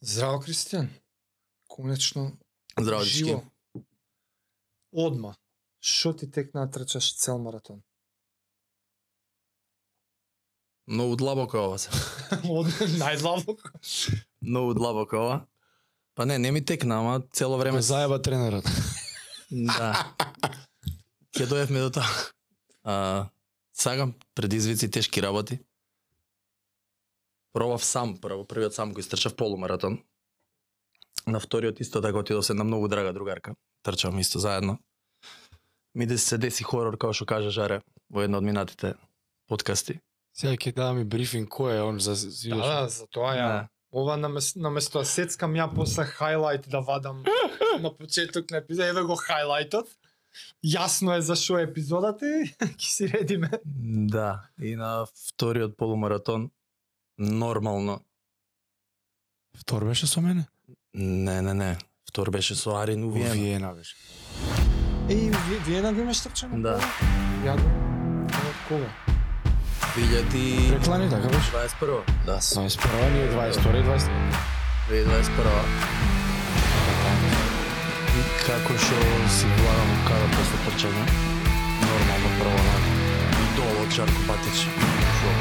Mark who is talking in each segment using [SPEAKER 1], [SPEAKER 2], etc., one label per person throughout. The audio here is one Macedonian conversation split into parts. [SPEAKER 1] Здраво, Кристијан. Конечно,
[SPEAKER 2] Здраво, дечки.
[SPEAKER 1] живо. Одма. Што ти тек натрчаш цел маратон?
[SPEAKER 2] Многу длабоко е ова. се.
[SPEAKER 1] Одма, најдлабоко.
[SPEAKER 2] Многу длабоко е ова. Па не, не ми текна, ама цело време...
[SPEAKER 3] Ме зајава тренерот.
[SPEAKER 2] Да. Ќе доевме до тоа. А, сагам предизвици тешки работи. Пробав сам, прво, првиот сам го истрчав полумаратон. На вториот исто така отидов се на многу драга другарка. Трчавме исто заедно. Ми деси се деси хорор, како што кажа Жаре, во една од минатите подкасти.
[SPEAKER 3] Сега ќе давам и брифинг кој е он за
[SPEAKER 1] Да, да, за тоа ја.
[SPEAKER 2] Да.
[SPEAKER 1] Ова наместо, наместо да сецкам ја после хайлайт да вадам на почеток на епизод, еве го хайлайтот. Јасно е за што е епизодата и ќе си редиме.
[SPEAKER 2] Да, и на вториот полумаратон нормално.
[SPEAKER 3] Втор беше со мене?
[SPEAKER 2] Не, не, не. Втор беше со Арин у
[SPEAKER 3] Во
[SPEAKER 2] Виена.
[SPEAKER 3] Виена беше.
[SPEAKER 1] Еј, вие, вие на го имаш трчано?
[SPEAKER 2] Да.
[SPEAKER 1] Ја го. Ама од Кога?
[SPEAKER 2] 2021.
[SPEAKER 3] Реклани така беше.
[SPEAKER 2] Да,
[SPEAKER 3] 21 ние 22 20.
[SPEAKER 2] 2021. И како што си влагам кара после трчање, нормално прво на долу од Жарко Батич. Шо?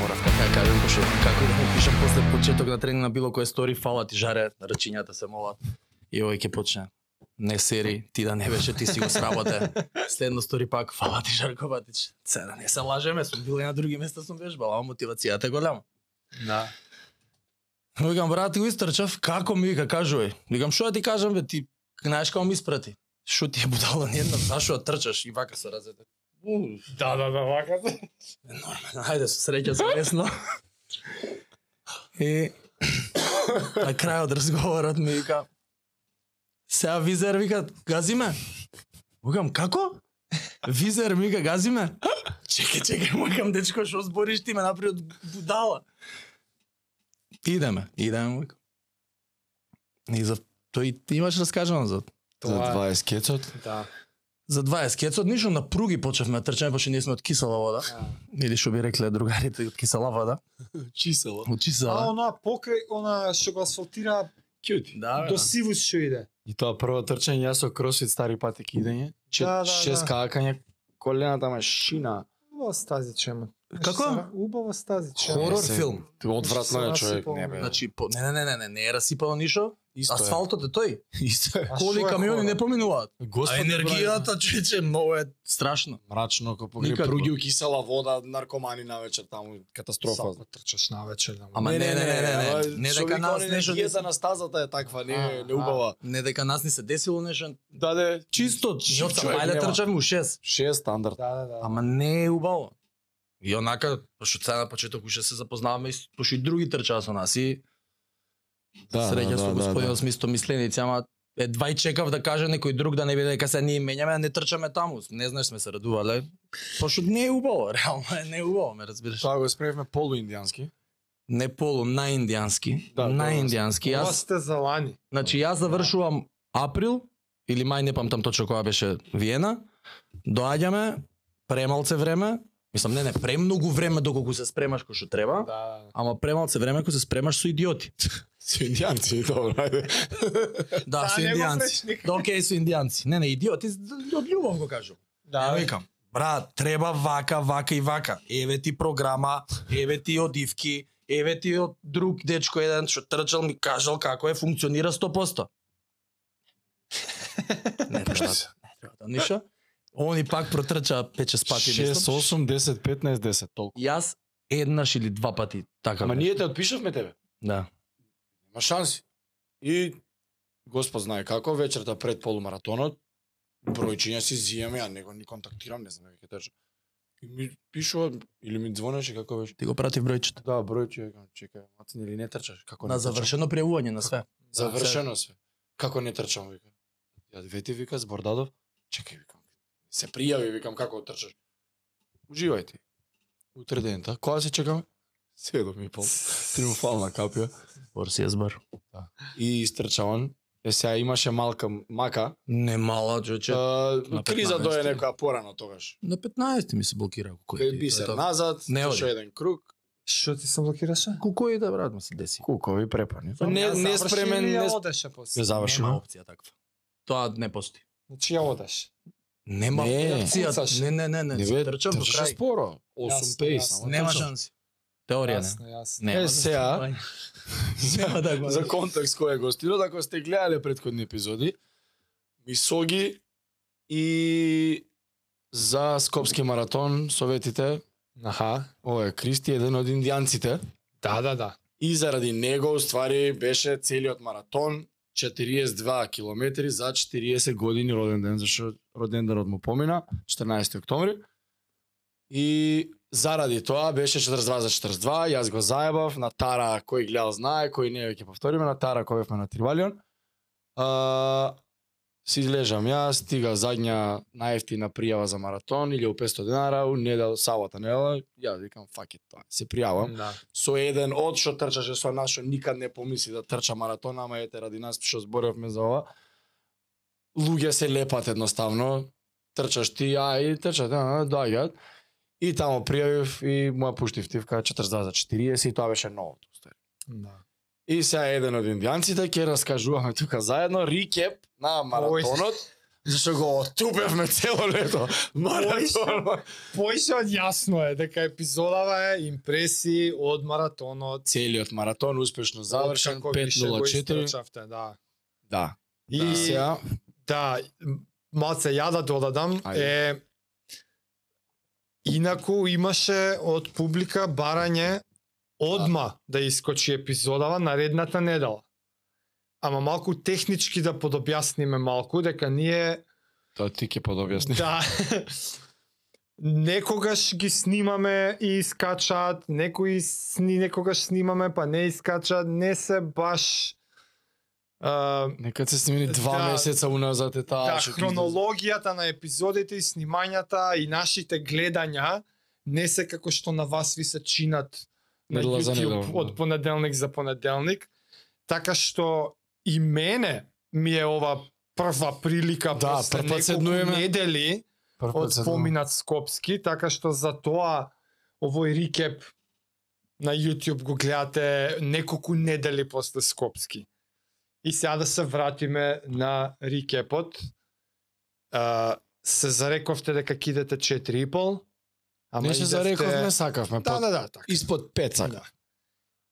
[SPEAKER 2] Морав така да кажам, пошто како да му пишам после почеток на тренинг на било кој стори, фала ти жаре, рачињата се молат. И овој ќе почне. Не сери, ти да не беше, ти си го сработе. Следно стори пак, фала ти Жарко Батич. Це да не се лажеме, сум бил и на други места сум вежбал, ама мотивацијата е голема.
[SPEAKER 1] Да.
[SPEAKER 2] Му Викам, брат, ти го истрчав, како ми вика, кажувај. Викам, што да ти кажам, бе, ти знаеш како ми испрати. Што ти е будала ни една, зашо ја да трчаш и вака се разете.
[SPEAKER 1] Да, да, да, вака.
[SPEAKER 2] Ајде, со среќа се лесно. и на крајот разговорот ми вика, сега Визер вика, гази ме. Му Викам, како? Визер ми вика, гази ме. Чекай, чекай, му викам, дечко, што збориш ти ме направи од будала. Идеме, идеме, му викам. И за тој ти имаш раскажано за
[SPEAKER 3] За 20 кецот.
[SPEAKER 1] Да.
[SPEAKER 2] за 20 кецот, ништо на пруги почевме да трчаме, пошто ние сме од кисела вода. Или што би рекле другарите од кисела вода.
[SPEAKER 3] Чисело.
[SPEAKER 2] Од
[SPEAKER 1] А
[SPEAKER 2] кисела.
[SPEAKER 1] она покрај она што го асфалтира
[SPEAKER 3] Кјути.
[SPEAKER 2] Да, бе,
[SPEAKER 1] до
[SPEAKER 2] да.
[SPEAKER 1] сивус што иде.
[SPEAKER 3] И тоа прво трчање јас со кросфит стари патек идење. Че,
[SPEAKER 1] Да, да,
[SPEAKER 3] шест
[SPEAKER 1] да.
[SPEAKER 3] каакања колената ме шина.
[SPEAKER 1] Убаво стази чема.
[SPEAKER 2] Како?
[SPEAKER 1] Убаво стази чема.
[SPEAKER 2] Хорор
[SPEAKER 3] Е, се,
[SPEAKER 2] филм.
[SPEAKER 3] Одвратно е
[SPEAKER 1] Се
[SPEAKER 3] човек,
[SPEAKER 1] насипало,
[SPEAKER 3] не бе.
[SPEAKER 1] бе.
[SPEAKER 2] Значи, по... не, не, не, не, не, не е расипало ништо.
[SPEAKER 3] Исто е.
[SPEAKER 2] Асфалтот е тој.
[SPEAKER 3] исто е.
[SPEAKER 1] А
[SPEAKER 2] Коли
[SPEAKER 1] што е
[SPEAKER 2] камиони
[SPEAKER 1] хора?
[SPEAKER 2] не поминуваат. А
[SPEAKER 3] Господи,
[SPEAKER 2] енергијата, чече, многу е страшно.
[SPEAKER 3] мрачно како покрај
[SPEAKER 2] Никако.
[SPEAKER 3] пруги у кисела вода, наркомани навечер таму, катастрофа.
[SPEAKER 1] Сапа трчаш на вечер. Да.
[SPEAKER 2] Ама не, не, не, не,
[SPEAKER 3] ама
[SPEAKER 2] не, не
[SPEAKER 3] што
[SPEAKER 2] дека
[SPEAKER 3] вика,
[SPEAKER 2] нас
[SPEAKER 3] оние
[SPEAKER 2] нешто не,
[SPEAKER 3] енергијата на стазата е таква, не,
[SPEAKER 1] А,
[SPEAKER 3] не убава.
[SPEAKER 2] не дека нас не се десило нешто.
[SPEAKER 3] Да, да,
[SPEAKER 2] Чисто, чисто,
[SPEAKER 3] човек
[SPEAKER 2] ајде
[SPEAKER 3] нема.
[SPEAKER 2] трчавме у 6.
[SPEAKER 3] ше стандард.
[SPEAKER 1] Да, да, да.
[SPEAKER 2] Ама не е убаво. И онака, пошто сега на почеток уште се запознаваме, и с- пошто и други трчаа со нас и да, среќа со господинот да, да. мисленици, ама едва и чекав да каже некој друг да не биде дека се ние менјаме, а не трчаме таму. Не знаеш сме се радувале. Пошто не е убаво, реално е не е убаво, ме разбираш.
[SPEAKER 3] Тоа го спревме полуиндијански.
[SPEAKER 2] Не полу, на индијански.
[SPEAKER 3] Да,
[SPEAKER 2] Да, на
[SPEAKER 3] добро.
[SPEAKER 2] индијански.
[SPEAKER 1] Ова
[SPEAKER 2] Јас,
[SPEAKER 1] сте за лани.
[SPEAKER 2] значи јас
[SPEAKER 3] да.
[SPEAKER 2] завршувам април или мај, не памтам точно која беше Виена. Доаѓаме премалце време, мислам не не премногу време доколку се спремаш кој што треба, да.
[SPEAKER 1] Да.
[SPEAKER 2] ама премалце време кој се спремаш со идиоти.
[SPEAKER 3] Со индијанци, добро, ајде.
[SPEAKER 2] да, со индијанци. Да, окей, су индијанци. Не, не, идиоти, од љубов го кажу.
[SPEAKER 1] Да,
[SPEAKER 2] Ја викам, брат, треба вака, вака и вака. Еве ти програма, еве ти одивки, еве ти од друг дечко еден што трчал ми кажал како е функционира 100%. не треба, не треба да ништо. Они пак протрча пече спати
[SPEAKER 3] 6, 8, 10, 15, 10, толку.
[SPEAKER 2] Јас еднаш или два пати така.
[SPEAKER 3] Ама
[SPEAKER 2] бе.
[SPEAKER 3] ние те отпишавме тебе.
[SPEAKER 2] да.
[SPEAKER 3] Нема шанси. И Господ знае како вечерта пред полумаратонот бројчиња си зиеме, а него ни контактирам, не знам веќе тежа. И ми пишува или ми звонеше како беше.
[SPEAKER 2] Ти го прати бројчето.
[SPEAKER 3] Да, бројчиња, кажам, чекај, мати или не трчаш? Како не
[SPEAKER 2] На
[SPEAKER 3] трчам?
[SPEAKER 2] завршено пријавување на све.
[SPEAKER 3] Завршено се. Како не трчам, вика. Ја вете вика Збордадов, чекај викам. Се пријави викам како трчаш. Уживајте. Утре дента. Кога се чекаме? Седум и пол. Триумфална капија.
[SPEAKER 2] Борсија збар.
[SPEAKER 3] И истрчаван. Е сега имаше малка мака.
[SPEAKER 2] Не мала, човече.
[SPEAKER 3] А,
[SPEAKER 2] на
[SPEAKER 3] криза
[SPEAKER 2] 15.
[SPEAKER 3] дое некоја порано тогаш.
[SPEAKER 2] На 15 ми се блокира кој
[SPEAKER 3] Кај бисер назад,
[SPEAKER 2] Не
[SPEAKER 3] не
[SPEAKER 2] оди.
[SPEAKER 3] еден круг.
[SPEAKER 1] Што ти се блокираше?
[SPEAKER 2] Колко и да брат му се деси.
[SPEAKER 3] Кукови препани.
[SPEAKER 2] Само
[SPEAKER 3] Не,
[SPEAKER 1] Ја
[SPEAKER 3] не
[SPEAKER 1] заврши
[SPEAKER 3] спремен,
[SPEAKER 1] или ја
[SPEAKER 3] не
[SPEAKER 1] одеше
[SPEAKER 2] Да
[SPEAKER 1] после.
[SPEAKER 2] Нема
[SPEAKER 3] завршено.
[SPEAKER 2] опција таква. Тоа не постои.
[SPEAKER 1] Значи ја одеш.
[SPEAKER 2] Нема
[SPEAKER 3] Не.
[SPEAKER 1] Куцаш.
[SPEAKER 2] опција. Не, не, не, не.
[SPEAKER 3] Не
[SPEAKER 2] се
[SPEAKER 3] бе,
[SPEAKER 2] трчам до
[SPEAKER 3] трчаше
[SPEAKER 2] крај.
[SPEAKER 3] споро. 8
[SPEAKER 1] Јасно,
[SPEAKER 3] пейс.
[SPEAKER 1] јасно.
[SPEAKER 2] Нема шанси. Теорија не.
[SPEAKER 1] Јасно, јасно.
[SPEAKER 2] Нема.
[SPEAKER 3] Е,
[SPEAKER 2] да
[SPEAKER 3] сега-
[SPEAKER 2] се прави. Нема да го.
[SPEAKER 3] За контекст кој е гостинот, ако сте гледале предходни епизоди, мисоги и за Скопски маратон советите,
[SPEAKER 1] Аха.
[SPEAKER 3] ова е Кристи, еден од индијанците,
[SPEAKER 1] Да, да, да.
[SPEAKER 3] и заради него уствари беше целиот маратон 42 километри за 40 години роден ден, зашто роден денот му помина, 14 октомври. И заради тоа беше 42 за 42, јас го заебав, на Тара кој гледал знае, кој не ќе повториме, на Тара кој бевме на Тривалион. А, си лежам јас, стига задња најефтина пријава за маратон, 1500 денара, у недел, сабота недела, јас викам, fuck it, тоа, се пријавам
[SPEAKER 1] Да.
[SPEAKER 3] со еден од што трчаше со нас што никад не помисли да трча маратон, ама ете ради нас што зборевме за ова. Луѓе се лепат едноставно, трчаш ти, а и трчат, а, доаѓаат. И тамо пријавив и му ја пуштив тивка 42 за 40 и тоа беше новото. устари.
[SPEAKER 1] Да.
[SPEAKER 3] И сега еден од индијанците ќе раскажуваме тука заедно рикеп на маратонот. Зашто го отупевме цело лето. Маратон.
[SPEAKER 1] Поише од јасно е дека епизодава е импресии од маратонот.
[SPEAKER 3] Целиот маратон успешно завршен
[SPEAKER 1] Како више го
[SPEAKER 3] 5.04.
[SPEAKER 1] истрчавте, Да.
[SPEAKER 3] Да.
[SPEAKER 1] И
[SPEAKER 3] И сега
[SPEAKER 1] да, м- малце ја да додадам
[SPEAKER 3] Ајде.
[SPEAKER 1] е инаку имаше од публика барање одма да искочи епизодава наредната недела. Ама малку технички да подобјасниме малку дека ние
[SPEAKER 3] Тоа ти ќе подобјасни.
[SPEAKER 1] да некогаш ги снимаме и искачаат, некои сни некогаш снимаме па не искачаат, не се баш а,
[SPEAKER 3] Нека се смени два
[SPEAKER 1] Да.
[SPEAKER 3] месеца уназад е таа.
[SPEAKER 1] да,
[SPEAKER 3] што ти
[SPEAKER 1] хронологијата на епизодите и снимањата и нашите гледања не се како што на вас ви се чинат на
[SPEAKER 3] Недела за
[SPEAKER 1] YouTube
[SPEAKER 3] недела, да.
[SPEAKER 1] од понеделник за понеделник. Така што и мене ми е ова прва прилика
[SPEAKER 3] Да,
[SPEAKER 1] после
[SPEAKER 3] прв пат
[SPEAKER 1] неколку
[SPEAKER 3] седнуваме.
[SPEAKER 1] недели
[SPEAKER 3] Прв пат
[SPEAKER 1] од
[SPEAKER 3] се
[SPEAKER 1] споминат Скопски, така што за тоа овој рикеп на YouTube го гледате неколку недели после Скопски. И сега да се вратиме на рикепот. А, се зарековте дека кидете 4,5,
[SPEAKER 3] дома.
[SPEAKER 1] ама
[SPEAKER 3] не се
[SPEAKER 1] идевте-
[SPEAKER 3] зарековме, сакавме.
[SPEAKER 1] Да,
[SPEAKER 3] под-
[SPEAKER 1] да, да, така.
[SPEAKER 3] Испод пет сака.
[SPEAKER 1] Да.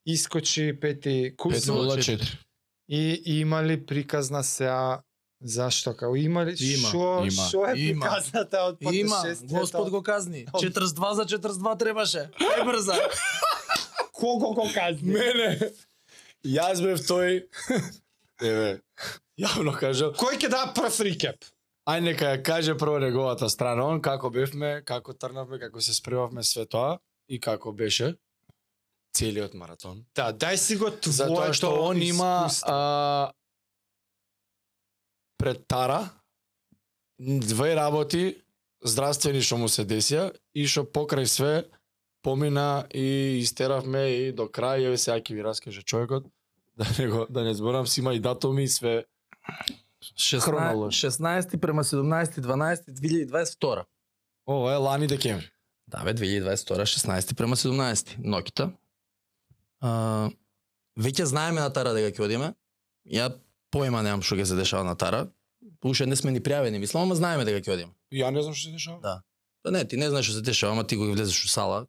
[SPEAKER 1] Искочи пети
[SPEAKER 3] Пет
[SPEAKER 1] кусок
[SPEAKER 2] нула.
[SPEAKER 3] нула
[SPEAKER 2] четири.
[SPEAKER 3] четири.
[SPEAKER 1] и имали приказна сега зашто како имали
[SPEAKER 2] Има,
[SPEAKER 1] шо,
[SPEAKER 3] има,
[SPEAKER 1] шо е
[SPEAKER 2] има.
[SPEAKER 1] приказната од
[SPEAKER 2] Има,
[SPEAKER 1] пътешествието?
[SPEAKER 2] Господ го казни. 42 за 42 требаше. Ај брза.
[SPEAKER 1] Кого го казни? Мене.
[SPEAKER 3] Јас бев тој. Еве. Јавно кажам.
[SPEAKER 1] Кој ќе даде прв рикеп?
[SPEAKER 3] Ај нека ја каже прво неговата страна, он како бевме, како тргнавме, како се спремавме све тоа и како беше целиот маратон.
[SPEAKER 1] Да, дај си го твоето
[SPEAKER 3] Затоа што он има
[SPEAKER 1] искуство.
[SPEAKER 3] а, пред Тара две работи здравствени што му се десија и што покрај све помина и истеравме и до крај еве сега ќе ви раскаже човекот да не го да не зборам си има и датуми и све
[SPEAKER 2] 16,
[SPEAKER 3] Хронолог.
[SPEAKER 2] 16 према 17 12 2022.
[SPEAKER 3] ова е лани декември
[SPEAKER 2] Да, бе, 2022, 16 према 17, нокита. А, веќе знаеме на Тара дека ќе одиме. Ја појма немам што ќе се дешава на Тара. Уште не сме ни пријавени, мислам, ама знаеме дека ќе одиме.
[SPEAKER 3] ја не знам што се дешава
[SPEAKER 2] Да. Па не, ти не знаеш што се дешава, ама ти кога влезеш у сала,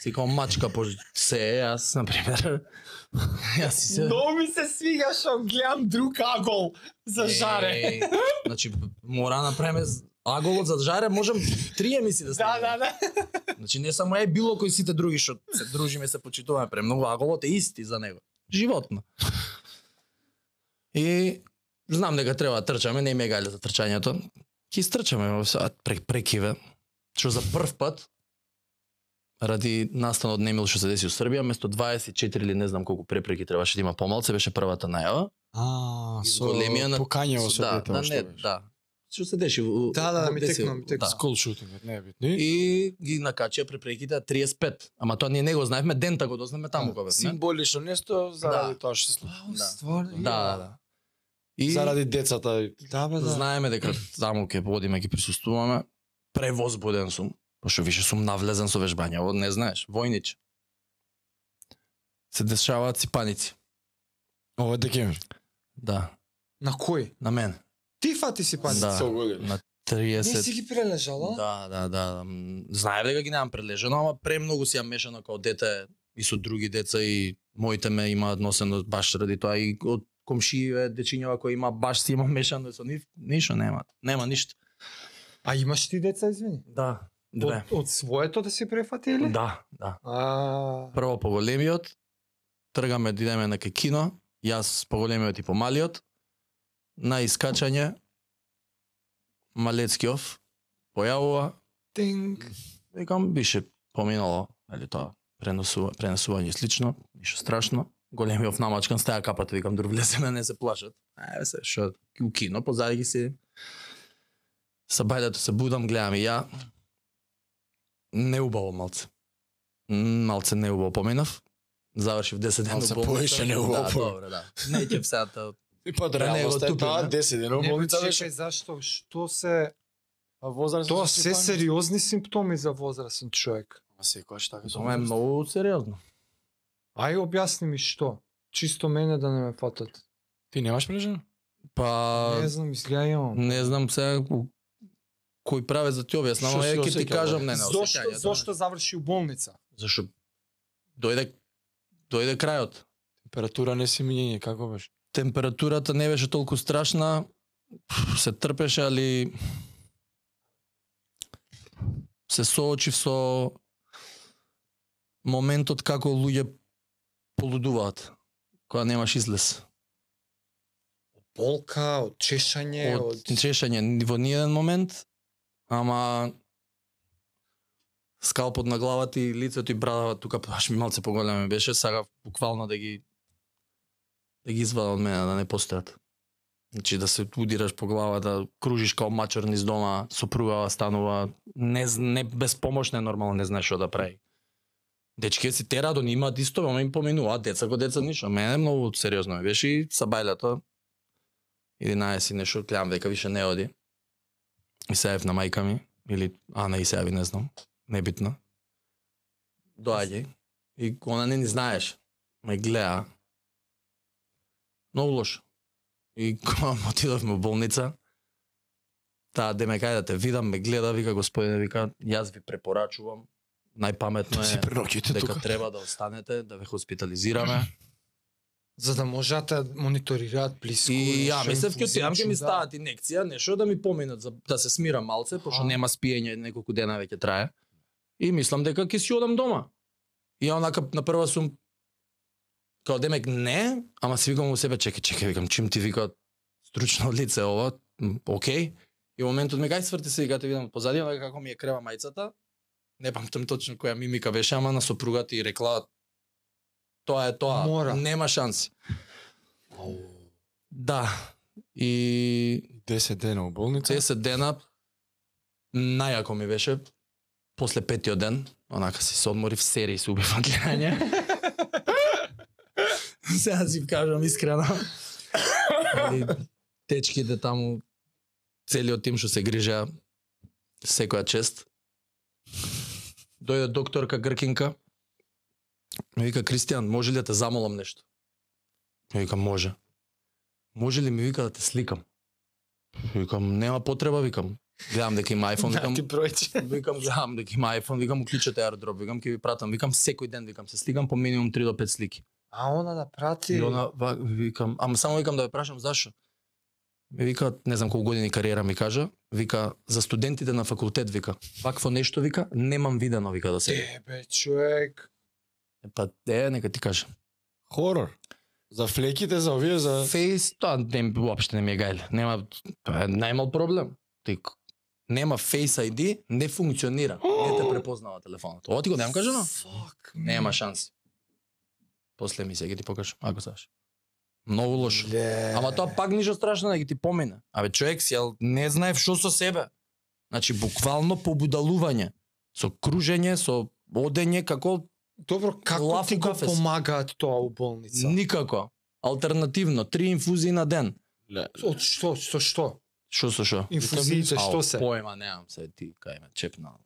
[SPEAKER 2] си како мачка по се, јас на пример. јас си се
[SPEAKER 1] Многу ми се свига што гледам друг агол за жаре.
[SPEAKER 2] Е, Значи мора да направиме з- аголот за жаре, можем три емисии
[SPEAKER 1] Да,
[SPEAKER 2] да снимаме.
[SPEAKER 1] да, да.
[SPEAKER 2] Значи не само е било кој сите други што се дружиме, се почитуваме премногу, а голот е исти за него. Животно. И знам дека треба да трчаме, не ме гале за трчањето. Ќе стрчаме во сега прек, прекиве. Што за прв пат ради настанот немил што се деси у Србија, место 24 или не знам колку препреки требаше да има помалце, беше првата најава.
[SPEAKER 3] а
[SPEAKER 2] И големија на-
[SPEAKER 3] покањево со
[SPEAKER 2] да,
[SPEAKER 3] дете
[SPEAKER 2] да, не, да. Што се деши? во-
[SPEAKER 1] Да, да, да, ми
[SPEAKER 2] деси-
[SPEAKER 1] текна, ми текна.
[SPEAKER 3] скол шутингот не е битно и
[SPEAKER 2] и ги накачија препреките 35. Ама тоа ние не го знаевме, ден тако дознаме таму кога бевме.
[SPEAKER 3] символично несто заради тоа што се случи
[SPEAKER 2] Да.
[SPEAKER 1] Стварно.
[SPEAKER 2] Да, да, да. И Заради...
[SPEAKER 3] заради децата и
[SPEAKER 1] Да, бе, да.
[SPEAKER 2] знаеме дека таму ќе подиме, ќе присуствуваме. Превозбуден сум, пошто више сум навлезен со вежбање, ово не знаеш, војнич. се дешаваат си паници.
[SPEAKER 3] Ова е декември.
[SPEAKER 2] Да,
[SPEAKER 1] На кој?
[SPEAKER 2] на мен.
[SPEAKER 1] Ти фати си паници.
[SPEAKER 2] Да.
[SPEAKER 3] Се угоден.
[SPEAKER 2] На
[SPEAKER 1] Не
[SPEAKER 2] 30
[SPEAKER 1] си ги прележала?
[SPEAKER 2] Да, да, да. М, Знаев дека ги немам прележено, ама премногу си ја мешано као дете и со други деца и моите ме имаат носено баш ради тоа и од комшииве дечињава кои има баш си има мешано со нив, ништо нема. Нема ништо.
[SPEAKER 1] А имаш ти деца, извини?
[SPEAKER 2] Да.
[SPEAKER 1] Од, од своето да си префати или?
[SPEAKER 2] Да, да.
[SPEAKER 1] А,
[SPEAKER 2] Прво поголемиот, тргаме да идеме на кај кино, јас поголемиот и помалиот, на искачање, Малецкиов, појавува,
[SPEAKER 1] тинг.
[SPEAKER 2] Викам, беше поминало, нали тоа, преносува, пренесување и слично, ништо страшно. Големиот намачкан стаја капата, викам, дур влеземе, не се плашат. Ајде се, шо, у кино, позади ги се. Са бајдето се будам, гледам и ја. Неубаво малце. М, Малце неубаво поминав. Завршив 10 дена
[SPEAKER 3] Малце
[SPEAKER 2] у болница.
[SPEAKER 3] повеќе неубаво
[SPEAKER 2] Да,
[SPEAKER 3] поминав.
[SPEAKER 2] добро, да. Не ќе псата.
[SPEAKER 3] И па
[SPEAKER 2] Да,
[SPEAKER 3] реалноста
[SPEAKER 2] него
[SPEAKER 3] е
[SPEAKER 2] тупи,
[SPEAKER 3] таа
[SPEAKER 2] не?
[SPEAKER 3] 10 дена у
[SPEAKER 1] Не
[SPEAKER 3] болница
[SPEAKER 1] чекај
[SPEAKER 3] беше.
[SPEAKER 1] зашто, што се...
[SPEAKER 3] А возраст
[SPEAKER 1] Тоа се сериозни симптоми за возрасен човек.
[SPEAKER 3] Ама секогаш така.
[SPEAKER 2] Тоа е многу сериозно.
[SPEAKER 1] Ај објасни ми што. Чисто мене да не ме фатат.
[SPEAKER 3] Ти немаш прележено?
[SPEAKER 2] Па
[SPEAKER 1] Не знам, изгледа имам.
[SPEAKER 2] Не знам сега ко- кој праве за ти објасна,
[SPEAKER 3] Што
[SPEAKER 2] ама
[SPEAKER 3] си
[SPEAKER 2] е, ќе ти
[SPEAKER 3] осеќал,
[SPEAKER 2] кажам, не, не,
[SPEAKER 1] Зошто,
[SPEAKER 2] осеќањето,
[SPEAKER 1] зошто заврши у болница?
[SPEAKER 2] не. Зашо дојде дојде крајот.
[SPEAKER 3] Температура не си мињење, како беше?
[SPEAKER 2] Температурата не беше толку страшна, пф, се трпеше, али се соочив со моментот како луѓе полудуваат, кога немаш излез.
[SPEAKER 1] Болка, од чешање,
[SPEAKER 2] од чешање ни во ниједен момент, ама скалпот на главата и лицето и брадава тука па баш ми малце поголема ми беше, сега буквално да ги да ги извада од мене, да не постојат. Значи да се удираш по главата, кружиш као мачор низ дома, сопругава станува, не, з- не безпомошна е нормално, не знаеш што да прави. Дечките си тера до имаат исто, ама им поминуваат деца ко деца ништо. Мене многу сериозно ми беше и сабајлето 11 и нешто, гледам дека више не оди. И се јав на мајка ми, или Ана и се јави, не знам, небитно. Доаѓа и она не ни знаеш. Ме гледа. Многу лошо. И кога му отидовме во болница, таа деме кај да те видам, ме гледа, вика господине, вика, јас ви препорачувам, најпаметно
[SPEAKER 3] Да си
[SPEAKER 2] е
[SPEAKER 3] преноките
[SPEAKER 2] дека
[SPEAKER 3] тука.
[SPEAKER 2] треба да останете, да ве хоспитализираме,
[SPEAKER 1] за да можат да мониторираат близко.
[SPEAKER 2] И ја
[SPEAKER 1] нешто,
[SPEAKER 2] мислев ќе
[SPEAKER 1] инфузија,
[SPEAKER 2] отидам ќе ми
[SPEAKER 1] да.
[SPEAKER 2] стават инекција, нешто да ми поминат за да се смира малце, пошто
[SPEAKER 1] Аха.
[SPEAKER 2] нема спиење неколку дена веќе трае. И мислам дека ќе си одам дома. И ја онака на прва сум као демек не, ама си викам во себе чекај, чекај, викам чим ти вика стручно лице ова, м, окей. И во моментот ми кај сврти се и кај те видам позади, онака како ми е крева мајцата. Не памтам точно која мимика беше, ама на сопругата и рекла тоа е тоа,
[SPEAKER 1] Мора.
[SPEAKER 2] нема шанси. Да. И
[SPEAKER 3] 10 дена у болница.
[SPEAKER 2] 10 дена најако ми беше после петиот ден, онака си се одморив серии се убива гледање. Сега си кажам искрено. Али, Течките таму целиот тим што се грижа секоја чест. Дојде докторка Гркинка. Ми вика Кристијан, може ли да те замолам нешто? Ја викам може. Може ли ми вика да те сликам? Викам нема потреба, викам. Гледам дека има iPhone, викам
[SPEAKER 1] Да, ти пројче.
[SPEAKER 2] викам гледам дека има iPhone, викам уклучете AirDrop, викам ќе ви пратам, викам секој ден викам се сликам по минимум 3 до 5 слики.
[SPEAKER 1] А она да прати...
[SPEAKER 2] И она ва- викам, ама само викам да ве прашам зашо. Ми вика, не знам колку години кариера ми кажа, вика за студентите на факултет вика. Вакво нешто вика, немам видено вика да се.
[SPEAKER 1] Тебе, човек.
[SPEAKER 2] Е, Па е, нека ти кажам.
[SPEAKER 3] Хорор. За флеките, за овие, за...
[SPEAKER 2] Фейс, тоа не, уопште не ми е гајле. Нема, тоа е најмал проблем. Ти, к- нема Face ID, не функционира. Не те препознава телефонот. Ова ти го немам кажано?
[SPEAKER 1] Фак,
[SPEAKER 2] Нема шанси. После ми се ги ти покажам, ако саш. Многу лошо. Ама тоа пак ништо страшно да ги ти помина. Абе човек си, ал не знаев што со себе. Значи буквално побудалување со кружење, со одење како
[SPEAKER 1] Добро, како
[SPEAKER 2] Лав
[SPEAKER 1] ти го
[SPEAKER 2] кафес.
[SPEAKER 1] помагаат тоа у болница?
[SPEAKER 2] никако. Алтернативно, три инфузии на ден.
[SPEAKER 1] Од што, со што?
[SPEAKER 2] Што со што?
[SPEAKER 1] Инфузиите
[SPEAKER 2] Ау,
[SPEAKER 1] што се?
[SPEAKER 2] Поема немам се ти кај ме чепнал.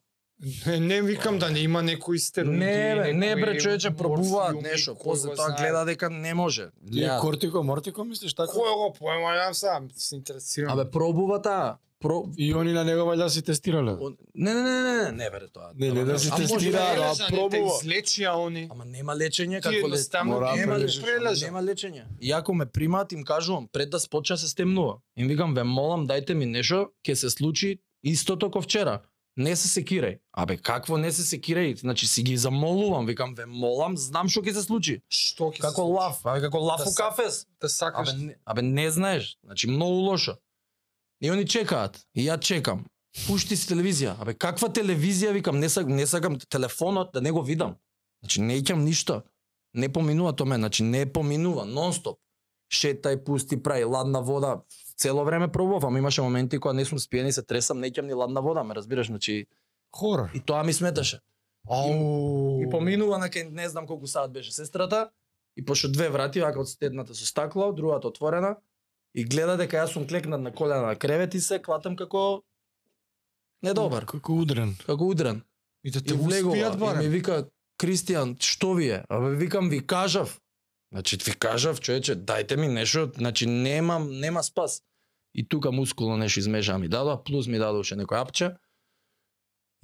[SPEAKER 1] Не, не викам да не има некои стероиди.
[SPEAKER 2] Не, бе, не
[SPEAKER 1] некои
[SPEAKER 2] бре, човече, пробува
[SPEAKER 1] морфиуми,
[SPEAKER 2] нешто,
[SPEAKER 1] кој
[SPEAKER 2] после
[SPEAKER 1] го
[SPEAKER 2] тоа
[SPEAKER 1] знае.
[SPEAKER 2] гледа дека не може.
[SPEAKER 3] Ти
[SPEAKER 2] Ја,
[SPEAKER 3] кортико, мортико мислиш така?
[SPEAKER 1] Кој го поема, јас сам се интересирам.
[SPEAKER 2] Абе, пробува таа. Про...
[SPEAKER 3] И они на него валја си тестирале.
[SPEAKER 2] Он- Не, не, не, не, не, не бре тоа.
[SPEAKER 3] Не, не,
[SPEAKER 2] Ама,
[SPEAKER 3] да си
[SPEAKER 2] а може
[SPEAKER 3] тестира,
[SPEAKER 2] да е
[SPEAKER 3] ама
[SPEAKER 2] лечење,
[SPEAKER 3] пробува.
[SPEAKER 1] Те излечија они.
[SPEAKER 2] Ама нема лечење
[SPEAKER 1] Ти
[SPEAKER 2] како ле...
[SPEAKER 1] едноставно
[SPEAKER 3] мора
[SPEAKER 1] нема да
[SPEAKER 3] прележиш,
[SPEAKER 1] прележа.
[SPEAKER 2] Нема лечење. И ако ме примаат, им кажувам, пред да спочна се стемнува. Им викам, ве молам, дајте ми нешто, ќе се случи истото ко вчера. Не се секирај. Абе, какво не се секирај? Значи си ги замолувам, викам, ве молам, знам што ќе се случи.
[SPEAKER 1] Што ќе се
[SPEAKER 2] Како
[SPEAKER 1] случи?
[SPEAKER 2] лав, абе како лав
[SPEAKER 1] Да
[SPEAKER 2] у
[SPEAKER 1] са-
[SPEAKER 2] кафес.
[SPEAKER 1] да сакаш?
[SPEAKER 2] Абе не, абе не знаеш, значи многу лошо. И они чекаат, и ја чекам. Пушти си телевизија. Абе каква телевизија викам, не сакам, не сакам телефонот да не го видам. Значи не икам ништо. Не поминува тоа мен, значи не поминува нонстоп. Шетај, пусти, прај ладна вода. Цело време пробував, ама имаше моменти кога не сум спиен и се тресам, не икам ни ладна вода, ме разбираш, значи
[SPEAKER 3] Хора.
[SPEAKER 2] и тоа ми сметаше.
[SPEAKER 1] Ау.
[SPEAKER 2] И поминува на кај не знам колку саат беше сестрата и пошто две врати вака од едната со стакло, другата отворена и гледа дека јас сум клекнат на колена на кревет и се клатам како недобар,
[SPEAKER 3] Како удрен.
[SPEAKER 2] како удрен.
[SPEAKER 1] И да
[SPEAKER 2] И
[SPEAKER 1] те успијат
[SPEAKER 2] влегува и ми
[SPEAKER 1] барем.
[SPEAKER 2] вика Кристијан, што ви е? Абе викам ви кажав. Значи ви кажав, човече, дајте ми нешто, значи немам нема спас. И тука мускулно нешто измеша ми дадоа, плюс ми дадоа уште некој апче.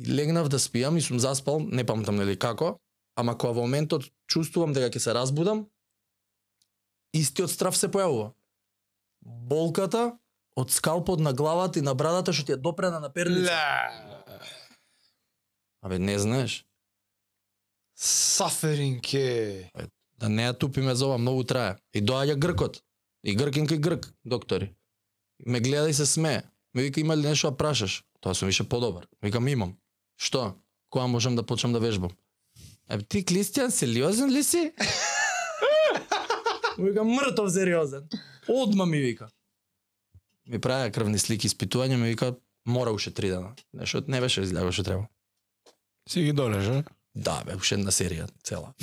[SPEAKER 2] И легнав да спијам и сум заспал, не памтам нели како, ама кога во моментот чувствувам дека ќе се разбудам, истиот страв се појавува. Болката од скалпот на главата и на брадата што ти ја допрена на перница.
[SPEAKER 1] Ле.
[SPEAKER 2] Абе не знаеш.
[SPEAKER 1] Suffering е.
[SPEAKER 2] Да не ја тупиме за ова, многу трае. И доаѓа гркот. И гркинка и грк, доктори. Ме гледа и се смее. Ми вика, има ли нешто да прашаш? Тоа сум више подобар. Викам, имам. Што? Која можам да почнам да вежбам? Е, ти, Кристијан, сериозен ли си? Му Вика, мртов сериозен. Одма ми вика. Ми правеа крвни слики, испитување, ми вика, мора уште три дена. Нешто не беше излягало што треба.
[SPEAKER 3] Си ги долежа.
[SPEAKER 2] Да, бе, уште една серија цела.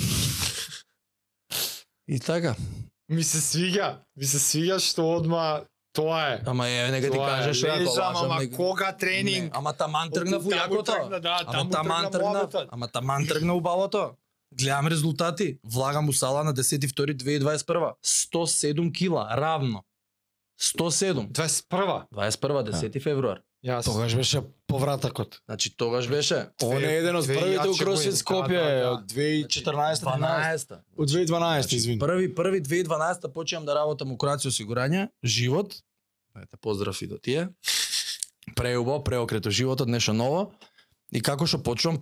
[SPEAKER 2] И така.
[SPEAKER 1] Ми се свиѓа. Ми се свиѓа што одма тоа е.
[SPEAKER 2] Ама е, нека ти
[SPEAKER 1] Тоа е.
[SPEAKER 2] кажеш, ако
[SPEAKER 1] Лежам,
[SPEAKER 2] лажам,
[SPEAKER 1] ама
[SPEAKER 2] нека-
[SPEAKER 1] кога
[SPEAKER 2] Не,
[SPEAKER 1] тренинг?
[SPEAKER 2] Ама таман тргна во
[SPEAKER 1] Таму
[SPEAKER 2] јакото.
[SPEAKER 1] тргна, Да,
[SPEAKER 2] Ама
[SPEAKER 1] таму
[SPEAKER 2] таман тргна,
[SPEAKER 1] муабетот.
[SPEAKER 2] ама таман тргна убавото. Гледам резултати. Влагам у сала на 10.2.2021. 107 кила, равно. 107.
[SPEAKER 1] 21.
[SPEAKER 2] 21. 10 февруар.
[SPEAKER 1] Јас.
[SPEAKER 3] Тогаш беше повратакот.
[SPEAKER 2] Значи тогаш беше
[SPEAKER 3] Ово не е еден од
[SPEAKER 1] Две-
[SPEAKER 3] првите у
[SPEAKER 1] две јачи
[SPEAKER 3] Кросфит
[SPEAKER 1] го е.
[SPEAKER 3] Скопје
[SPEAKER 1] Да, да, да.
[SPEAKER 3] од 2014
[SPEAKER 2] 12-та.
[SPEAKER 3] од
[SPEAKER 1] Значи,
[SPEAKER 3] 2012 извини.
[SPEAKER 2] Први, први 2012 почеам да работам у Кроација осигурање, живот. Ете, поздрав и до тие. Преубо, преокрето животот, нешто ново. И како што почнам,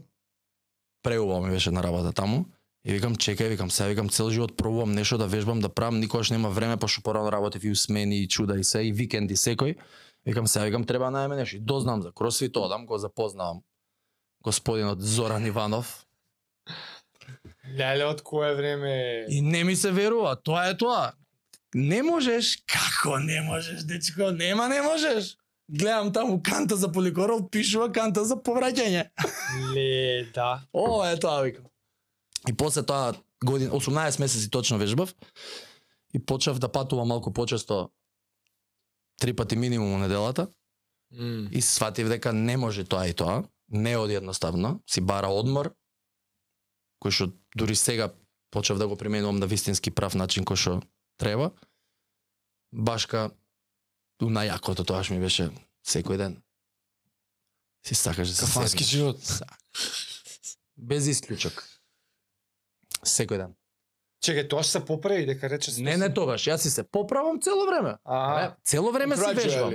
[SPEAKER 2] преубо ми беше на работа таму. И викам, чекај, викам, сега викам цел живот пробувам нешто да вежбам, да правам, никогаш нема време, пошто порано работев и у смени, и чуда, и се, и викенди, секој. Викам, сега викам, треба да најме нешто. И дознам за кросфит, одам, го запознавам господинот Зоран Иванов,
[SPEAKER 1] па, Леле, од кое време е?
[SPEAKER 2] И не ми се верува, тоа е тоа. Не можеш, како не можеш, дечко, нема не можеш. Гледам таму канта за поликорол, пишува канта за повраќање.
[SPEAKER 1] Ле, да.
[SPEAKER 2] О, е тоа викам. И после тоа година, 18 месеци точно вежбав и почнав да патувам малку почесто три пати минимум у неделата и сватив дека не може тоа и тоа, не од едноставно, си бара одмор, кој што дури сега почнав да го применувам на вистински прав начин кој што треба. Башка, у најакото тоаш ми беше секој ден. Си сакаш да се
[SPEAKER 3] Кафански
[SPEAKER 2] седнеш.
[SPEAKER 3] живот.
[SPEAKER 2] Без исклучок. Секој ден.
[SPEAKER 1] Чекај, тоа што се поправи дека рече
[SPEAKER 2] Не, не тогаш, јас си се поправам цело време.
[SPEAKER 1] А,
[SPEAKER 2] цело време си вежбам.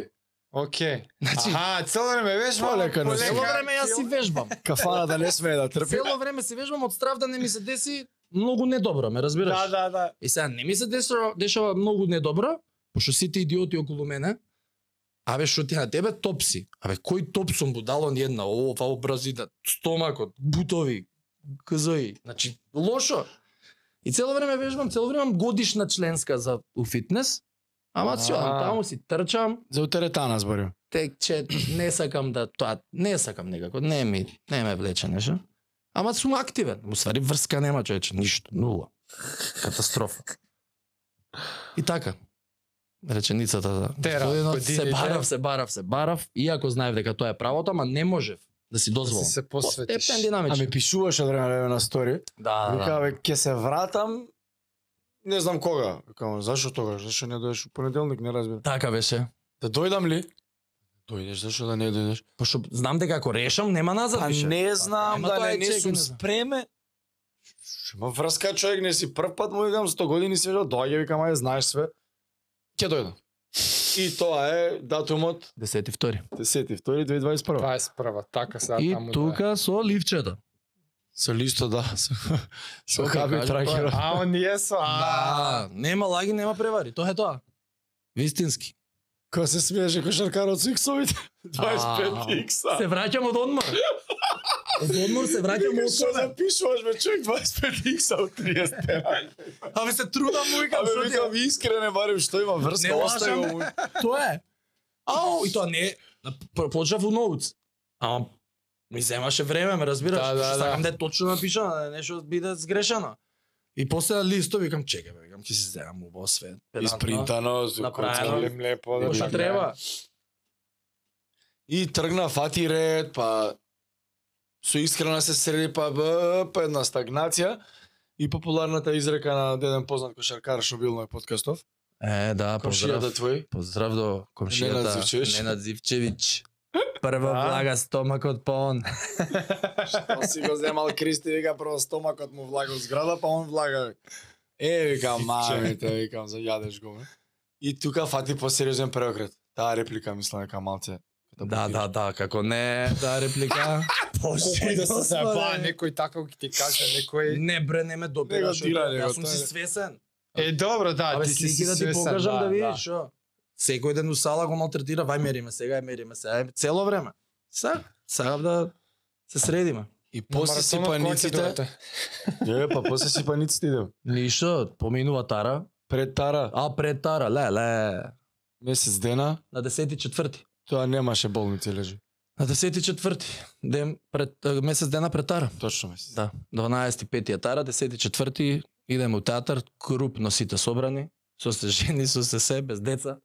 [SPEAKER 1] окей.
[SPEAKER 2] Значи,
[SPEAKER 1] Аха, цело време вежбам.
[SPEAKER 3] Полека на
[SPEAKER 2] цело време јас си
[SPEAKER 1] Да,
[SPEAKER 2] вежбам.
[SPEAKER 3] Кафаната не смее да трпи.
[SPEAKER 2] Цело време се вежбам од страв да не ми се деси многу недобро, ме разбираш?
[SPEAKER 1] Да, да, да.
[SPEAKER 2] И сега не ми се дешава, дешава многу недобро, пошто сите идиоти околу мене, абе што ти на тебе топ си. Абе кој топ сум будало ни една, ова образида, стомакот, бутови, кзои. Значи лошо. И цело време вежбам, цело време имам годишна членска за у фитнес. Ама си одам
[SPEAKER 1] А.
[SPEAKER 2] таму си трчам,
[SPEAKER 3] За утеретана зборим.
[SPEAKER 2] текче, не сакам да тоа, не сакам некако, не ми, не ме влече нешто. Ама сум активен, у ствари врска нема човече, ништо, нула. Катастрофа. И така. Реченицата за
[SPEAKER 1] Тера
[SPEAKER 2] господинот,
[SPEAKER 1] години,
[SPEAKER 2] се
[SPEAKER 1] тера.
[SPEAKER 2] барав, се барав, се барав, иако знаев дека тоа е правото, ама не можев.
[SPEAKER 1] да
[SPEAKER 2] да си
[SPEAKER 1] си
[SPEAKER 2] дозволам.
[SPEAKER 1] се посветиш.
[SPEAKER 2] Стептен динамичен.
[SPEAKER 3] Ами пишуваш од време на време на стори.
[SPEAKER 2] да, да,
[SPEAKER 3] Вика,
[SPEAKER 2] да.
[SPEAKER 3] бе, ќе се вратам. Не знам кога. Викам, зашо тогаш? Зашо не дојдеш у понеделник, не разбирам.
[SPEAKER 2] Така беше.
[SPEAKER 3] Да дојдам ли? Дојдеш, зашо да не дојдеш?
[SPEAKER 2] Пошто знам дека ако решам, нема назад
[SPEAKER 3] А
[SPEAKER 2] више.
[SPEAKER 3] не знам
[SPEAKER 2] Ама тоа
[SPEAKER 3] дали
[SPEAKER 2] е
[SPEAKER 3] не
[SPEAKER 2] чек,
[SPEAKER 3] сум
[SPEAKER 2] не знам.
[SPEAKER 3] спреме. Шо Има врска човек, не си прв пат му викам, 100 години си веќе, доаѓа, викам, ајде, знаеш све. Ќе дојдам. И тоа е датумот
[SPEAKER 2] 10
[SPEAKER 3] 10.2.2021.
[SPEAKER 1] Тоа е справа, така сега
[SPEAKER 2] И
[SPEAKER 1] таму да е.
[SPEAKER 2] тука со ливчето.
[SPEAKER 3] Со листо, да. Со, со
[SPEAKER 2] Што ти
[SPEAKER 3] хаби
[SPEAKER 2] кажа,
[SPEAKER 3] тракера.
[SPEAKER 1] па, А оние со... а,
[SPEAKER 2] Да, нема лаги, нема превари. Тоа е тоа. Вистински.
[SPEAKER 3] Кој се смееше кошаркарот со иксовите? 25
[SPEAKER 2] Ау.
[SPEAKER 3] икса.
[SPEAKER 2] Се враќам од одмор. Од одмор се враќам
[SPEAKER 3] Викам,
[SPEAKER 2] од
[SPEAKER 3] Што
[SPEAKER 2] одмор.
[SPEAKER 3] запишуваш бе човек 25 икса од 30 тера.
[SPEAKER 2] Абе се трудам му викам
[SPEAKER 3] Абе
[SPEAKER 2] што ти.
[SPEAKER 3] викам искрене барем што има
[SPEAKER 2] Не
[SPEAKER 3] врска,
[SPEAKER 2] лажам,
[SPEAKER 3] остави
[SPEAKER 2] бе.
[SPEAKER 3] го му.
[SPEAKER 2] Тоа е. Ау, и тоа не е. П- Почнав у ноутс. Ама ми земаше време, ме разбираш.
[SPEAKER 1] Да, да,
[SPEAKER 2] Што
[SPEAKER 1] да.
[SPEAKER 2] Сакам да е точно напишано, да нешто биде сгрешено. И после листо викам, чекај, бе, викам, ќе си земам убаво све. педантно,
[SPEAKER 3] Испринтано, со
[SPEAKER 2] Направено.
[SPEAKER 3] концерт.
[SPEAKER 1] Голем лепо да
[SPEAKER 2] Кој
[SPEAKER 1] биде.
[SPEAKER 2] треба?
[SPEAKER 3] И тргна фати ред, па со искрена се среди, па, б, па една стагнација. И популярната изрека на деден познат кошаркар што бил на подкастов.
[SPEAKER 2] Е, да,
[SPEAKER 3] Комшијата твој.
[SPEAKER 2] Поздрав до комшијата
[SPEAKER 3] Ненад Зивчевич.
[SPEAKER 2] Ненад Зивчевич. Прва
[SPEAKER 1] Да.
[SPEAKER 2] влага стомакот па он.
[SPEAKER 3] Па си го земал Кристи, вика прво стомакот му влага у зграда, па он влага. Е, викам, мамите, викам, зајадеш го, ме. И тука фати посериозен преокрет. Таа реплика, мислам, дека малце.
[SPEAKER 2] Да, да, да, како не, да реплика.
[SPEAKER 1] Колку и да се
[SPEAKER 2] Господи.
[SPEAKER 1] заебава некој така ќе ти каже некој
[SPEAKER 2] Не бре, не ме
[SPEAKER 3] Не го
[SPEAKER 2] допираш.
[SPEAKER 3] дира,
[SPEAKER 2] од-
[SPEAKER 3] не го,
[SPEAKER 2] Јас сум
[SPEAKER 3] тоа
[SPEAKER 2] си
[SPEAKER 3] е.
[SPEAKER 2] свесен.
[SPEAKER 1] Е, добро, да,
[SPEAKER 2] Абе,
[SPEAKER 1] ти си
[SPEAKER 2] слики
[SPEAKER 1] си
[SPEAKER 2] да ти
[SPEAKER 1] свесен,
[SPEAKER 2] покажам
[SPEAKER 1] да,
[SPEAKER 2] да видиш, шо. Секој ден у сала го малтретира, вај мериме сега, ај мериме сега, ај цело време. Сега, сега да се средиме.
[SPEAKER 3] И
[SPEAKER 1] На
[SPEAKER 3] после си
[SPEAKER 1] маратонот која ќе
[SPEAKER 3] паниците.
[SPEAKER 1] дојдете?
[SPEAKER 3] Е, па после си паниците идем.
[SPEAKER 2] Ништо, поминува тара,
[SPEAKER 3] Пред Тара,
[SPEAKER 2] а пред тара, ле, ле,
[SPEAKER 3] месец дена,
[SPEAKER 2] на 10 четврти.
[SPEAKER 3] тоа немаше болници лежи.
[SPEAKER 2] На 10 четврти, ден пред а, месец дена пред тара.
[SPEAKER 3] Точно месец.
[SPEAKER 2] Да, 12 пети е тара, 10 четврти идеме у театар, крупно сите собрани, со се жени, со се се, без деца.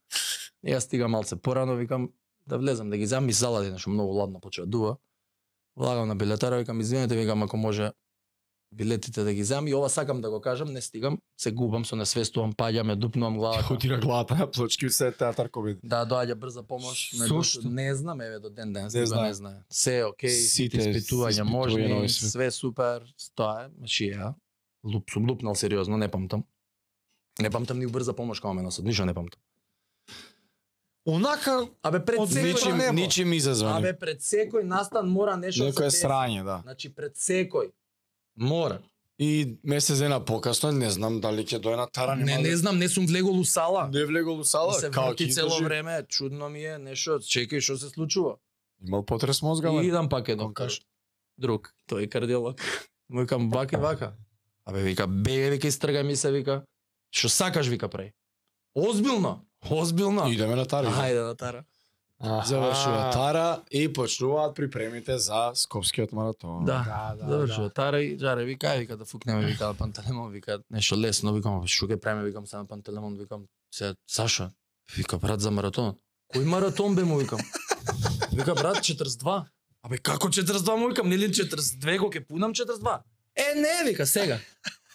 [SPEAKER 2] И Јас стигам малце порано, викам да влезам да ги зам и залади нешто многу ладно почва дува. Влагам на билетара, викам извинете, викам ако може билетите да ги зам и ова сакам да го кажам, не стигам, се губам, со несвестувам, паѓам, ја дупнувам главата.
[SPEAKER 3] Хотира да. главата на плочки, се театар комед.
[SPEAKER 2] Да, доаѓа брза помош. ме
[SPEAKER 3] Сушто?
[SPEAKER 2] дош- Не знам, еве, до ден денес. Не знам.
[SPEAKER 3] знае.
[SPEAKER 2] Не знае. Се е окей, сите
[SPEAKER 3] Сите
[SPEAKER 2] испитувања
[SPEAKER 3] испитувања,
[SPEAKER 2] можни,
[SPEAKER 3] нови све.
[SPEAKER 2] све супер. Тоа е, значи ја. Луп, сум лупнал сериозно, не памтам. Не памтам ни у брза помош кога ме носат, ништо не памтам.
[SPEAKER 1] Онака,
[SPEAKER 2] Абе пред
[SPEAKER 1] Од
[SPEAKER 2] секој
[SPEAKER 1] ничим-
[SPEAKER 2] небо.
[SPEAKER 3] ничим изазвани.
[SPEAKER 2] Абе пред секој настан мора нешто да се
[SPEAKER 3] да Некој е
[SPEAKER 2] деси.
[SPEAKER 3] срање, да.
[SPEAKER 2] Значи пред секој мора.
[SPEAKER 3] И месец дена покасно, не знам дали ќе дојде на Тара,
[SPEAKER 2] Не,
[SPEAKER 3] нема да-
[SPEAKER 2] не знам, не сум влегол у сала.
[SPEAKER 3] Не влегол у сала,
[SPEAKER 2] Ми се
[SPEAKER 3] као
[SPEAKER 2] врти
[SPEAKER 3] ќе
[SPEAKER 2] цело
[SPEAKER 3] издържи.
[SPEAKER 2] време, чудно ми е, нешто, чекај што се случува.
[SPEAKER 3] Имал потрес мозга,
[SPEAKER 2] И
[SPEAKER 3] бе.
[SPEAKER 2] идам пак едно
[SPEAKER 3] Он каже.
[SPEAKER 2] друг, тој е кардиолог. Му викам вака и вака. Абе вика, бегај вика истргај ми се вика. Што сакаш вика прај. Озбилно, озбилно.
[SPEAKER 3] Идеме на Тара.
[SPEAKER 2] Ајде да тара.
[SPEAKER 3] Завршува
[SPEAKER 1] Аха.
[SPEAKER 3] Тара и почнуваат припремите за Скопскиот маратон.
[SPEAKER 2] Да.
[SPEAKER 1] Да, да,
[SPEAKER 2] Завршува
[SPEAKER 1] да.
[SPEAKER 2] тара и жаре вика, ај вика да фукнеме вика на пантелемон, вика нешто лесно, викам «Абе, што ќе преме, викам се на пантелемон, викам се Сашо. Вика брат за маратон. Кој маратон бе му викам? Вика брат 42. Абе како 42 му викам, нели 42 го ќе пунам 42. Е не вика сега.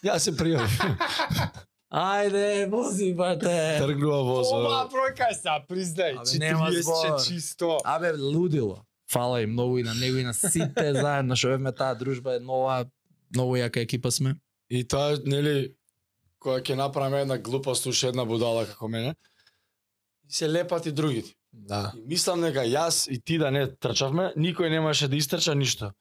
[SPEAKER 3] Ја се пријавив.
[SPEAKER 2] Ајде, вози, брате.
[SPEAKER 3] Тргнува
[SPEAKER 1] Оваа
[SPEAKER 3] возот.
[SPEAKER 1] бројка е са, признај,
[SPEAKER 2] Абе, нема збор.
[SPEAKER 1] 40 чисто.
[SPEAKER 2] Абе, лудило. Фала им многу и на него и на сите заедно што бевме таа дружба е нова, многу јака екипа сме.
[SPEAKER 3] И тоа, нели, која ќе направиме една глупост уше една будала како мене, и се лепат и другите.
[SPEAKER 2] Да.
[SPEAKER 3] И мислам дека јас и ти да не трчавме, никој немаше да истрча ништо.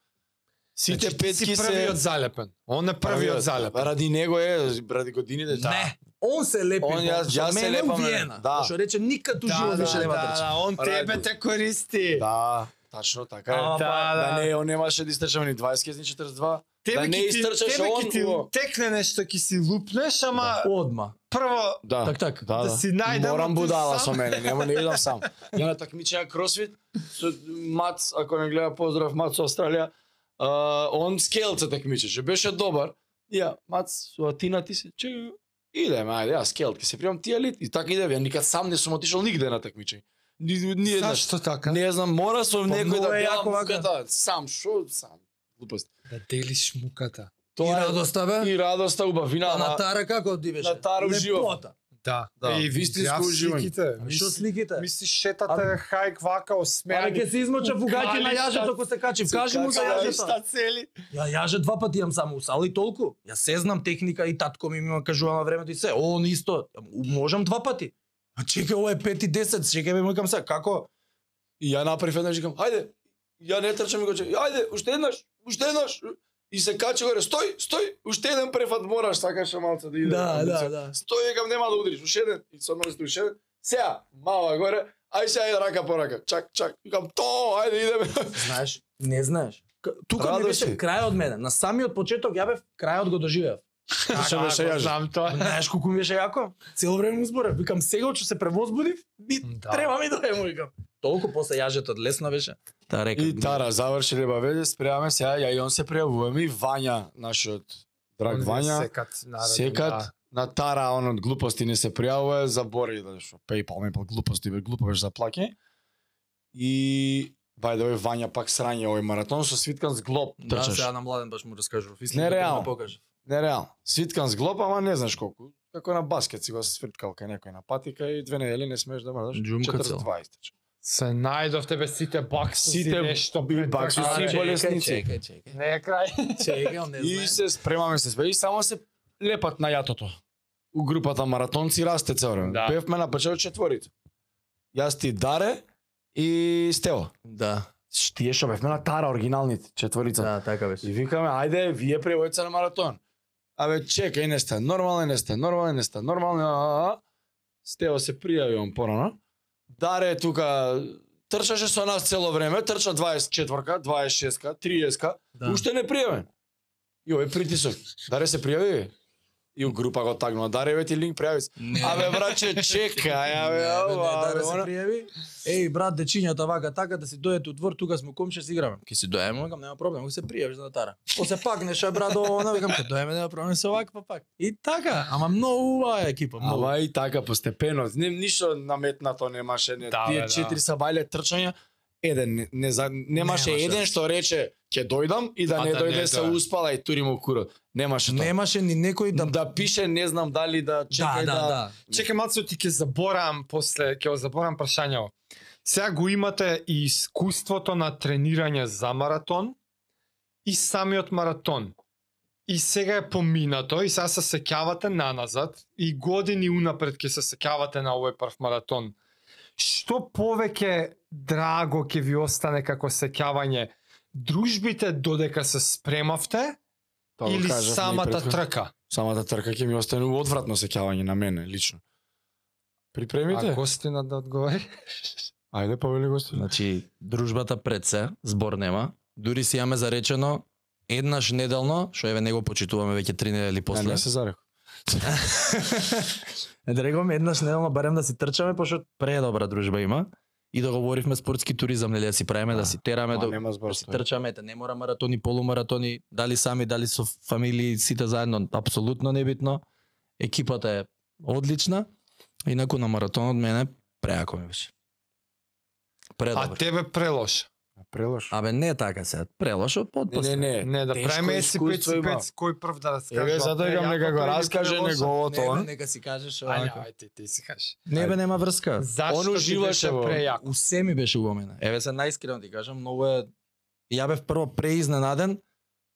[SPEAKER 3] Сите
[SPEAKER 1] Значи, ти
[SPEAKER 3] петки
[SPEAKER 1] си првиот
[SPEAKER 3] се...
[SPEAKER 1] залепен. Он е првиот залепен.
[SPEAKER 3] Ради него е, ради годините. да.
[SPEAKER 2] Не, он се лепи.
[SPEAKER 3] Он, јас-
[SPEAKER 2] со
[SPEAKER 3] јас се
[SPEAKER 2] мене
[SPEAKER 3] лепам,
[SPEAKER 2] у Виена.
[SPEAKER 3] да.
[SPEAKER 2] Што рече никад у живот више нема да трчам.
[SPEAKER 1] он тебе
[SPEAKER 3] Ради.
[SPEAKER 1] те користи.
[SPEAKER 3] Да, точно така е.
[SPEAKER 2] Ама,
[SPEAKER 1] па,
[SPEAKER 3] да,
[SPEAKER 1] да.
[SPEAKER 3] не, он немаше да истрчаме ни 20, ни 42.
[SPEAKER 1] Тебе
[SPEAKER 3] да не
[SPEAKER 1] ќе ти-
[SPEAKER 3] истрчаш
[SPEAKER 1] тебе ќе
[SPEAKER 3] он,
[SPEAKER 1] ти
[SPEAKER 3] во.
[SPEAKER 1] текне нешто, ќе си лупнеш, ама
[SPEAKER 2] Одма.
[SPEAKER 1] прво
[SPEAKER 3] Да.
[SPEAKER 2] Так, так.
[SPEAKER 3] Да,
[SPEAKER 1] Да
[SPEAKER 3] да.
[SPEAKER 1] си најде,
[SPEAKER 3] Морам
[SPEAKER 1] ама ти
[SPEAKER 3] будала
[SPEAKER 1] сам.
[SPEAKER 3] со мене, нема не идам сам. Ја на такмичење така кросфит со Мац, ако не гледа поздрав Мац со Австралија, а, он скелце такмичеше, беше добар. И Ја, Мац, со Атина ти се, чекај, идеме, ајде, ја скелт, ке се приемам ти елит. И така иде, ја никад сам не сум отишол нигде на такмичење. Ни, ни еднаш.
[SPEAKER 1] Зашто така?
[SPEAKER 3] Не знам, мора со некој
[SPEAKER 1] многу
[SPEAKER 3] да
[SPEAKER 1] е
[SPEAKER 3] ја
[SPEAKER 1] јако вака.
[SPEAKER 3] муката. Сам, шо сам? Глупост.
[SPEAKER 1] Да делиш муката.
[SPEAKER 2] И
[SPEAKER 3] Тоа е
[SPEAKER 2] радоста бе.
[SPEAKER 3] и радоста, убавина,
[SPEAKER 2] А на
[SPEAKER 3] ама
[SPEAKER 2] тара како ти беше?
[SPEAKER 3] на тара уживам.
[SPEAKER 2] Лепота.
[SPEAKER 1] Да.
[SPEAKER 3] Да.
[SPEAKER 1] И вистинско
[SPEAKER 3] Ја
[SPEAKER 1] уживање.
[SPEAKER 2] А Што сликите?
[SPEAKER 1] Мислиш шетата е хајк вака
[SPEAKER 2] Аре
[SPEAKER 1] осмеани.
[SPEAKER 2] ќе се измоча фугаќи на јажето ако се качив. Кажи му за јажето.
[SPEAKER 3] цели.
[SPEAKER 2] Ја јаже два пати јам само усал и толку. Ја се знам техника и татко ми ми кажува на времето и се. Он исто. Можам два пати. А чека, ова е пет и десет, чека ме мукам се, како?
[SPEAKER 3] И ја направив еднаш и викам, ајде, ја не трчам и го чекам, ајде, уште еднаш, уште еднаш. И се качи горе, стој, стој, уште еден префат мораш, сакаше малце да иде.
[SPEAKER 2] Да, да,
[SPEAKER 3] Амбиција.
[SPEAKER 2] да.
[SPEAKER 3] Стој, викам, нема да удриш, уште еден. И со нозе уште еден. Сеа, мала горе, ај сега ајде рака по рака. Чак, чак. Викам, то, ајде идеме.
[SPEAKER 2] Знаеш? Не знаеш. К- Тука ми
[SPEAKER 3] Радост
[SPEAKER 2] беше
[SPEAKER 3] е.
[SPEAKER 2] крај од мене. На самиот почеток ја бев крајот го доживеав.
[SPEAKER 3] Зашто беше јажа?
[SPEAKER 1] Така, Знам тоа.
[SPEAKER 2] Знаеш колку ми беше јако? Цело време му зборев. Викам сега што се превозбудив, би,
[SPEAKER 1] Да.
[SPEAKER 2] треба ми да е му викам. Толку после јажето од лесна беше. Та река.
[SPEAKER 3] И Тара, заврши лебавеле, спреваме се, ја и он се превуваме и Вања, нашиот драг Вања.
[SPEAKER 1] Секат, наравно.
[SPEAKER 3] Секат
[SPEAKER 1] да.
[SPEAKER 3] на тара он од глупости не се пријавува, забори да што PayPal ми глупости бе глупо беше заплаке. И by the way, Вања пак срање овој маратон со свиткан с глоб
[SPEAKER 2] Да,
[SPEAKER 3] трчаш.
[SPEAKER 2] сега на младен баш му раскажував. Истина,
[SPEAKER 3] Нереално.
[SPEAKER 2] да покажа.
[SPEAKER 3] Нереално. Свиткан с глоб, ама не знаеш колку. Како на баскет си го сврткал кај некој на патика и две недели не смееш да мрдаш.
[SPEAKER 2] Џумка
[SPEAKER 3] 42 истече.
[SPEAKER 1] Се најдовте бе сите бакси,
[SPEAKER 3] Сите
[SPEAKER 1] сите нешто бе.
[SPEAKER 3] бакси си
[SPEAKER 1] Аре,
[SPEAKER 3] болесници.
[SPEAKER 2] Чекај, чекај.
[SPEAKER 1] Не е крај.
[SPEAKER 2] Чекај, он не знае.
[SPEAKER 3] И се спремаме се све и само се лепат на јатото. У групата маратонци расте цело време.
[SPEAKER 1] Да.
[SPEAKER 3] Певме на почеток четворите. Јас ти Даре и Стево.
[SPEAKER 2] Да,
[SPEAKER 3] Штие што бевме на Тара оригиналните четворица.
[SPEAKER 2] да, така
[SPEAKER 3] И
[SPEAKER 2] беше.
[SPEAKER 3] викаме, ајде, вие превојца на маратон. Абе, чекај, не сте нормални, не сте нормални, не сте нормални. а, а, а. Стево се пријави он порано. Даре тука трчаше со нас цело време, трча 24-ка, 26-ка, 30-ка. Да.
[SPEAKER 2] Да.
[SPEAKER 3] Уште не пријавен. И овој притисок. Даре се пријави. И у група го тагнува. Даре, еве ти линк пријави. се.
[SPEAKER 2] Не.
[SPEAKER 3] Абе, браче, чекај, абе, ова,
[SPEAKER 2] не, да,
[SPEAKER 3] абе,
[SPEAKER 2] да се
[SPEAKER 3] она.
[SPEAKER 2] пријави. Еј, брат, дечињата вака така да си дојдете у двор, тука сме комши се играме. Ке си доеме, викам, нема проблем, ако се пријавиш на тара. После пакнеш, ај брат, ова, она, викам, ке доеме, нема проблем, се овак па пак. И така, ама многу убава е екипа, многу.
[SPEAKER 3] Ама и така постепено, не ништо наметнато немаше, не
[SPEAKER 1] Да,
[SPEAKER 3] тие
[SPEAKER 1] бе, да.
[SPEAKER 3] четири сабајле трчања, еден не, не за, немаше
[SPEAKER 2] Немаше.
[SPEAKER 3] еден што рече ќе дојдам и да
[SPEAKER 1] А
[SPEAKER 3] не
[SPEAKER 1] да
[SPEAKER 3] дојде
[SPEAKER 1] не,
[SPEAKER 3] се
[SPEAKER 1] да.
[SPEAKER 3] успала и тури му курот. Немаше тоа.
[SPEAKER 2] Немаше ни некој да
[SPEAKER 3] да, да пише не знам дали
[SPEAKER 2] Да,
[SPEAKER 3] да
[SPEAKER 2] да,
[SPEAKER 3] чекај
[SPEAKER 2] да.
[SPEAKER 1] Чекај мацо ти ќе заборам после, ќе го заборам прашањето. Сега го имате и искуството на тренирање за маратон и самиот маратон. И сега е поминато и сега се сеќавате наназад и години унапред ќе се сеќавате на овој прв маратон. Што повеќе драго ќе ви остане како сеќавање? Дружбите додека се спремавте
[SPEAKER 3] Тоа Па го
[SPEAKER 1] или
[SPEAKER 3] кажавме и
[SPEAKER 1] самата
[SPEAKER 3] предходно.
[SPEAKER 1] трка?
[SPEAKER 3] Самата трка ќе ми остане одвратно сеќавање на мене лично.
[SPEAKER 1] А
[SPEAKER 3] Припремите?
[SPEAKER 1] гостина да одговори?
[SPEAKER 3] Ајде повели гости.
[SPEAKER 2] Значи, дружбата пред се, збор нема. Дури си имаме заречено еднаш неделно, што еве него почитуваме веќе три недели
[SPEAKER 3] Не,
[SPEAKER 2] после.
[SPEAKER 3] не се зареков.
[SPEAKER 2] Не да рекам еднаш неделно барем да си трчаме, пошто предобра дружба има. И договоривме спортски туризам, нели да си правиме, да,
[SPEAKER 3] Да.
[SPEAKER 2] си тераме,
[SPEAKER 3] Ама
[SPEAKER 2] да,
[SPEAKER 3] нема
[SPEAKER 2] да
[SPEAKER 3] збор.
[SPEAKER 2] си
[SPEAKER 3] стои.
[SPEAKER 2] трчаме, ете, не мора маратони, полумаратони, дали сами, дали со фамилии, сите заедно, апсолутно небитно. Екипата е одлична. Инаку на маратонот мене преако ми беше. Предобро.
[SPEAKER 1] А тебе прелош.
[SPEAKER 3] Прелош.
[SPEAKER 2] Абе не така се, прелошо под
[SPEAKER 3] Не, не, не.
[SPEAKER 1] Не, да
[SPEAKER 3] Тешко
[SPEAKER 1] правиме си
[SPEAKER 3] искуство
[SPEAKER 1] 5
[SPEAKER 3] има.
[SPEAKER 1] 5 кој прв да раскаже.
[SPEAKER 3] Еве задојгам нека го раскаже неговото. а?
[SPEAKER 2] нека си кажеш
[SPEAKER 1] Ајде, ајде, ти, ти си кажеш.
[SPEAKER 2] Не бе нема врска.
[SPEAKER 1] Зашто
[SPEAKER 3] Он уживаше
[SPEAKER 1] ти
[SPEAKER 3] во-
[SPEAKER 1] беше прејак?
[SPEAKER 2] У се ми беше убаво мене. Еве се најискрено ти кажам, многу е ја бев прво преизненаден.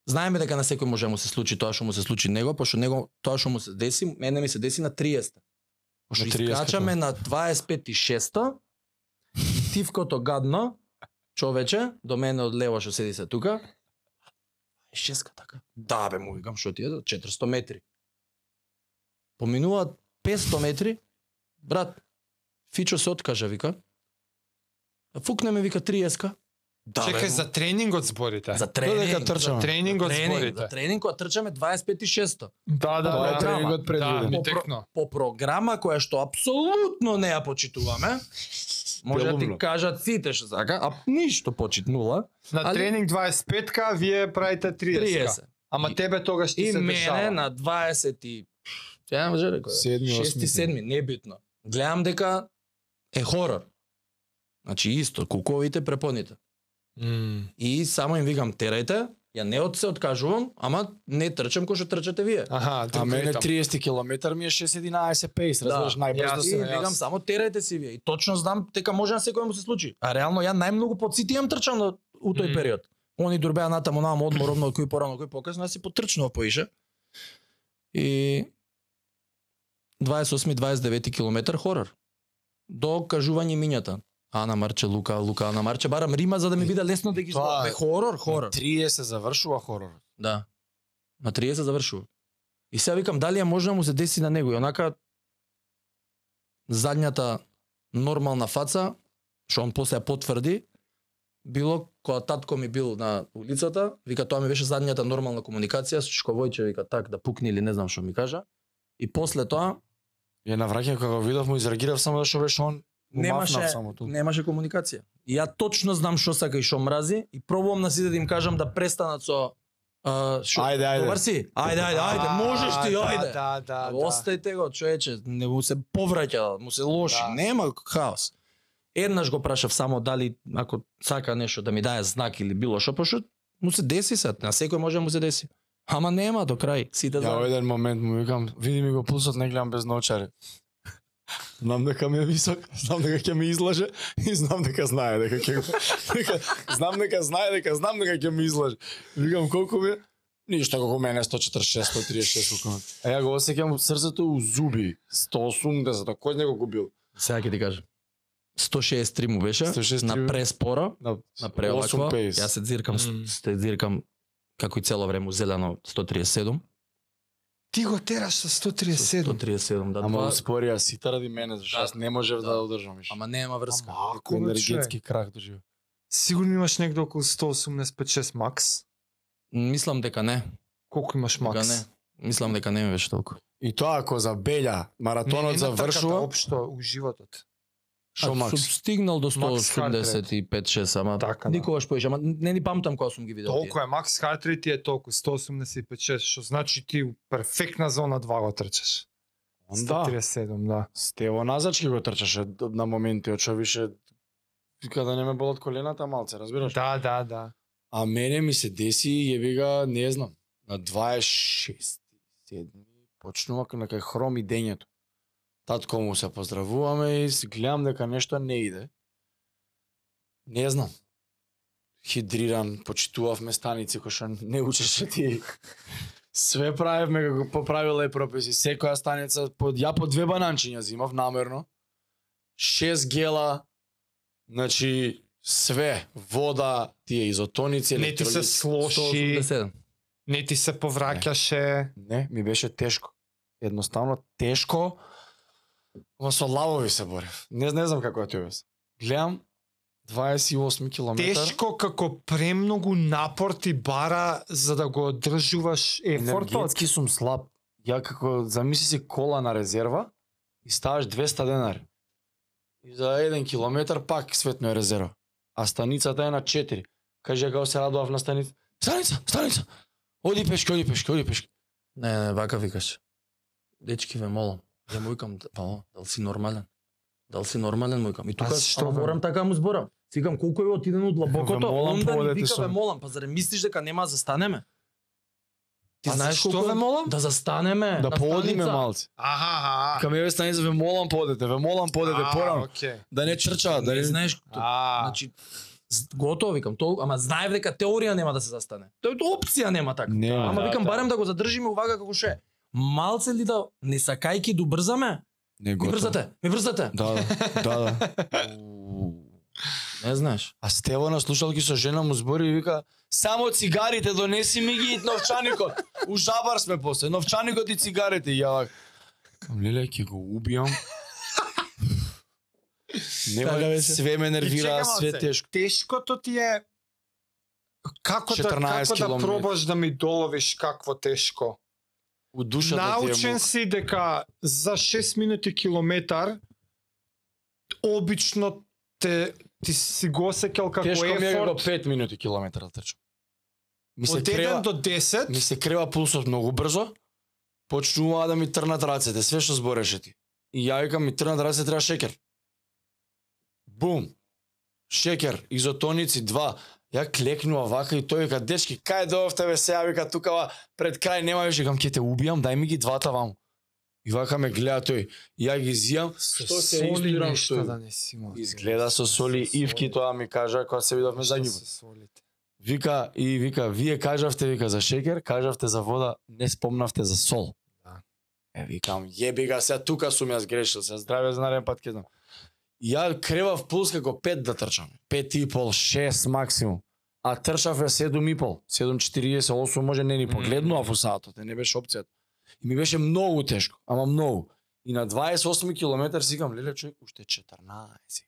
[SPEAKER 2] Знаеме дека на секој може да му се случи тоа што му се случи него, пошто него тоа што му се деси, мене ми се деси на 30-та. Пошто
[SPEAKER 3] На 30-та.
[SPEAKER 2] искачаме на 25 и 6-та. Тивкото гадно, човече, до мене од лево што седи се тука. Е, Шеска така. Да бе, му викам, што ти е, 400 метри. Поминуваат 500 метри, брат, Фичо се откажа, вика. Фукне ме, вика, 30-ка. Да, бе,
[SPEAKER 1] Чекај
[SPEAKER 2] му-
[SPEAKER 1] за тренингот зборите.
[SPEAKER 2] за
[SPEAKER 3] Додека
[SPEAKER 2] тренинг.
[SPEAKER 3] трчам.
[SPEAKER 1] За тренингот
[SPEAKER 2] тренинг, за
[SPEAKER 1] зборите.
[SPEAKER 2] тренинг, која трчаме 25 и 600.
[SPEAKER 1] Да, да,
[SPEAKER 3] Тоа е
[SPEAKER 1] да.
[SPEAKER 3] тренингот
[SPEAKER 1] Да,
[SPEAKER 3] предвиден.
[SPEAKER 1] ми
[SPEAKER 2] По про-
[SPEAKER 1] текно.
[SPEAKER 2] По програма која што апсолутно не ја почитуваме, може да ти
[SPEAKER 3] Белумно.
[SPEAKER 2] кажат сите што сака, а ништо почитнула.
[SPEAKER 1] На
[SPEAKER 2] Али-
[SPEAKER 1] тренинг 25-ка, вие правите 30-ка.
[SPEAKER 2] 30.
[SPEAKER 1] Ама
[SPEAKER 2] И-
[SPEAKER 1] тебе тогаш ти
[SPEAKER 2] И
[SPEAKER 1] се
[SPEAKER 2] мене
[SPEAKER 1] дешава.
[SPEAKER 2] на 20 и... Ја не може да рекој.
[SPEAKER 3] Седми, осми.
[SPEAKER 2] Шести, седми, небитно. Гледам дека е хорор. Значи исто, куковите препоните.
[SPEAKER 1] Mm.
[SPEAKER 2] И само им викам терајте, ја не од се откажувам, ама не трчам кој што трчате вие.
[SPEAKER 1] Аха,
[SPEAKER 3] А мене
[SPEAKER 1] тренкетам.
[SPEAKER 3] 30 км ми е 6.11 пейс,
[SPEAKER 2] Да,
[SPEAKER 3] разбираш, најбрзо
[SPEAKER 1] јас-
[SPEAKER 2] И
[SPEAKER 3] се
[SPEAKER 2] викам само терајте си вие. И точно знам дека може на секој да му се случи. А реално ја најмногу под сите имам трчан на- у тој
[SPEAKER 1] Мгм.
[SPEAKER 2] период. Они дурбеа натаму намо одмор одно кој порано кој покасно, јас си потрчнував поише. И 28-29 километар хорор. До кажување мињата. Ана Марче, Лука, Лука, Ана Марче, барам Рима за да ми биде лесно да ги
[SPEAKER 3] Тоа
[SPEAKER 2] изловам.
[SPEAKER 3] е.
[SPEAKER 2] Бе, Хорор, хорор.
[SPEAKER 3] На 30 се завршува хорор.
[SPEAKER 2] Да. На 30 завршува. И сега викам дали е можна му се деси на него и онака задњата нормална фаца, што он после ја потврди, било кога татко ми бил на улицата, вика тоа ми беше задњата нормална комуникација, Шко Војче вика так да пукни или не знам што ми кажа. И после тоа
[SPEAKER 3] Ја на враќање кога го видов му израгирав само зашто беше он. Му
[SPEAKER 2] Немаше-
[SPEAKER 3] мафнав само тука.
[SPEAKER 2] немаше комуникација. И ја точно знам што сака и што мрази и пробувам на сите да им кажам да престанат со а, шо,
[SPEAKER 3] Ајде, ајде.
[SPEAKER 2] Добар си? Ајде, ајде, ајде, можеш ти,
[SPEAKER 1] да,
[SPEAKER 2] ајде.
[SPEAKER 1] Да, да, да.
[SPEAKER 2] Остајте го, човече, не му се повраќа, му се лоши,
[SPEAKER 1] Да.
[SPEAKER 2] нема хаос. Еднаш го прашав само дали ако сака нешто да ми дае знак или било што, пошто му се деси сад, на секој може да му се деси. Ама нема до крај, сите
[SPEAKER 3] Ја во
[SPEAKER 2] знаат.
[SPEAKER 3] еден момент му викам, види ми го пулсот, не гледам без наочари. Знам дека ми е висок, знам дека ќе ми излаже и знам дека знае дека ќе го... Дека, знам дека знае дека знам дека ќе ми излаже. Викам колку ми е? Ништо колку мене 146, 136 колку ми. е. А ја го осеќам срцето у зуби. 180, а кој него го бил?
[SPEAKER 2] Сега ќе ти кажам. 163 му беше,
[SPEAKER 3] 163
[SPEAKER 2] на преспора,
[SPEAKER 3] На,
[SPEAKER 2] на преолаква.
[SPEAKER 3] 8 пейс.
[SPEAKER 2] Ја се дзиркам,
[SPEAKER 1] Мм.
[SPEAKER 2] mm. се дзиркам како и цело време у зелено 137.
[SPEAKER 1] Ти го тераш со 137.
[SPEAKER 2] 137, да.
[SPEAKER 3] Ама
[SPEAKER 2] Ама,
[SPEAKER 3] успори, а сите ради мене, зашто
[SPEAKER 2] Да.
[SPEAKER 3] јас не можев да
[SPEAKER 2] Да.
[SPEAKER 3] одржам више.
[SPEAKER 2] ама нема врска.
[SPEAKER 1] Ама, ако бе, човек.
[SPEAKER 3] енергетски крах доживе.
[SPEAKER 1] Сигурно имаш негде околу 118 5 макс.
[SPEAKER 2] Мислам дека не.
[SPEAKER 1] Колку имаш
[SPEAKER 2] Дека
[SPEAKER 1] макс?
[SPEAKER 2] не. Мислам дека не ми беше толку.
[SPEAKER 3] И тоа ако за Белја маратонот
[SPEAKER 2] така,
[SPEAKER 3] завршува,
[SPEAKER 1] општо у животот.
[SPEAKER 3] шо
[SPEAKER 2] А,
[SPEAKER 3] макс?
[SPEAKER 2] Сум стигнал до
[SPEAKER 1] Макс
[SPEAKER 2] 185-6, ама
[SPEAKER 1] Така, да.
[SPEAKER 2] никогаш поише, ама не ни памтам кога сум ги
[SPEAKER 3] да
[SPEAKER 2] видел.
[SPEAKER 1] Толку е макс хард рейт ти е толку 185.6, што значи ти у перфектна зона 2 го трчаш.
[SPEAKER 3] Онда.
[SPEAKER 1] 137, да.
[SPEAKER 3] Стево Назачки го трчаше д- на моменти, од што више када не ме болат колената малце, разбираш?
[SPEAKER 1] Да, да, да.
[SPEAKER 3] А мене ми се деси, ја бига, не знам, на 26 седми почнува на кај хроми дењето. Татко му се поздравуваме и се гледам дека нешто не иде. Не знам. Хидриран, почитувавме станици кои што не учеше ти. Све правевме како по правила и прописи. Секоја станица под ја по две бананчиња зимав намерно. Шест гела. Значи све, вода, тие изотоници,
[SPEAKER 1] Не ти се
[SPEAKER 3] електролит.
[SPEAKER 1] слоши,
[SPEAKER 2] 187.
[SPEAKER 1] не ти се повраќаше.
[SPEAKER 3] Не, ми беше тешко. Едноставно тешко. Ама со лавови се борев. Не, не знам како ја ти објас. Гледам 28 километар.
[SPEAKER 1] Тешко како премногу напор ти бара за да го одржуваш ефортот.
[SPEAKER 3] Енергетски сум слаб. Ја како замисли си кола на резерва и ставаш 200 денари. И за 1 километар пак светно е резерва. А станицата е на 4. Каже како се радував на станица. Станица, станица. Оди пешки, оди пешки, оди пешки.
[SPEAKER 2] Не, не, вака викаш. Дечки ве молам. Ја му викам, па, дал си нормален? Дал си нормален, му викам. И тука
[SPEAKER 1] Аз што
[SPEAKER 2] што
[SPEAKER 1] ве-
[SPEAKER 2] морам така му зборам. Си Викам колку е отиден од
[SPEAKER 1] Ве
[SPEAKER 2] длабокото,
[SPEAKER 1] молам,
[SPEAKER 2] онда ни
[SPEAKER 1] поодете
[SPEAKER 2] вика
[SPEAKER 1] со
[SPEAKER 2] ве
[SPEAKER 1] ме.
[SPEAKER 2] молам, па зарем мислиш дека нема да застанеме? Ти
[SPEAKER 1] А
[SPEAKER 2] знаеш
[SPEAKER 1] зашто
[SPEAKER 2] колку
[SPEAKER 1] ве
[SPEAKER 2] е-
[SPEAKER 1] молам?
[SPEAKER 2] Да застанеме.
[SPEAKER 3] Да
[SPEAKER 2] на
[SPEAKER 3] поодиме
[SPEAKER 2] станица.
[SPEAKER 3] малце.
[SPEAKER 1] Аха, аха. аха.
[SPEAKER 3] Кам еве станица ве молам поодете, ве молам поодете
[SPEAKER 1] А,
[SPEAKER 3] порано.
[SPEAKER 1] окей.
[SPEAKER 3] Да не чрча, да
[SPEAKER 2] Не
[SPEAKER 3] не
[SPEAKER 2] знаеш,
[SPEAKER 1] А,
[SPEAKER 2] Значи, з- готово викам, тол, ама знаев дека теорија нема да се застане. Тој тоа опција нема така.
[SPEAKER 3] Не,
[SPEAKER 2] ама
[SPEAKER 1] да,
[SPEAKER 2] викам
[SPEAKER 1] да.
[SPEAKER 2] барем да го задржиме увага како ше. Малце ли да не сакајки да брзаме?
[SPEAKER 3] не
[SPEAKER 2] Ми брзате, ми брзате.
[SPEAKER 3] Да, да, да.
[SPEAKER 2] Не знаеш.
[SPEAKER 3] А Стево на слушалки со жена му збори и вика Само цигарите донеси ми ги и новчаникот. У жабар сме после. Новчаникот и цигарите. И Ја вак. Кам леле, ќе го убијам. Нема
[SPEAKER 2] Така беше.
[SPEAKER 3] све ме
[SPEAKER 1] чекай
[SPEAKER 3] нервира, све
[SPEAKER 1] малце.
[SPEAKER 3] тешко.
[SPEAKER 1] тешкото ти е како да
[SPEAKER 3] 14
[SPEAKER 1] како да
[SPEAKER 3] километри.
[SPEAKER 1] пробаш да ми доловиш какво тешко.
[SPEAKER 3] У душата да ти е
[SPEAKER 1] Научен
[SPEAKER 3] мука.
[SPEAKER 1] си дека за 6 минути километар обично те ти си го осекал како
[SPEAKER 3] Тешко ми е како
[SPEAKER 1] ефорт
[SPEAKER 3] 5 минути километар да трчам. Ми се
[SPEAKER 1] од 1
[SPEAKER 3] крева,
[SPEAKER 1] до 10
[SPEAKER 3] ми се крева пулсот многу брзо. Почнуваа да ми трнат рацете, све што збореше ти. И ја викам ми трнат рацете треба шекер. Бум. шекер, изотоници, два. Ја клекнува вака и тој вика, дечки, кај дојавте бе сега, вика, тукава, пред крај нема веќе, кам, ќе те убијам, дај ми ги двата вам. И вака ме гледа тој, ја ги зијам, што се избирам, што
[SPEAKER 1] да не си имал.
[SPEAKER 3] изгледа со соли,
[SPEAKER 1] Со
[SPEAKER 3] ивки
[SPEAKER 1] соли.
[SPEAKER 3] тоа ми кажа, кога се видовме за њуб.
[SPEAKER 1] Што се солите?
[SPEAKER 3] Вика и вика, вие кажавте вика за шекер, кажавте за вода, не спомнавте за сол.
[SPEAKER 1] Да.
[SPEAKER 3] Е, викам, јеби га, сега тука сум ја сгрешил, сега здраве за нареден пат ќе знам. Ја кревав пулс како пет да трчам. Пет и пол, шест максимум. А трчав ја седум и пол. Седум 48 може не ни погледнува во сатот, е, не беше опцијата. И ми беше многу тешко, ама многу. И на 28 километар си викам, леле човек, уште 14.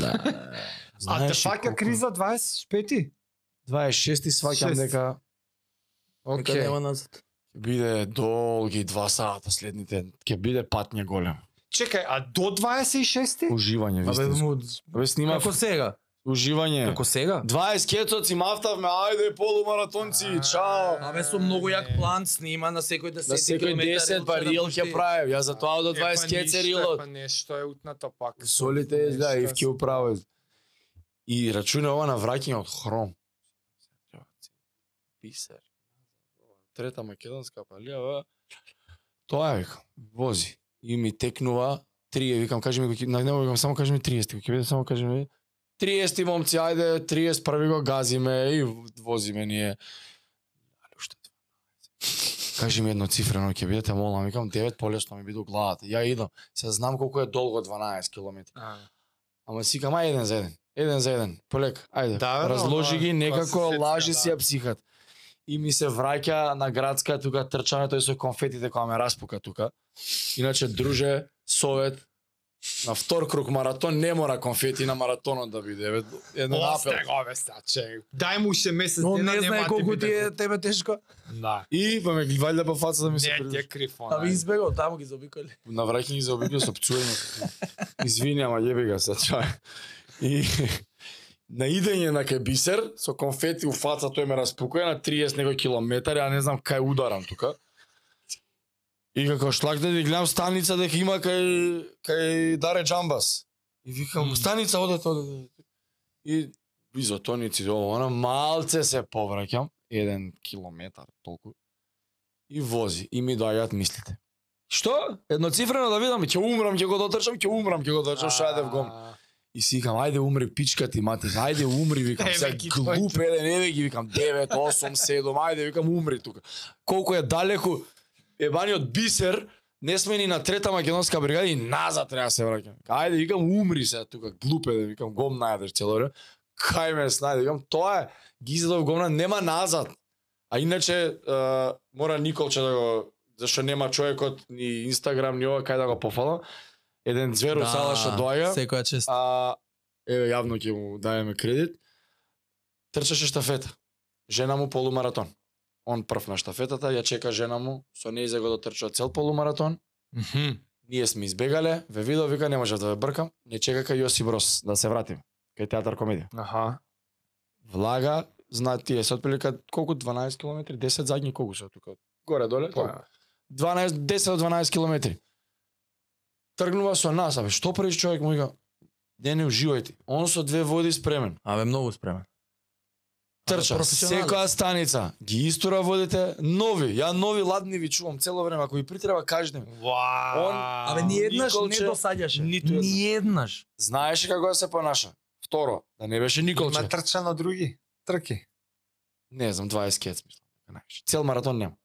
[SPEAKER 3] Да,
[SPEAKER 1] А те
[SPEAKER 3] Знаеш ли
[SPEAKER 1] фака
[SPEAKER 3] колку-
[SPEAKER 1] криза 25-ти?
[SPEAKER 3] 26 и сваќам
[SPEAKER 1] Шест.
[SPEAKER 3] дека
[SPEAKER 2] Нека
[SPEAKER 1] Океј.
[SPEAKER 2] Така нема назад.
[SPEAKER 3] ќе биде долги два сата следните, ќе биде патња голема.
[SPEAKER 1] Чекај, а до 26-ти?
[SPEAKER 3] Уживање
[SPEAKER 2] Абе,
[SPEAKER 3] вистинско.
[SPEAKER 2] му,
[SPEAKER 3] Абе снимав
[SPEAKER 2] како сега?
[SPEAKER 3] уживање.
[SPEAKER 2] Како сега?
[SPEAKER 3] 20 кецоци мафтавме, ајде полумаратонци, чао.
[SPEAKER 2] Абе со многу јак план снима на секој 10
[SPEAKER 3] На секој
[SPEAKER 2] да
[SPEAKER 3] 10 па рил ќе правев, јас затоа до 20 кеце рилот.
[SPEAKER 1] Па нешто е утната пак.
[SPEAKER 3] Солите е, да, и вки управо. И рачуна ова на враќање од хром. Писар. Трета македонска палија, Тоа е, викам, вози. И ми текнува 3, викам, кажи ми, кој ќе- на него викам, само кажи ми 30, ќе биде само кажи ми 30 момци, ајде, 30 први го газиме и возиме ние. Али уште 12. Кажи ми едно цифрено ќе бидете, молам, викам 9 полесно ми биде у главата. Ја идам. Се знам колку е долго 12 километри. Ама си кам, ај еден за еден. Еден за еден. Полек, ајде.
[SPEAKER 1] Да, бе,
[SPEAKER 3] Разложи
[SPEAKER 1] ама,
[SPEAKER 3] ги
[SPEAKER 1] класицистка,
[SPEAKER 3] некако, лажи
[SPEAKER 1] да.
[SPEAKER 3] си ја психат. И ми се враќа на градска тука трчаме тој со конфетите која ме распука тука. Иначе друже, совет на втор круг маратон не мора конфети на маратонот да биде. Еве, Еден апел.
[SPEAKER 1] Осте го бе, ста, че. Дај му уште месец
[SPEAKER 2] Но
[SPEAKER 1] дена,
[SPEAKER 2] не
[SPEAKER 1] нема
[SPEAKER 2] знае
[SPEAKER 1] ти
[SPEAKER 2] колку
[SPEAKER 1] биде
[SPEAKER 2] ти е
[SPEAKER 1] готово.
[SPEAKER 2] тебе тешко.
[SPEAKER 1] Да.
[SPEAKER 3] И па ме валја па фаца да ми се
[SPEAKER 1] Не, ти
[SPEAKER 3] прилепи.
[SPEAKER 1] е крив
[SPEAKER 2] А ви
[SPEAKER 3] да.
[SPEAKER 1] она.
[SPEAKER 2] избегал таму ги заобиколе.
[SPEAKER 3] на враќање за обикол со пцување. Извини, ама јеби га се чај. И на идење на кај бисер, со конфети у фаца тој ме распукува на 30 некој километар, ја не знам кај ударам тука. И како шлак да гледам станица дека има кај кај Даре Джамбас. И викам
[SPEAKER 1] Мм.
[SPEAKER 3] станица одете одете. И изотоници ова, она малце се повраќам, еден километар толку. И вози, и ми доаѓаат мислите. Што? Едноцифрено да видам, ќе умрам, ќе го дотрчам, ќе умрам, ќе го дотрчам, што јаде в гом. И си викам, ајде умри пичка ти мате, ајде умри, викам,
[SPEAKER 1] Еве
[SPEAKER 3] сега
[SPEAKER 1] ги
[SPEAKER 3] глуп еден, еве ги викам, 9, 8, 7, ајде, викам, умри тука. Колку е далеку, ебаниот бисер, не сме ни на трета македонска бригада и назад треба да се враќам. Ајде, викам, умри сега тука, глуп еден, викам, гом најадеш цело време. Кај ме снајде, викам, тоа е, ги изедов гомна, нема назад. А иначе, е, мора Николче да го, зашто нема човекот ни Инстаграм, ни ова, кај да го пофалам. Еден зверу да, сала што доаѓа.
[SPEAKER 2] Секоја чест.
[SPEAKER 3] А, еве, јавно ќе му даеме кредит. Трчаше штафета. Жена му полумаратон. Он прв на штафетата, ја чека жена му, со нејзе го дотрчува цел полумаратон. Ние сме избегале, ве видов, вика, не можев да ве бркам. Не чека кај Јосип Брос да се вратим, кај театар комедија.
[SPEAKER 1] Аха.
[SPEAKER 3] Влага, знае тие, се отприлика колку 12 километри, 10 задњи колку се од тука. Горе доле.
[SPEAKER 1] Па,
[SPEAKER 3] 12 10 до 12 километри. Тргнува со нас, абе, што правиш човек му вика? Не, не уживајте. Он со две води спремен.
[SPEAKER 2] Абе многу спремен.
[SPEAKER 3] Трча,
[SPEAKER 2] професионалец.
[SPEAKER 3] секоја станица, ги истура водите, нови, ја нови ладни ви чувам цело време, ако ви притреба кажете ми.
[SPEAKER 1] Вау.
[SPEAKER 3] Он-
[SPEAKER 2] Абе ни еднаш не
[SPEAKER 3] Николче,
[SPEAKER 2] досаѓаше.
[SPEAKER 3] ниту еднаш.
[SPEAKER 2] Ни еднаш.
[SPEAKER 3] Знаеше како да се понаша. Второ, да не беше Николче.
[SPEAKER 1] Има трча на други трки.
[SPEAKER 3] Не знам, 20 кец мислам, дека најавиш. Цел маратон нема.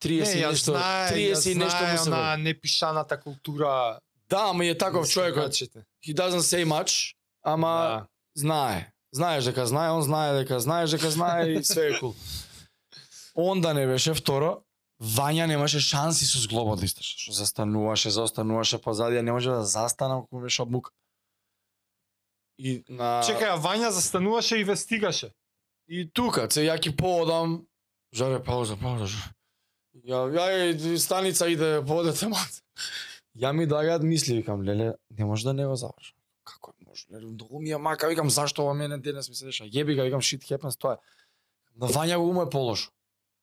[SPEAKER 3] 30
[SPEAKER 1] Не,
[SPEAKER 3] и
[SPEAKER 1] ја
[SPEAKER 3] нешто,
[SPEAKER 1] знае,
[SPEAKER 3] 30 и
[SPEAKER 1] ја
[SPEAKER 3] нешто
[SPEAKER 1] знае
[SPEAKER 3] му се води.
[SPEAKER 1] она непишаната култура.
[SPEAKER 3] Да, ама е таков
[SPEAKER 1] на
[SPEAKER 3] човекот.
[SPEAKER 1] сигачите.
[SPEAKER 3] He doesn't say much, ама
[SPEAKER 1] Да.
[SPEAKER 3] знае. Знаеш дека знае, он знае дека знаеш дека знае и све е кул. Онда не беше второ, Вања немаше шанси со зглобот да истрча, што застануваше, заостануваше позади, а не може да застана кога беше обмук. И на
[SPEAKER 1] Чекај, а Вања застануваше и ве стигаше.
[SPEAKER 3] и тука, се ја ќе поодам. Жаре пауза, пауза. жаре. Ја ја е, станица иде поодете мат. Ја ми доаѓаат мисли, викам, леле, не може да не го завршам. Како е може? Леле, многу ми ја мака, викам, зашто ова мене денес ми се деша? Јеби го, викам, shit happens, тоа е. На Вања го му е полошо.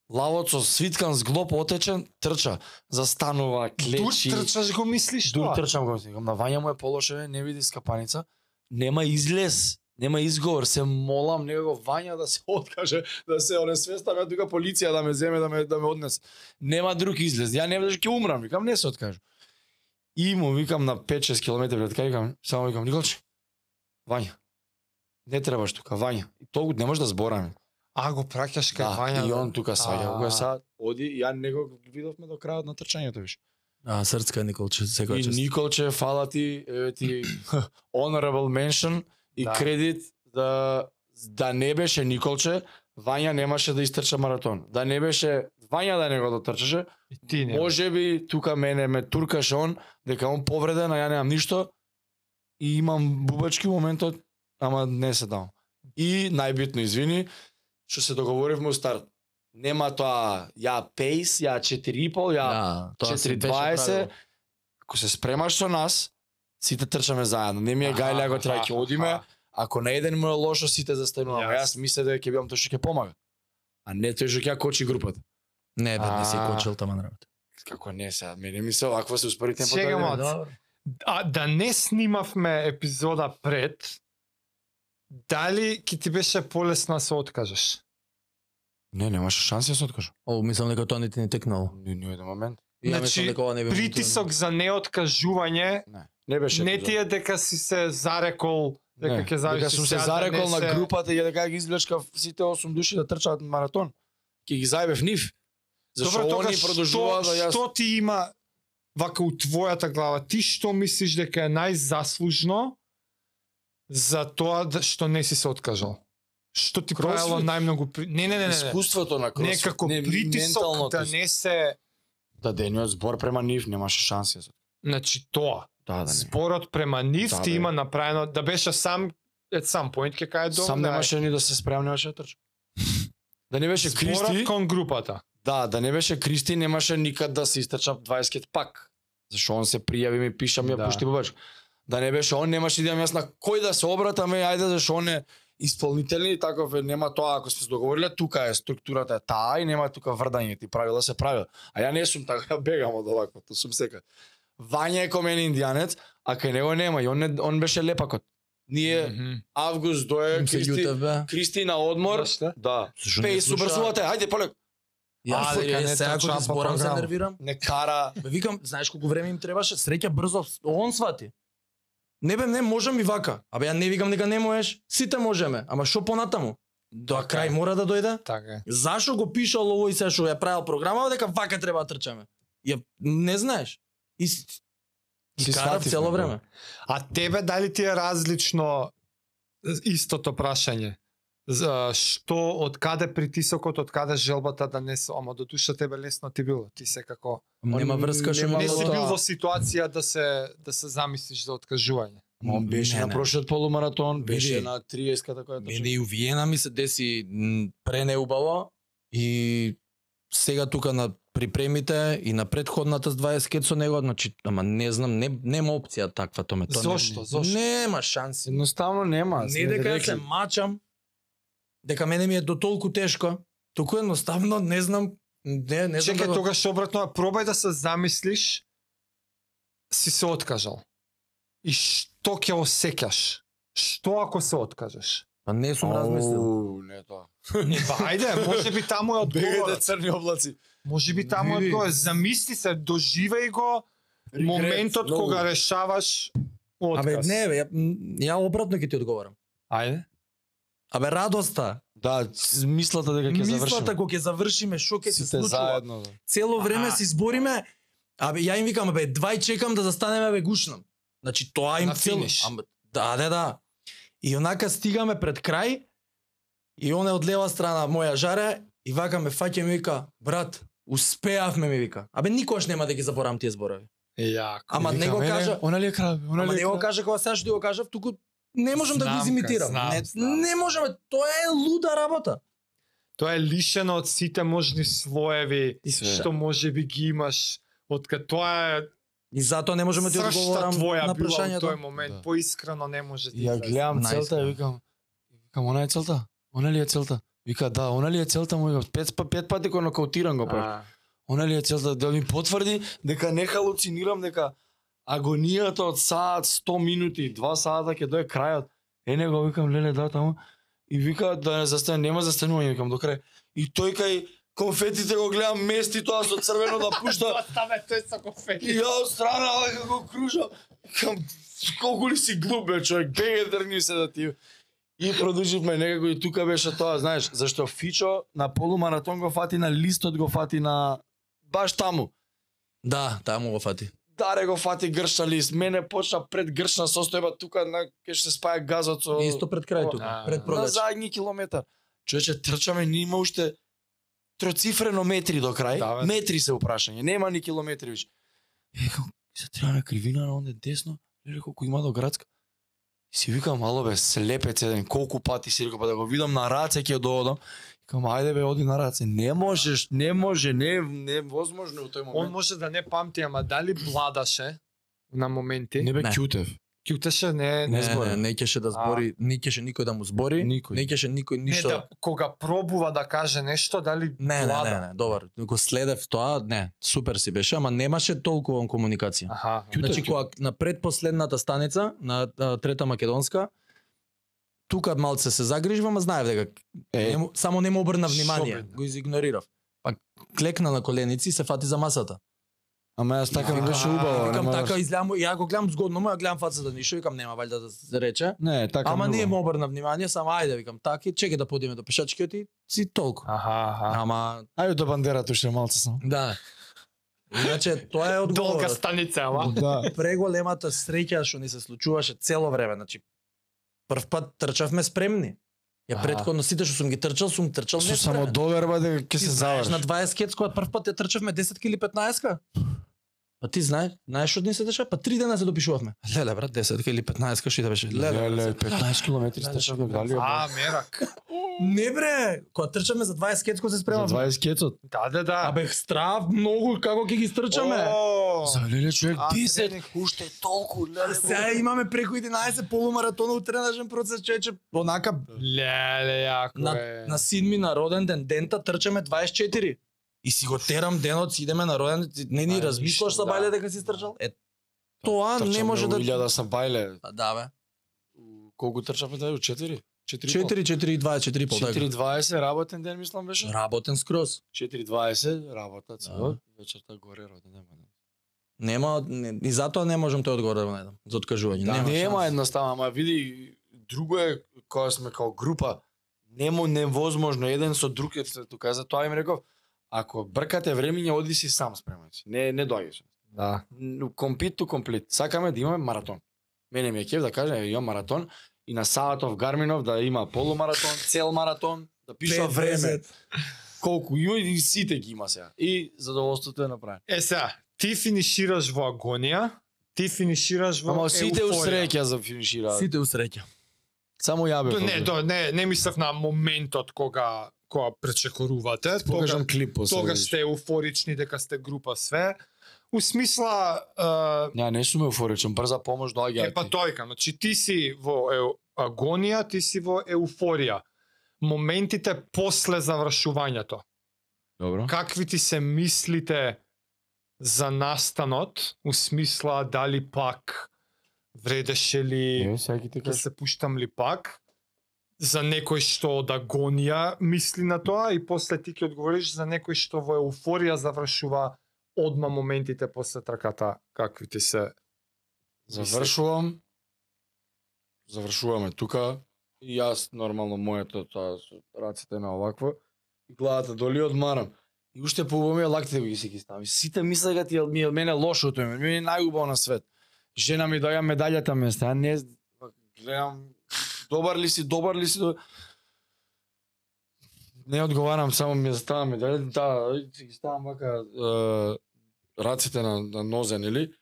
[SPEAKER 3] Лавот со свиткан зглоб отечен, трча, застанува,
[SPEAKER 1] Дур
[SPEAKER 3] клечи.
[SPEAKER 1] трчаш го мислиш
[SPEAKER 3] Дур
[SPEAKER 1] тоа?
[SPEAKER 3] трчам го, викам, на Вања му е полошо, бе, не види скапаница. нема излез, нема изговор, се молам него Вања да се откаже, да се онесвестам, ја тука полиција да ме земе, да ме да ме однесе. Нема друг излез. Ја не ведеш ќе умрам, викам не се откажам. И му викам на 5-6 километри пред кај викам, само викам Николче. Вања. Не требаш тука, Вања. И толку не може да збораме.
[SPEAKER 1] А, го праќаш кај
[SPEAKER 3] Да,
[SPEAKER 1] Вања.
[SPEAKER 3] и он тука саѓа, кога
[SPEAKER 1] А.
[SPEAKER 3] са оди, ја него видовме до крајот на трчањето виш.
[SPEAKER 2] А, срцка Николче, секоја
[SPEAKER 3] И
[SPEAKER 2] чест.
[SPEAKER 3] Николче, фала ти, еве ти honorable mention и
[SPEAKER 1] Да.
[SPEAKER 3] кредит да да не беше Николче, Вања немаше да истрча маратон. Да не беше Вања да него дотрчаше,
[SPEAKER 1] И ти не.
[SPEAKER 3] може би тука мене ме туркаше он, дека он повреден, а ја немам ништо и имам бубачки моментот, ама не се дам. И најбитно, извини, што се договоривме у старт. Нема тоа ја пейс, ја 4,5, ја
[SPEAKER 2] Да, тоа си беше
[SPEAKER 3] 4:20.
[SPEAKER 2] правило.
[SPEAKER 3] ако се спремаш со нас, сите трчаме заедно. Не ми е
[SPEAKER 1] Аха,
[SPEAKER 3] гајле ако
[SPEAKER 1] аха,
[SPEAKER 3] треба ќе одиме.
[SPEAKER 1] аха.
[SPEAKER 3] Ако на еден му е лошо, сите застануваме.
[SPEAKER 1] Јас.
[SPEAKER 3] Јас мисле дека ќе бидам тој што ќе помага. А не тој што ќе ја кочи групата.
[SPEAKER 2] Не, бе, не си
[SPEAKER 1] А.
[SPEAKER 2] кочил таман работа.
[SPEAKER 3] Како не сега, мене ми се овакво се успори темпото.
[SPEAKER 1] Чега,
[SPEAKER 3] да идеме.
[SPEAKER 1] мал-
[SPEAKER 2] Добро.
[SPEAKER 1] А да не снимавме епизода пред, дали ќе ти беше полесна се откажеш?
[SPEAKER 3] Не, немаше шанси да се откажам.
[SPEAKER 2] О, мислам дека тоа не ти не текнало.
[SPEAKER 3] Ни ни еден момент.
[SPEAKER 2] И Ја
[SPEAKER 1] Значи,
[SPEAKER 2] мислам дека ова не би било
[SPEAKER 1] Притисок за неоткажување
[SPEAKER 3] Не. Не беше.
[SPEAKER 1] не ти е дека си се зарекол дека ќе да завиш
[SPEAKER 3] Дека сум се зарекол на групата и дека ги извлечкав сите 8 души да трчаат маратон. Ќе ги зајбев нив. Зашо
[SPEAKER 1] Добро, тога
[SPEAKER 3] они продолжуваа да јас
[SPEAKER 1] Што ти има вака у твојата глава? Ти што мислиш дека е најзаслужно за тоа да- што не си се откажал? Што ти
[SPEAKER 3] Кросфит?
[SPEAKER 1] правило најмногу при... Не, не, не, не. не.
[SPEAKER 3] искуството на кросфит,
[SPEAKER 1] Некако притисок да не се...
[SPEAKER 3] да дениот збор према нив немаше шанси. за-
[SPEAKER 1] Значи тоа.
[SPEAKER 3] Да, да не.
[SPEAKER 1] Зборот према нив
[SPEAKER 3] Да,
[SPEAKER 1] ти
[SPEAKER 3] бе.
[SPEAKER 1] има направено да беше сам at some point ке кај дом.
[SPEAKER 3] Сам немаше ни да се спрем, немаше да трчам. Да не беше
[SPEAKER 1] зборот
[SPEAKER 3] Кристи,
[SPEAKER 1] значи, кон групата.
[SPEAKER 3] да, да не беше Кристи, немаше никад да се истрчам 20 пак. Зашо он се пријави, ми пиша, ми
[SPEAKER 1] Да.
[SPEAKER 3] ја пушти бабачка. Да не беше он, немаше да имам јас на кој да се обратаме, ајде зашо он е исполнителен и таков е, нема тоа, ако сме се договориле, тука е структурата е таа и нема тука врдање, ти правила се правила. А ја не сум така, ја бегам од оваквото, сум сека. Вања е кој мене индијанец, а кај него нема, и он, не, он беше лепакот. Ние,
[SPEAKER 1] Мгм.
[SPEAKER 3] август дое,
[SPEAKER 2] Им се
[SPEAKER 3] Кристи,
[SPEAKER 2] љутев, бе.
[SPEAKER 3] Кристи на одмор.
[SPEAKER 1] Знаеш шта?
[SPEAKER 3] Да.
[SPEAKER 2] Зашо не
[SPEAKER 3] Пеј,
[SPEAKER 2] слуша?
[SPEAKER 3] субрзувате, ајде полек.
[SPEAKER 2] Јас
[SPEAKER 1] А, дека
[SPEAKER 2] се
[SPEAKER 1] не
[SPEAKER 2] сега ако
[SPEAKER 1] трчам
[SPEAKER 2] ти
[SPEAKER 1] по
[SPEAKER 2] зборам се
[SPEAKER 1] програма.
[SPEAKER 2] нервирам.
[SPEAKER 3] Не кара.
[SPEAKER 2] Бе, викам, знаеш колку време им требаше? Среќа брзо, он свати. Не бе, не можам и вака. Абе, ја не викам дека не можеш. Сите можеме, ама што понатаму? До
[SPEAKER 1] Така е.
[SPEAKER 2] крај мора да дојде.
[SPEAKER 1] Така е.
[SPEAKER 2] Зашо го пишал ово и се што ја правил програма дека вака треба да трчаме? Ја не знаеш. И с-
[SPEAKER 3] Си
[SPEAKER 2] и кара
[SPEAKER 3] сватив,
[SPEAKER 2] цело
[SPEAKER 3] бе.
[SPEAKER 2] време.
[SPEAKER 1] А тебе дали ти е различно истото прашање? За што, од каде притисокот, од каде желбата да не се... Ама до душа тебе лесно ти било. Ти секако...
[SPEAKER 2] Нема
[SPEAKER 3] Он
[SPEAKER 2] врска што
[SPEAKER 3] нема
[SPEAKER 1] Не
[SPEAKER 2] имало
[SPEAKER 1] си
[SPEAKER 3] да.
[SPEAKER 1] бил
[SPEAKER 2] тоа.
[SPEAKER 1] во ситуација да се, да се замислиш за откажување.
[SPEAKER 3] Он беше
[SPEAKER 2] Не,
[SPEAKER 3] на
[SPEAKER 2] не.
[SPEAKER 3] прошлиот полумаратон, беше
[SPEAKER 2] Биди.
[SPEAKER 3] на 30-ката која
[SPEAKER 2] Мене
[SPEAKER 3] беше.
[SPEAKER 2] и у Виена ми се деси м, пренеубаво и сега тука на припремите и на предходната с 20 кет со него, значи, ама не знам, не нема опција таква томе. Тоа не-
[SPEAKER 1] Зошто?
[SPEAKER 2] не-
[SPEAKER 1] Зошто?
[SPEAKER 2] Нема шанси.
[SPEAKER 3] Едноставно нема. сме
[SPEAKER 2] не дека ја
[SPEAKER 3] рекли.
[SPEAKER 2] се мачам, дека мене ми е до толку тешко, туку едноставно не знам, не, не знам
[SPEAKER 1] Чекај
[SPEAKER 2] да го-
[SPEAKER 1] тогаш обратно, а пробај да се замислиш си се откажал. И што ќе осеќаш? Што ако се откажеш?
[SPEAKER 2] Па не сум
[SPEAKER 3] Ау,
[SPEAKER 2] размислил.
[SPEAKER 3] Не тоа.
[SPEAKER 1] Не, па ајде, може би таму е
[SPEAKER 3] Бегајте
[SPEAKER 1] одговорот.
[SPEAKER 3] црни облаци.
[SPEAKER 1] Може би таму е
[SPEAKER 2] Види.
[SPEAKER 1] одговорот. Замисли се, доживеј го,
[SPEAKER 3] Регрет,
[SPEAKER 1] моментот
[SPEAKER 3] многу.
[SPEAKER 1] кога решаваш отказ.
[SPEAKER 2] Абе, не, бе, ја, ја обратно ќе ти одговорам.
[SPEAKER 1] Ајде.
[SPEAKER 2] Абе, радоста,
[SPEAKER 3] Да, с- мислата дека ќе завршиме.
[SPEAKER 2] мислата кога ќе завршиме, што ќе се
[SPEAKER 3] Сите
[SPEAKER 2] случува,
[SPEAKER 3] заедно. да.
[SPEAKER 2] цело време
[SPEAKER 1] Аха.
[SPEAKER 2] се избориме. Абе, ја им викам, бе, двај чекам да застанеме, бе, гушнам. Значи, тоа им
[SPEAKER 1] На финиш.
[SPEAKER 2] Ама, да, да, да. И онака стигаме пред крај, и он е од лева страна моја жаре, и вака ме фаќа и ми вика, брат, успеавме ми вика. Абе, никогаш нема да ги заборавам тие зборови.
[SPEAKER 1] Јако.
[SPEAKER 2] Ама
[SPEAKER 3] И
[SPEAKER 2] не го
[SPEAKER 3] викам, е,
[SPEAKER 2] кажа,
[SPEAKER 3] Она ли е крав? Она
[SPEAKER 2] ама
[SPEAKER 3] ли
[SPEAKER 2] не
[SPEAKER 3] е
[SPEAKER 2] го
[SPEAKER 3] крав?
[SPEAKER 2] кажа кога сега што ти го кажав, туку не можам да
[SPEAKER 1] Знам,
[SPEAKER 2] го
[SPEAKER 1] ка,
[SPEAKER 2] изимитирам.
[SPEAKER 1] знам,
[SPEAKER 2] не,
[SPEAKER 1] знам.
[SPEAKER 2] не можеме, тоа е луда работа.
[SPEAKER 1] Тоа е лишено од сите можни слоеви
[SPEAKER 2] И,
[SPEAKER 3] Све.
[SPEAKER 1] што може би ги имаш откад тоа е
[SPEAKER 2] и затоа не можеме да ти
[SPEAKER 1] сршта
[SPEAKER 2] одговорам
[SPEAKER 1] твоја
[SPEAKER 2] на
[SPEAKER 1] била во
[SPEAKER 2] прашањето.
[SPEAKER 1] тој момент,
[SPEAKER 3] Да.
[SPEAKER 1] поискрено не може ти.
[SPEAKER 3] И ја
[SPEAKER 1] излезе.
[SPEAKER 3] гледам
[SPEAKER 2] Најска.
[SPEAKER 3] целта и викам, викам, она е целта? Она ли е целта? Вика, да, она ли е целта? Му викам, пет, па- пет пати го нокаутирам го прав.
[SPEAKER 1] А,
[SPEAKER 3] Она ли е целта да ми потврди дека не халуцинирам, дека агонијата од саат 100 минути, 2 сата ќе дое крајот. Е него викам леле да таму и вика да не застане, нема застанување викам до крај. И тој кај конфетите го гледам мести тоа со црвено да пушта
[SPEAKER 1] Оставе тој со
[SPEAKER 3] и
[SPEAKER 1] кофе.
[SPEAKER 3] ја од страна вака го кружам. Викам колку ли си глуп бе човек, беге дрни се да ти И продолживме некако и тука беше тоа, знаеш, зашто Фичо на полумаратон го фати на листот го фати на баш таму.
[SPEAKER 2] Да, таму го фати.
[SPEAKER 3] Даре го фати гршна лист, мене почна пред гршна состојба тука на ке ще спаја газот со
[SPEAKER 2] Исто пред крај тука,
[SPEAKER 1] А, да,
[SPEAKER 2] пред
[SPEAKER 3] на
[SPEAKER 2] продач.
[SPEAKER 3] задни километар. Човече трчаме, ни има уште троцифрено метри до крај.
[SPEAKER 1] Да, бе.
[SPEAKER 3] метри се упрашање, нема ни километри више. Викам, се треба на кривина на онде десно, леле колку има до градска. И Си викам, мало бе, слепец еден, колку пати си рекол, па да го видам на раце ќе доодам. Викам, ајде бе, оди на раце. Не можеш, не може, не, не возможно е у тој
[SPEAKER 1] Он
[SPEAKER 3] момент.
[SPEAKER 1] може да не памти, ама дали владаше на моменти?
[SPEAKER 3] Не бе
[SPEAKER 2] Не.
[SPEAKER 3] кјутев.
[SPEAKER 1] Кјутеше не,
[SPEAKER 2] Не,
[SPEAKER 1] не,
[SPEAKER 2] не, не, не ќеше да збори, не ќеше никој да му збори,
[SPEAKER 3] Никој.
[SPEAKER 2] не ќеше никој
[SPEAKER 1] не
[SPEAKER 2] ништо.
[SPEAKER 1] да, кога пробува да каже нешто, дали
[SPEAKER 2] Не, не,
[SPEAKER 1] влада?
[SPEAKER 2] не, не, добар. Го следев тоа, не, супер си беше, ама немаше толкува комуникација.
[SPEAKER 1] Аха.
[SPEAKER 3] Кјутев,
[SPEAKER 2] Значи
[SPEAKER 3] кјутев.
[SPEAKER 2] кога на предпоследната станица на а, трета македонска тука малце се загрижвам, а знаев дека
[SPEAKER 3] Е.
[SPEAKER 2] не му, само не му обрна
[SPEAKER 1] Шо
[SPEAKER 2] внимание,
[SPEAKER 1] бе, да.
[SPEAKER 2] го изигнорирав. Па клекна на коленици и се фати за масата.
[SPEAKER 3] Ама јас така ми
[SPEAKER 1] Викам,
[SPEAKER 3] беше
[SPEAKER 1] а,
[SPEAKER 3] убаво.
[SPEAKER 2] Викам
[SPEAKER 3] нема
[SPEAKER 2] така
[SPEAKER 3] врска.
[SPEAKER 2] изгледам, ја го гледам згодно, му ја гледам фацата ништо, викам нема валјда да се рече.
[SPEAKER 3] Не, така
[SPEAKER 2] Ама
[SPEAKER 3] ми
[SPEAKER 2] не
[SPEAKER 3] убаво.
[SPEAKER 2] му обрна внимание, само ајде викам така, чекај да подиме до пешачкиот и си толку.
[SPEAKER 1] Аха, аха.
[SPEAKER 2] Ама
[SPEAKER 3] Ајде до бандерата уште малце само.
[SPEAKER 2] да. Иначе тоа е
[SPEAKER 1] Долга
[SPEAKER 2] одговорот.
[SPEAKER 1] станица, ама.
[SPEAKER 3] Да.
[SPEAKER 2] преголемата среќа што ни се случуваше цело време, значи прв пат трчавме спремни. Ја
[SPEAKER 1] Аха.
[SPEAKER 2] предходно сите што сум ги трчал, сум трчал
[SPEAKER 3] Со
[SPEAKER 2] не
[SPEAKER 3] само
[SPEAKER 2] спремен.
[SPEAKER 3] доверба дека ќе
[SPEAKER 2] Ти
[SPEAKER 3] се
[SPEAKER 2] знаеш на
[SPEAKER 3] заврши.
[SPEAKER 2] 20 кец кога прв пат ја трчавме 10 или 15-ка. Па ти знаеш, знаеш што ни се деша? Па три дена се допишувавме. Леле брат, 10 или 15-ка шита беше. Леле.
[SPEAKER 1] да,
[SPEAKER 2] брат,
[SPEAKER 3] Леле,
[SPEAKER 2] се-
[SPEAKER 3] 15 километри
[SPEAKER 2] Знаеш,
[SPEAKER 3] стрчавме дали е
[SPEAKER 1] А, мерак.
[SPEAKER 2] Не бре, кога трчаме за 20 кец кога се
[SPEAKER 3] За
[SPEAKER 2] спремавме.
[SPEAKER 3] 20 кецот.
[SPEAKER 1] Да, да, да.
[SPEAKER 2] Абе, страв многу како ќе ги стрчаме.
[SPEAKER 1] О,
[SPEAKER 3] За леле човек
[SPEAKER 1] Па. а,
[SPEAKER 3] 10.
[SPEAKER 1] тренинг.
[SPEAKER 3] Уште толку леле.
[SPEAKER 2] Сега имаме преку 11 полумаратона у тренажен процес, чече онака
[SPEAKER 1] Леле, јако е.
[SPEAKER 2] на седми на роден ден, дента трчаме 24. И си го терам денот, си идеме на роден ден, не
[SPEAKER 1] Ај,
[SPEAKER 2] ни
[SPEAKER 1] ништо,
[SPEAKER 2] размислуваш са
[SPEAKER 1] да.
[SPEAKER 2] бајле дека си трчал. Е, тоа не може да...
[SPEAKER 3] Илјада сам бајле.
[SPEAKER 2] Па да, бе.
[SPEAKER 3] Колку трчавме дај? 4. 4.
[SPEAKER 2] 4, 4, 2, 4,
[SPEAKER 3] 4.20 работен ден мислам беше.
[SPEAKER 2] 5. Работен скроз.
[SPEAKER 3] 4.20 работа цело.
[SPEAKER 2] Ага.
[SPEAKER 3] Вечерта горе роден ден. ма да. не.
[SPEAKER 2] Нема, не, и затоа не можам тој одговор да му најдам за откажување.
[SPEAKER 3] Да,
[SPEAKER 2] нема,
[SPEAKER 3] нема
[SPEAKER 2] шанс.
[SPEAKER 3] едноставно, ама види, друго е кога сме као група, немо невозможно еден со друг е се тука, затоа им реков, ако бркате времење, оди си сам спремајќи. Не не доаѓаш.
[SPEAKER 1] Да.
[SPEAKER 3] Комплит ту комплит. Сакаме да имаме маратон. Мене ми е кеф да кажам, е, имам маратон и на Саватов Гарминов да има полумаратон, цел маратон, да пиша време,
[SPEAKER 2] 50.
[SPEAKER 3] колку има и сите ги има сега. И задоволството е направено.
[SPEAKER 1] Е сега, ти финишираш во агонија, ти финишираш во
[SPEAKER 3] Ама сите
[SPEAKER 1] еуфорија.
[SPEAKER 3] усреќа за финишира.
[SPEAKER 2] Сите усреќа.
[SPEAKER 3] Само ја
[SPEAKER 1] До,
[SPEAKER 3] бев.
[SPEAKER 1] не, до, не, не мислев на моментот кога кога пречекорувате, тогаш
[SPEAKER 3] Покажам клип после.
[SPEAKER 1] тога
[SPEAKER 3] да видиш.
[SPEAKER 1] сте еуфорични дека сте група све. У смисла е,
[SPEAKER 3] Ја не сум еуфоричен, брза помош доаѓа.
[SPEAKER 1] е па тојка, значи ти си во еу, агонија, ти си во еуфорија. Моментите после завршувањето.
[SPEAKER 3] Добро.
[SPEAKER 1] Какви ти се мислите за настанот, у смисла дали пак вредеше ли
[SPEAKER 3] Е, сега ти
[SPEAKER 1] ќе се пуштам ли пак за некој што да гонија мисли на тоа и после ти ќе одговориш за некој што во еуфорија завршува одма моментите после трката какви ти се
[SPEAKER 3] Завршувам. Завршуваме тука. И јас нормално моето тоа со рацете на овакво и главата доли одмарам. И уште поубаво ми е лактите кои си ги ставам. Сите мисле дека ти е- ми е мене лошо тоа, ми е најубаво на свет. Жена ми доја медалјата ме ста, не па, гледам добар ли си, добар ли си. до- Не одговарам, само ми ја ставам медалјата, да, и си ги ставам вака е, рацете на, на нозен или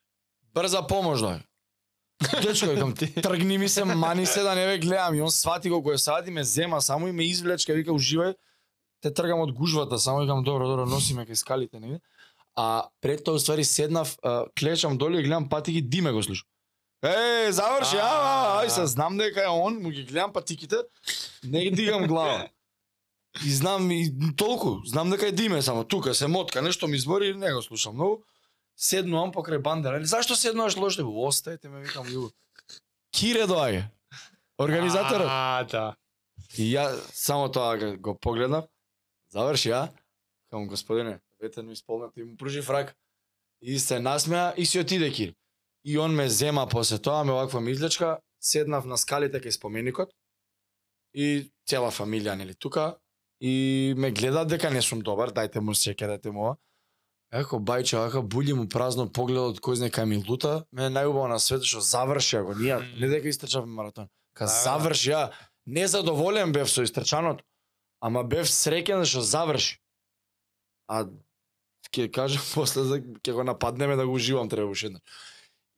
[SPEAKER 3] брза помош дој. Дечко, викам ти. Тргни ми се, мани се да не ве гледам. И он свати го кој сади, ме зема само и ме извлечка, вика уживај. Те тргам од гужвата, само викам добро, добро, носи ме кај скалите негде. А пред тоа ствари седнав, а, клечам долу и гледам патики диме го слушам. Е, заврши,
[SPEAKER 1] А.
[SPEAKER 3] ава, ај се знам дека е он, му ги гледам патиките, не ги дигам глава. И знам и толку, знам дека е диме само тука се мотка, нешто ми збори и не го слушам многу. седнувам покрај бандера. Или, Зашто седнуваш лоште? Остајте ме, викам, љубов. Кире доаѓа. Организаторот.
[SPEAKER 1] А, да.
[SPEAKER 3] И ја само тоа га- го погледнав, заврши ја, кам господине, ветен ми сполнат и му пружи фрак. И се насмеа и си отиде кир. И он ме зема после тоа, ме оваква ми излечка, седнав на скалите кај споменикот и цела фамилија нели тука и ме гледа дека не сум добар, дајте му секер, дајте му ова. Еко бајче вака були му празно погледот кој знае кај ми лута, ме е најубаво на светот што завршија го, ние не дека истрчавме маратон. Ка
[SPEAKER 1] Да, да.
[SPEAKER 3] завршија, незадоволен бев со истрчаното, ама бев среќен што заврши. А ќе кажам после за ќе го нападнеме да го уживам треба уште еднаш.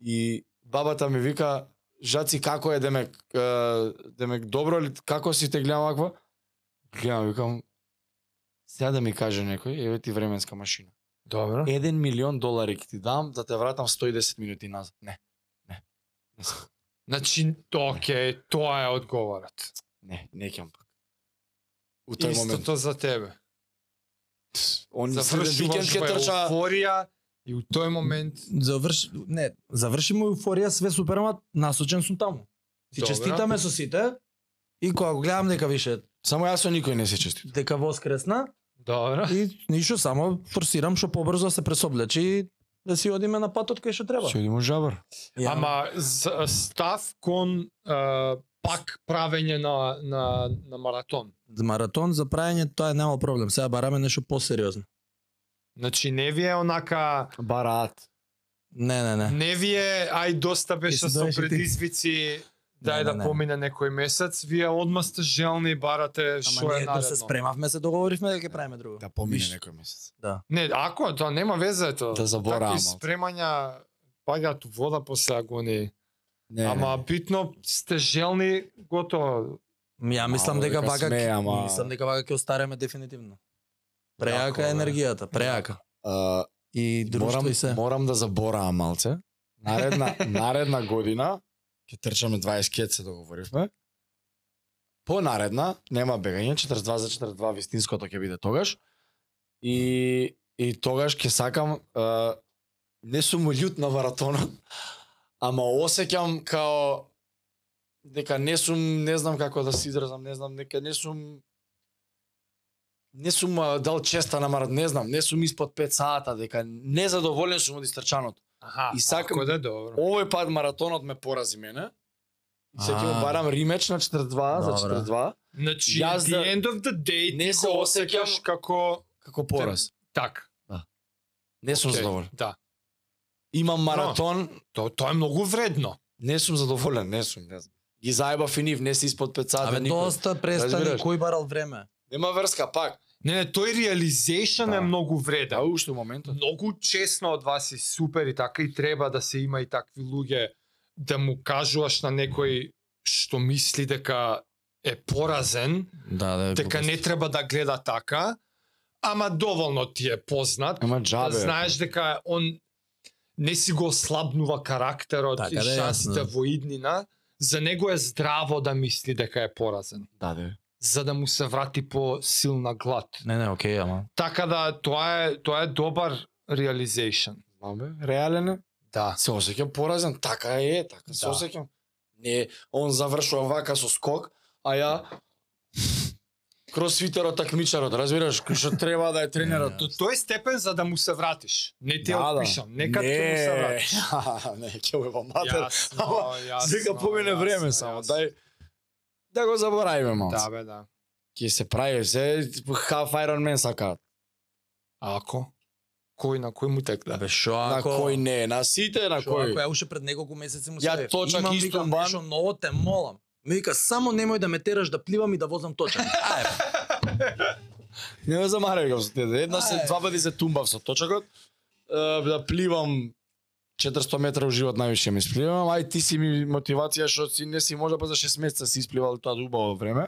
[SPEAKER 3] И бабата ми вика, жаци како е демек, е, демек добро ли, како си те гледам ваква? Гледам, викам, сега да ми каже некој, еве ти временска машина.
[SPEAKER 1] Добро.
[SPEAKER 3] Еден милион долари ќе ти дам да те вратам 110 минути назад. Не, не, не, сакам.
[SPEAKER 1] Значи, оке, тоа е одговорот.
[SPEAKER 3] не, не ќе пак. У тој момент.
[SPEAKER 1] Истото за тебе.
[SPEAKER 3] Он следен викенд
[SPEAKER 1] Завршуваш
[SPEAKER 3] ќе
[SPEAKER 1] во
[SPEAKER 3] трча
[SPEAKER 1] еуфорија и у тој момент
[SPEAKER 4] Заврши, не, заврши му еуфорија, све супер, ама насочен сум таму. Си
[SPEAKER 1] Добра.
[SPEAKER 4] честитаме со сите. И кога го гледам дека више
[SPEAKER 3] Само јас со никој не се честит.
[SPEAKER 4] дека воскресна
[SPEAKER 1] Добро.
[SPEAKER 4] и ништо само форсирам што побрзо да се пресоблечи и да си одиме на патот кај што треба.
[SPEAKER 3] Ќе одиме у жабар.
[SPEAKER 4] Ја-
[SPEAKER 1] Ама з- став кон а, пак правење на, на, на маратон.
[SPEAKER 4] маратон за праење тоа е нема проблем. Сега бараме нешто посериозно.
[SPEAKER 1] Значи не ви е онака
[SPEAKER 3] Барат.
[SPEAKER 4] Не, не, не.
[SPEAKER 1] не ви е ај доста беше
[SPEAKER 4] Ти си
[SPEAKER 1] со
[SPEAKER 4] дојдеш и ти.
[SPEAKER 1] предизвици дај
[SPEAKER 4] Не,
[SPEAKER 1] да
[SPEAKER 4] не, не.
[SPEAKER 1] помине некој месец, вие одма сте желни и барате
[SPEAKER 4] Ама
[SPEAKER 1] што е
[SPEAKER 4] ние да се
[SPEAKER 1] наредно.
[SPEAKER 4] спремавме, се договоривме дека ќе правиме друго.
[SPEAKER 2] Да помине
[SPEAKER 4] Виш.
[SPEAKER 2] некој месец.
[SPEAKER 1] Не, ако тоа нема веза е тоа.
[SPEAKER 3] Да заборавам,
[SPEAKER 1] Такви
[SPEAKER 3] ама.
[SPEAKER 1] спремања паѓаат у вода после агони.
[SPEAKER 3] Не,
[SPEAKER 1] Ама битно сте желни готово.
[SPEAKER 4] Ја мислам
[SPEAKER 3] Мало
[SPEAKER 4] дека
[SPEAKER 3] дека
[SPEAKER 4] вака
[SPEAKER 3] сме,
[SPEAKER 4] ќе-
[SPEAKER 3] ама-
[SPEAKER 4] мислам дека вака ќе остареме дефинитивно.
[SPEAKER 3] Јако,
[SPEAKER 4] Преака е
[SPEAKER 3] бе.
[SPEAKER 4] енергијата, преака.
[SPEAKER 3] а,
[SPEAKER 4] И друштво
[SPEAKER 3] морам,
[SPEAKER 4] и се.
[SPEAKER 3] морам да заборавам малце. Наредна, наредна година ќе трчаме 20 кет се договоривме. По наредна, нема бегање, 42 за 42 вистинското ќе биде тогаш. И и тогаш ќе сакам а, не сум љут на маратонот, ама осеќам као дека не сум, не знам како да се изразам, не знам, дека не сум не сум а, дал честа на марат, не знам, не сум испод 5 сата, дека незадоволен сум од истрчаното.
[SPEAKER 1] Аха,
[SPEAKER 3] И сакам-
[SPEAKER 1] да е добро.
[SPEAKER 3] Овој пат маратонот ме порази мене. И Се ќе
[SPEAKER 4] А.
[SPEAKER 3] му барам римеч на 42 за
[SPEAKER 4] Добра.
[SPEAKER 3] 42
[SPEAKER 1] Значи,
[SPEAKER 3] Јас
[SPEAKER 1] the
[SPEAKER 3] да-
[SPEAKER 1] end of the day
[SPEAKER 3] не
[SPEAKER 1] ти
[SPEAKER 3] се
[SPEAKER 1] го
[SPEAKER 3] осеќам-
[SPEAKER 1] осеќаш како...
[SPEAKER 3] како пораз.
[SPEAKER 1] Так.
[SPEAKER 3] Не сум
[SPEAKER 1] Океј,
[SPEAKER 3] задоволен.
[SPEAKER 1] Да.
[SPEAKER 3] Имам маратон,
[SPEAKER 1] То, тоа е многу вредно.
[SPEAKER 3] не сум задоволен, не сум, не знам. Ги заебав и нив, не се испод 5 сата
[SPEAKER 4] Абе
[SPEAKER 3] никој.
[SPEAKER 4] доста престани
[SPEAKER 3] Разбираш?
[SPEAKER 4] кој барал време.
[SPEAKER 3] Нема врска пак.
[SPEAKER 1] Не, не, тој реализейшн
[SPEAKER 3] Да.
[SPEAKER 1] е многу вреден.
[SPEAKER 3] Да, уште во моментот.
[SPEAKER 1] Многу честно од вас е супер и така и треба да се има и такви луѓе да му кажуваш на некој што мисли дека е поразен,
[SPEAKER 4] Да, да.
[SPEAKER 3] Така,
[SPEAKER 1] дека не треба да гледа така, ама доволно ти е познат,
[SPEAKER 3] Ема
[SPEAKER 1] да
[SPEAKER 3] џабе.
[SPEAKER 1] знаеш дека он не си го слабнува карактерот
[SPEAKER 4] Така
[SPEAKER 1] и
[SPEAKER 4] да е,
[SPEAKER 1] шансите
[SPEAKER 4] јасно.
[SPEAKER 1] во иднина, за него е здраво да мисли дека е поразен,
[SPEAKER 3] Да, да.
[SPEAKER 1] за да му се врати по силна глад.
[SPEAKER 4] Не, не, окей, ама.
[SPEAKER 1] Така да тоа е тоа е добар реализейшн.
[SPEAKER 3] Знам бе, реален е.
[SPEAKER 1] Да.
[SPEAKER 3] Се осеќам поразен, така е, така се
[SPEAKER 1] Да.
[SPEAKER 3] осеќам. Не, он завршува вака со скок, а ја кросфитерот, такмичарот, разбираш, кој што треба да е тренерот.
[SPEAKER 1] До тој степен за да му се вратиш. Не те
[SPEAKER 3] Да, да.
[SPEAKER 1] отпишам, нека ти му се вратиш.
[SPEAKER 3] не, ќе го матер. ама,
[SPEAKER 1] јасно,
[SPEAKER 3] Сега помине
[SPEAKER 1] јасно,
[SPEAKER 3] време само,
[SPEAKER 1] јасно.
[SPEAKER 3] дај да го заборавиме
[SPEAKER 1] Да,
[SPEAKER 3] малку.
[SPEAKER 1] бе, да.
[SPEAKER 3] Ќе се прави се half Iron Man сакаат.
[SPEAKER 1] А ако? Кој на кој му текна?
[SPEAKER 4] Абе шо
[SPEAKER 3] На
[SPEAKER 4] ако
[SPEAKER 3] кој не, на сите, на
[SPEAKER 4] Шо ако
[SPEAKER 3] кој.
[SPEAKER 4] ја уште пред неколку месеци му
[SPEAKER 3] Ја
[SPEAKER 4] се
[SPEAKER 3] точак
[SPEAKER 4] имам
[SPEAKER 3] исто
[SPEAKER 4] викам
[SPEAKER 3] бан.
[SPEAKER 4] нешто ново те молам. Ми вика само немој да ме тераш да пливам и да возам точак. Ајде.
[SPEAKER 3] Не ме замарај го со тебе. Една се
[SPEAKER 4] Ај.
[SPEAKER 3] два пати се тумбав со точакот. Е, да пливам 400 метра у живот највише ми спливам. Ај ти си ми мотивација што си не си може па за 6 месеца си испливал тоа убаво време.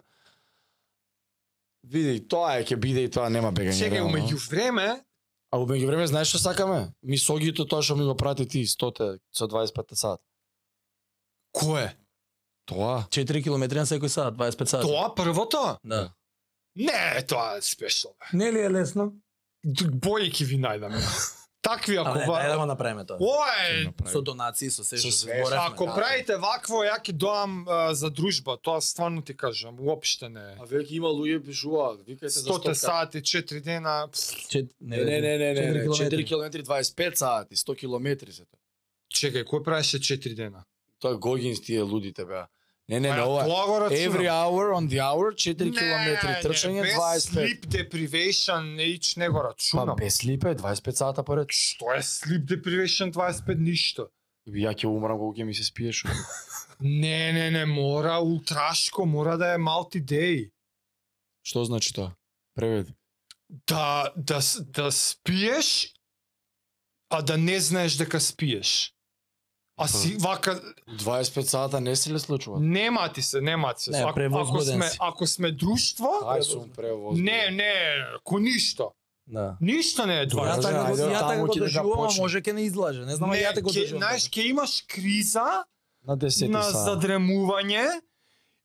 [SPEAKER 3] Види, тоа е ќе биде и тоа нема бегање.
[SPEAKER 1] Чекај,
[SPEAKER 3] реално.
[SPEAKER 1] умеѓу време,
[SPEAKER 3] А во меѓувреме знаеш што сакаме? Мисогито тоа што ми го прати ти 100 со 25 сат.
[SPEAKER 1] кој е?
[SPEAKER 3] Тоа
[SPEAKER 4] 4 километри на секој сат, 25 сати.
[SPEAKER 1] Тоа првото?
[SPEAKER 4] Да.
[SPEAKER 1] Не, тоа е спешно.
[SPEAKER 4] Не ли е лесно?
[SPEAKER 1] Д- Бојки ви најдаме. Такви, ако...
[SPEAKER 2] Ама не,
[SPEAKER 1] ва-
[SPEAKER 2] дај да го направиме тоа.
[SPEAKER 1] Ой,
[SPEAKER 2] Со донации, со се
[SPEAKER 3] Со
[SPEAKER 2] што
[SPEAKER 3] све.
[SPEAKER 2] зборевме.
[SPEAKER 1] ако
[SPEAKER 3] да.
[SPEAKER 1] правите вакво, ја ќе доам а, за дружба, тоа стварно ти кажам, уопште не.
[SPEAKER 3] А веќе има луѓе пишуваат, викајте за
[SPEAKER 1] 100
[SPEAKER 3] 100
[SPEAKER 1] сати, 4 дена, пф,
[SPEAKER 2] Чет-
[SPEAKER 3] Не, не, не, не, не, не,
[SPEAKER 2] 4
[SPEAKER 3] 4
[SPEAKER 2] километри.
[SPEAKER 3] километри 25 сати, 100 километри се тоа.
[SPEAKER 1] чекај, кој правеше 4 дена?
[SPEAKER 3] Тоа е Гогинс тие лудите беа. Не, не,
[SPEAKER 1] Па
[SPEAKER 3] не,
[SPEAKER 1] ја
[SPEAKER 3] ова. е.
[SPEAKER 1] тоа го рачунам.
[SPEAKER 3] Every hour on the hour 4
[SPEAKER 1] Не,
[SPEAKER 3] километри
[SPEAKER 1] не,
[SPEAKER 3] трчање
[SPEAKER 1] без
[SPEAKER 3] 25.
[SPEAKER 1] Sleep deprivation, неич не го
[SPEAKER 3] Па
[SPEAKER 1] рачунам.
[SPEAKER 3] без липе 25 сата поред.
[SPEAKER 1] Што е sleep deprivation 25 ништо?
[SPEAKER 3] Ја ќе умрам кога ќе ми се спиеш.
[SPEAKER 1] Не, не, не, мора ултрашко, мора да е multi day.
[SPEAKER 3] Што значи тоа? Преведи.
[SPEAKER 1] Да, да, с- да спиеш, а да не знаеш дека спиеш. А си вака
[SPEAKER 3] 25 сата не се ли случува?
[SPEAKER 1] нема ти се, нема ти се.
[SPEAKER 2] Не,
[SPEAKER 1] ако, ако
[SPEAKER 2] превозбуден
[SPEAKER 1] сме
[SPEAKER 2] си.
[SPEAKER 1] ако сме друштво,
[SPEAKER 3] Ај сум превоз.
[SPEAKER 1] не, не, ко ништо.
[SPEAKER 2] Да.
[SPEAKER 1] Ништо не е Значи, друго.
[SPEAKER 2] Ја
[SPEAKER 3] Добре,
[SPEAKER 2] така го
[SPEAKER 3] ајде,
[SPEAKER 2] ја така
[SPEAKER 3] таму
[SPEAKER 2] го
[SPEAKER 3] ќе да
[SPEAKER 2] доживувам,
[SPEAKER 3] започне.
[SPEAKER 2] може ке не излаже. Не знам,
[SPEAKER 1] Не,
[SPEAKER 2] а ја така го
[SPEAKER 1] ќе-
[SPEAKER 2] доживувам.
[SPEAKER 1] знаеш, ќе имаш криза,
[SPEAKER 3] на Да, 10
[SPEAKER 1] на
[SPEAKER 3] сата.
[SPEAKER 1] задремување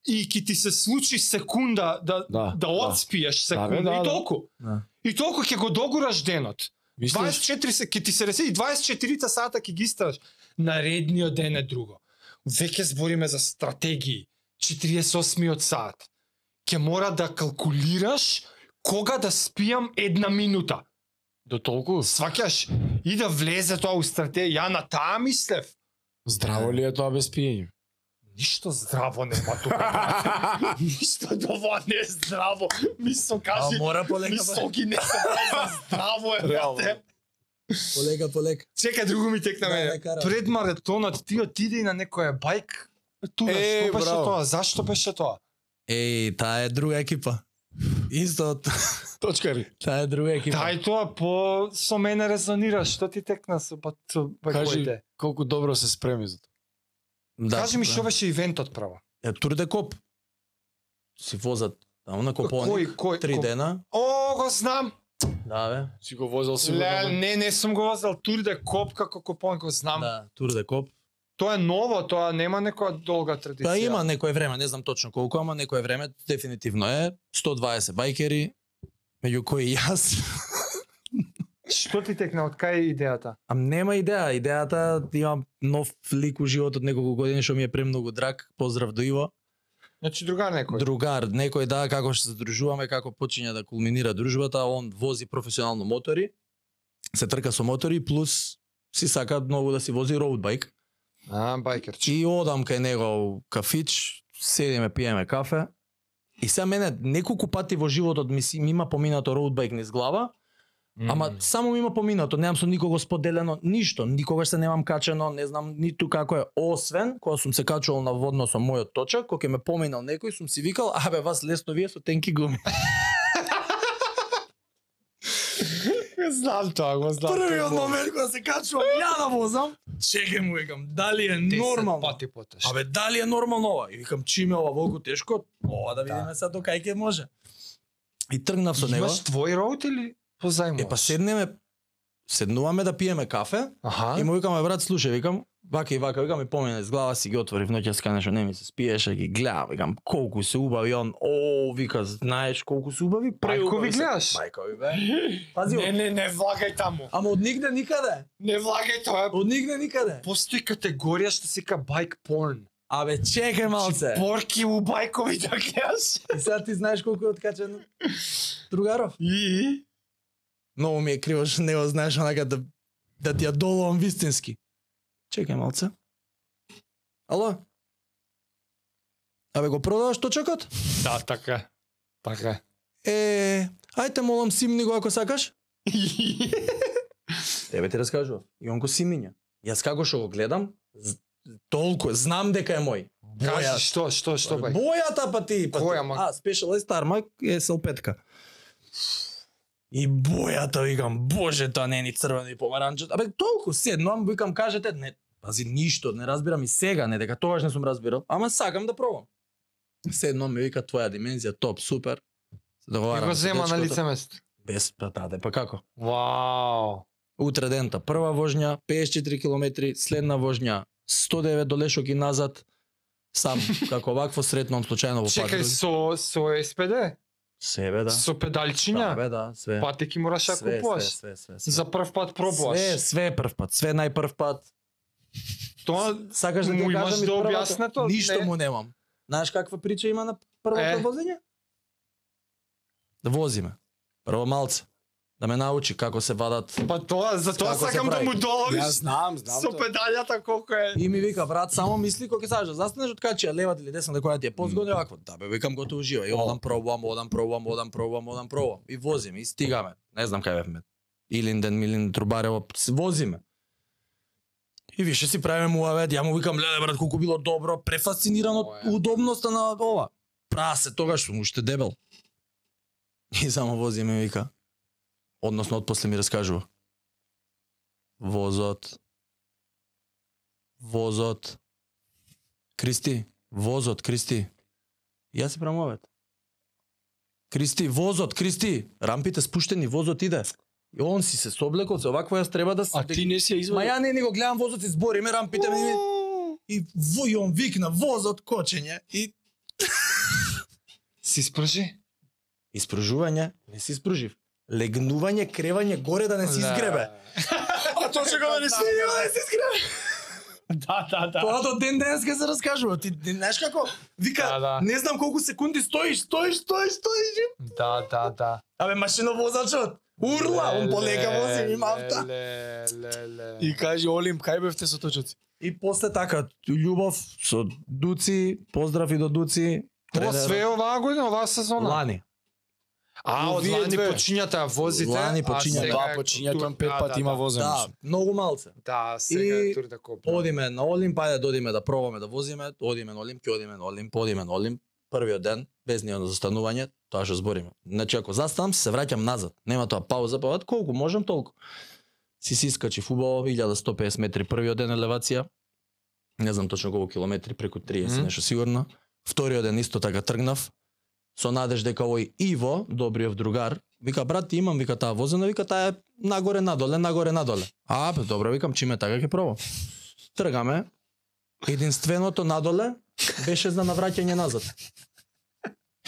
[SPEAKER 1] и ќе ти се случи секунда да
[SPEAKER 3] Да,
[SPEAKER 1] да, да
[SPEAKER 3] да.
[SPEAKER 1] отспиеш
[SPEAKER 3] Да, бе,
[SPEAKER 1] секунда
[SPEAKER 3] да,
[SPEAKER 1] и
[SPEAKER 3] да.
[SPEAKER 1] толку.
[SPEAKER 2] Да.
[SPEAKER 1] И толку ќе го догураш денот.
[SPEAKER 3] Мислиш
[SPEAKER 1] 24 се ќе ти се ресети 24 сата ќе ги истраш. Наредниот ден е друго. Веќе збориме за стратегии. 48-миот сат. Ќе мора да калкулираш кога да спијам една минута.
[SPEAKER 3] до толку?
[SPEAKER 1] Сваќаш? И да влезе тоа у стратегија. Ја на таа мислев.
[SPEAKER 3] Здраво ли е тоа без пиење?
[SPEAKER 1] Ништо здраво нема тука. Ништо дово не е здраво. Мислам
[SPEAKER 2] А
[SPEAKER 1] кажи,
[SPEAKER 2] мора полека, бе.
[SPEAKER 1] мислоги не се прави за здраво е
[SPEAKER 3] Реално.
[SPEAKER 1] брате.
[SPEAKER 2] полека, полека.
[SPEAKER 1] Чека друго ми текна
[SPEAKER 2] Да,
[SPEAKER 1] мене.
[SPEAKER 2] не кара.
[SPEAKER 1] Пред маратонот ти отиде и на некоја бајк. Тука
[SPEAKER 3] Е,
[SPEAKER 1] што беше
[SPEAKER 3] браво.
[SPEAKER 1] тоа? Зашто беше тоа?
[SPEAKER 2] Еј, таа е друга екипа. Исто,
[SPEAKER 3] Точкари.
[SPEAKER 2] таа е друга екипа.
[SPEAKER 1] Дај тоа по со мене резонира, што ти текна со ба- со
[SPEAKER 3] Кажи
[SPEAKER 1] бајкоите?
[SPEAKER 3] колку добро се спреми за тоа.
[SPEAKER 2] да,
[SPEAKER 1] Кажи ми
[SPEAKER 2] да.
[SPEAKER 1] што беше ивентот право.
[SPEAKER 2] Е, тур де коп. Си возат таму на Копоник.
[SPEAKER 1] Кој кој?
[SPEAKER 2] Три
[SPEAKER 1] кој-
[SPEAKER 2] дена.
[SPEAKER 1] О, го знам.
[SPEAKER 2] Да, бе.
[SPEAKER 3] Си го возел
[SPEAKER 1] Ле,
[SPEAKER 3] сигурно.
[SPEAKER 1] не, не сум го возел тури да коп како копон го знам.
[SPEAKER 2] Да, тур де коп.
[SPEAKER 1] Тоа е ново, тоа нема некоја долга традиција.
[SPEAKER 2] Па има некое време, не знам точно колку, ама некое време дефинитивно е 120 бајкери, меѓу кои и јас.
[SPEAKER 1] Што ти текна, од кај е идејата?
[SPEAKER 2] Ам нема идеја, идејата имам нов лик у животот неколку години што ми е премногу драг. Поздрав до Иво.
[SPEAKER 1] Значи другар некој.
[SPEAKER 2] Другар, некој да како што се дружуваме, како почиња да кулминира дружбата, он вози професионално мотори, се трка со мотори плюс си сака многу да си вози роуд бајк.
[SPEAKER 1] А, бајкерчи.
[SPEAKER 2] И одам кај него у кафич, седиме, пиеме кафе. И сега мене неколку пати во животот ми, си, ми има поминато роуд бајк низ глава, Ама само ми има поминато, немам со никого споделено ништо, никогаш се немам качено, не знам ниту како е, освен кога сум се качувал на водно со мојот точак, кога ќе ме поминал некој, сум си викал, абе вас лесно вие со тенки гуми.
[SPEAKER 1] знам тоа, го знам.
[SPEAKER 2] кога се качувам, ја да возам, чеке му викам, дали е
[SPEAKER 1] Пати потеш.
[SPEAKER 2] Абе дали е нормално ова? И викам чиме ова волку тешко, ова да видиме сега до кај ќе може. И тргнав со него.
[SPEAKER 1] Имаш твој роут или позајмуваш?
[SPEAKER 2] Е па седнеме седнуваме да пиеме кафе
[SPEAKER 1] Аха.
[SPEAKER 2] и му викам е брат слушај викам вака и вака викам и помине из глава си ги отворив ноќаска нешто не ми се спиеше ги гледам викам колку се убави он о вика знаеш колку се убави
[SPEAKER 1] Мајко ви
[SPEAKER 2] преубави се.
[SPEAKER 1] гледаш?
[SPEAKER 2] мајка ви бе пази
[SPEAKER 1] Не,
[SPEAKER 2] не,
[SPEAKER 1] не, не влагај таму.
[SPEAKER 2] ама од нигде никаде
[SPEAKER 1] Не влагај тоа. е-
[SPEAKER 2] од нигде никаде
[SPEAKER 1] Постои категорија што се ка байк порн.
[SPEAKER 2] абе чекај малце
[SPEAKER 1] Порки у бајкови да гледаш.
[SPEAKER 2] и сега ти знаеш колку е откачен другаров
[SPEAKER 1] И?
[SPEAKER 2] Многу ми е криво што не го знаеш онака да да ти ја доловам вистински. Чекај малце. Ало? Абе го продаваш точакот?
[SPEAKER 1] Да, така. Така.
[SPEAKER 2] Е, ајте молам симни го ако сакаш. Тебе ти раскажував. И он го симиња. Јас како што го гледам, з- толку знам дека е мој.
[SPEAKER 1] Кажи што, што, што бај?
[SPEAKER 2] Бојата па ти, па ти.
[SPEAKER 1] Која, ма?
[SPEAKER 2] А, Specialized Tarmac е СЛ5-ка. И бојата, викам, боже, тоа не е ни црвено ни помаранче. Абе, толку седнувам, викам, кажете, не, пази, ништо, не разбирам и сега, не дека тогаш не сум разбирал, ама сакам да пробам. Седнувам, ми вика, твоја димензија, топ, супер. Се
[SPEAKER 1] И
[SPEAKER 2] договарам
[SPEAKER 1] го
[SPEAKER 2] со
[SPEAKER 1] зема на
[SPEAKER 2] дечкото.
[SPEAKER 1] лице место.
[SPEAKER 2] Без, па, да, да, па како?
[SPEAKER 1] Вау.
[SPEAKER 2] Утре дента прва возња, 54 км, следна возња, 109 до Лешок и назад, сам, како вакво сретно, случајно во
[SPEAKER 1] Чекај
[SPEAKER 2] Падруг.
[SPEAKER 1] со со СПД.
[SPEAKER 2] Се бе да.
[SPEAKER 1] Со
[SPEAKER 2] Да,
[SPEAKER 1] педалчиња,
[SPEAKER 2] бе да, све.
[SPEAKER 1] патеки мораш да
[SPEAKER 2] све, све,
[SPEAKER 1] купуваш.
[SPEAKER 2] све, све, све.
[SPEAKER 1] За прв пат пробуваш.
[SPEAKER 2] Све, све е прв пат, све е најпрв пат.
[SPEAKER 1] Тоа
[SPEAKER 2] Сакаш да ти
[SPEAKER 1] му
[SPEAKER 2] го
[SPEAKER 1] имаш
[SPEAKER 2] кажам и
[SPEAKER 1] да
[SPEAKER 2] првата?
[SPEAKER 1] објаснето?
[SPEAKER 2] Ништо
[SPEAKER 1] Не.
[SPEAKER 2] му немам. Знаеш каква прича има на првото
[SPEAKER 1] Е.
[SPEAKER 2] возење? Да возиме. Прво малце. Да ме научи како се вадат.
[SPEAKER 1] Па тоа, за тоа
[SPEAKER 2] Како се
[SPEAKER 1] сакам да
[SPEAKER 2] прави?
[SPEAKER 1] му доловиш
[SPEAKER 3] Ја знам, знам.
[SPEAKER 1] со
[SPEAKER 3] тоа.
[SPEAKER 1] педалјата колку е.
[SPEAKER 2] И ми вика брат, само мисли кога ќе сакаш да застанеш откачи ја левата или десната која ти е позгодна, вакво. Да бе, викам готово ужива. И одам пробувам, одам пробувам, одам пробувам, одам пробувам. И возиме и стигаме. Не знам кај бевме. Илинден, Милин, Трубарево, с- возиме. И више си правиме муавет, ја му викам, леле брат, колку било добро, префасциниран од
[SPEAKER 3] Ова е.
[SPEAKER 2] удобноста на ова. Прасе, тогаш сум уште дебел. И само возиме и вика. Односно, од после ми раскажува. Возот. Возот. Кристи, возот, Кристи. Ја се правам овет. Кристи, возот, Кристи. Рампите спуштени, возот иде. И он си се соблекол, се овакво јас треба да се...
[SPEAKER 3] А ти не си ја
[SPEAKER 2] Ма
[SPEAKER 3] извадил.
[SPEAKER 2] ја не, него гледам возот, се збориме, рампите ми... И, во, и он викна, возот, кочење. И
[SPEAKER 1] Си спржи?
[SPEAKER 2] Испружување, не си испружив. Легнување, кревање горе да не се изгребе.
[SPEAKER 3] А тоа чека да не си.
[SPEAKER 2] да не се изгребе.
[SPEAKER 1] Да, да, да.
[SPEAKER 2] Тоа до ден денеска се раскажува. Ти не знаеш како? Вика,
[SPEAKER 1] Да, да.
[SPEAKER 2] не знам колку секунди стоиш, стоиш, стоиш, стоиш. и-
[SPEAKER 1] Да, да, да.
[SPEAKER 2] Абе машиновозачот урла, он полека вози ми мавта.
[SPEAKER 1] Ле, ле, ле.
[SPEAKER 3] И каже Олим, кај бевте со точоци?
[SPEAKER 2] И после така љубов со Дуци, поздрав и до Дуци.
[SPEAKER 1] Ова
[SPEAKER 2] тренерот.
[SPEAKER 1] све е оваа година, оваа сезона.
[SPEAKER 2] лани.
[SPEAKER 1] А, од
[SPEAKER 3] Вие
[SPEAKER 1] лани
[SPEAKER 3] две.
[SPEAKER 1] почињата ја возите.
[SPEAKER 2] Лани
[SPEAKER 1] а
[SPEAKER 2] почиња.
[SPEAKER 1] сега
[SPEAKER 3] Два
[SPEAKER 1] е
[SPEAKER 3] почиња,
[SPEAKER 1] тур-
[SPEAKER 3] тој пет
[SPEAKER 1] да,
[SPEAKER 3] пати
[SPEAKER 1] да,
[SPEAKER 3] има
[SPEAKER 1] да.
[SPEAKER 3] возен.
[SPEAKER 2] Да, многу малце.
[SPEAKER 1] Да, сега
[SPEAKER 2] И
[SPEAKER 1] е тур да копна.
[SPEAKER 2] Одиме на Олимп, ајде да одиме да пробаме да возиме, одиме на Олимп, ќе одиме на Олимп, одиме на Олимп, првиот ден, без ни едно застанување, тоа што збориме. Значи ако застанам, се враќам назад. Нема тоа пауза, па ват, колку можам толку. Си си искачи убаво, 1150 метри првиот ден елевација. Не знам точно колку километри, преку 30
[SPEAKER 1] Мгм.
[SPEAKER 2] нешто сигурно. Вториот ден исто така тргнав. Со надеж дека овој Иво, добриот другар, вика брат, ти имам вика таа возена, вика таа е нагоре надоле, нагоре надоле. А, бе, добро, викам, чиме така ќе пробам. Тргаме. Единственото надоле беше за навраќање назад.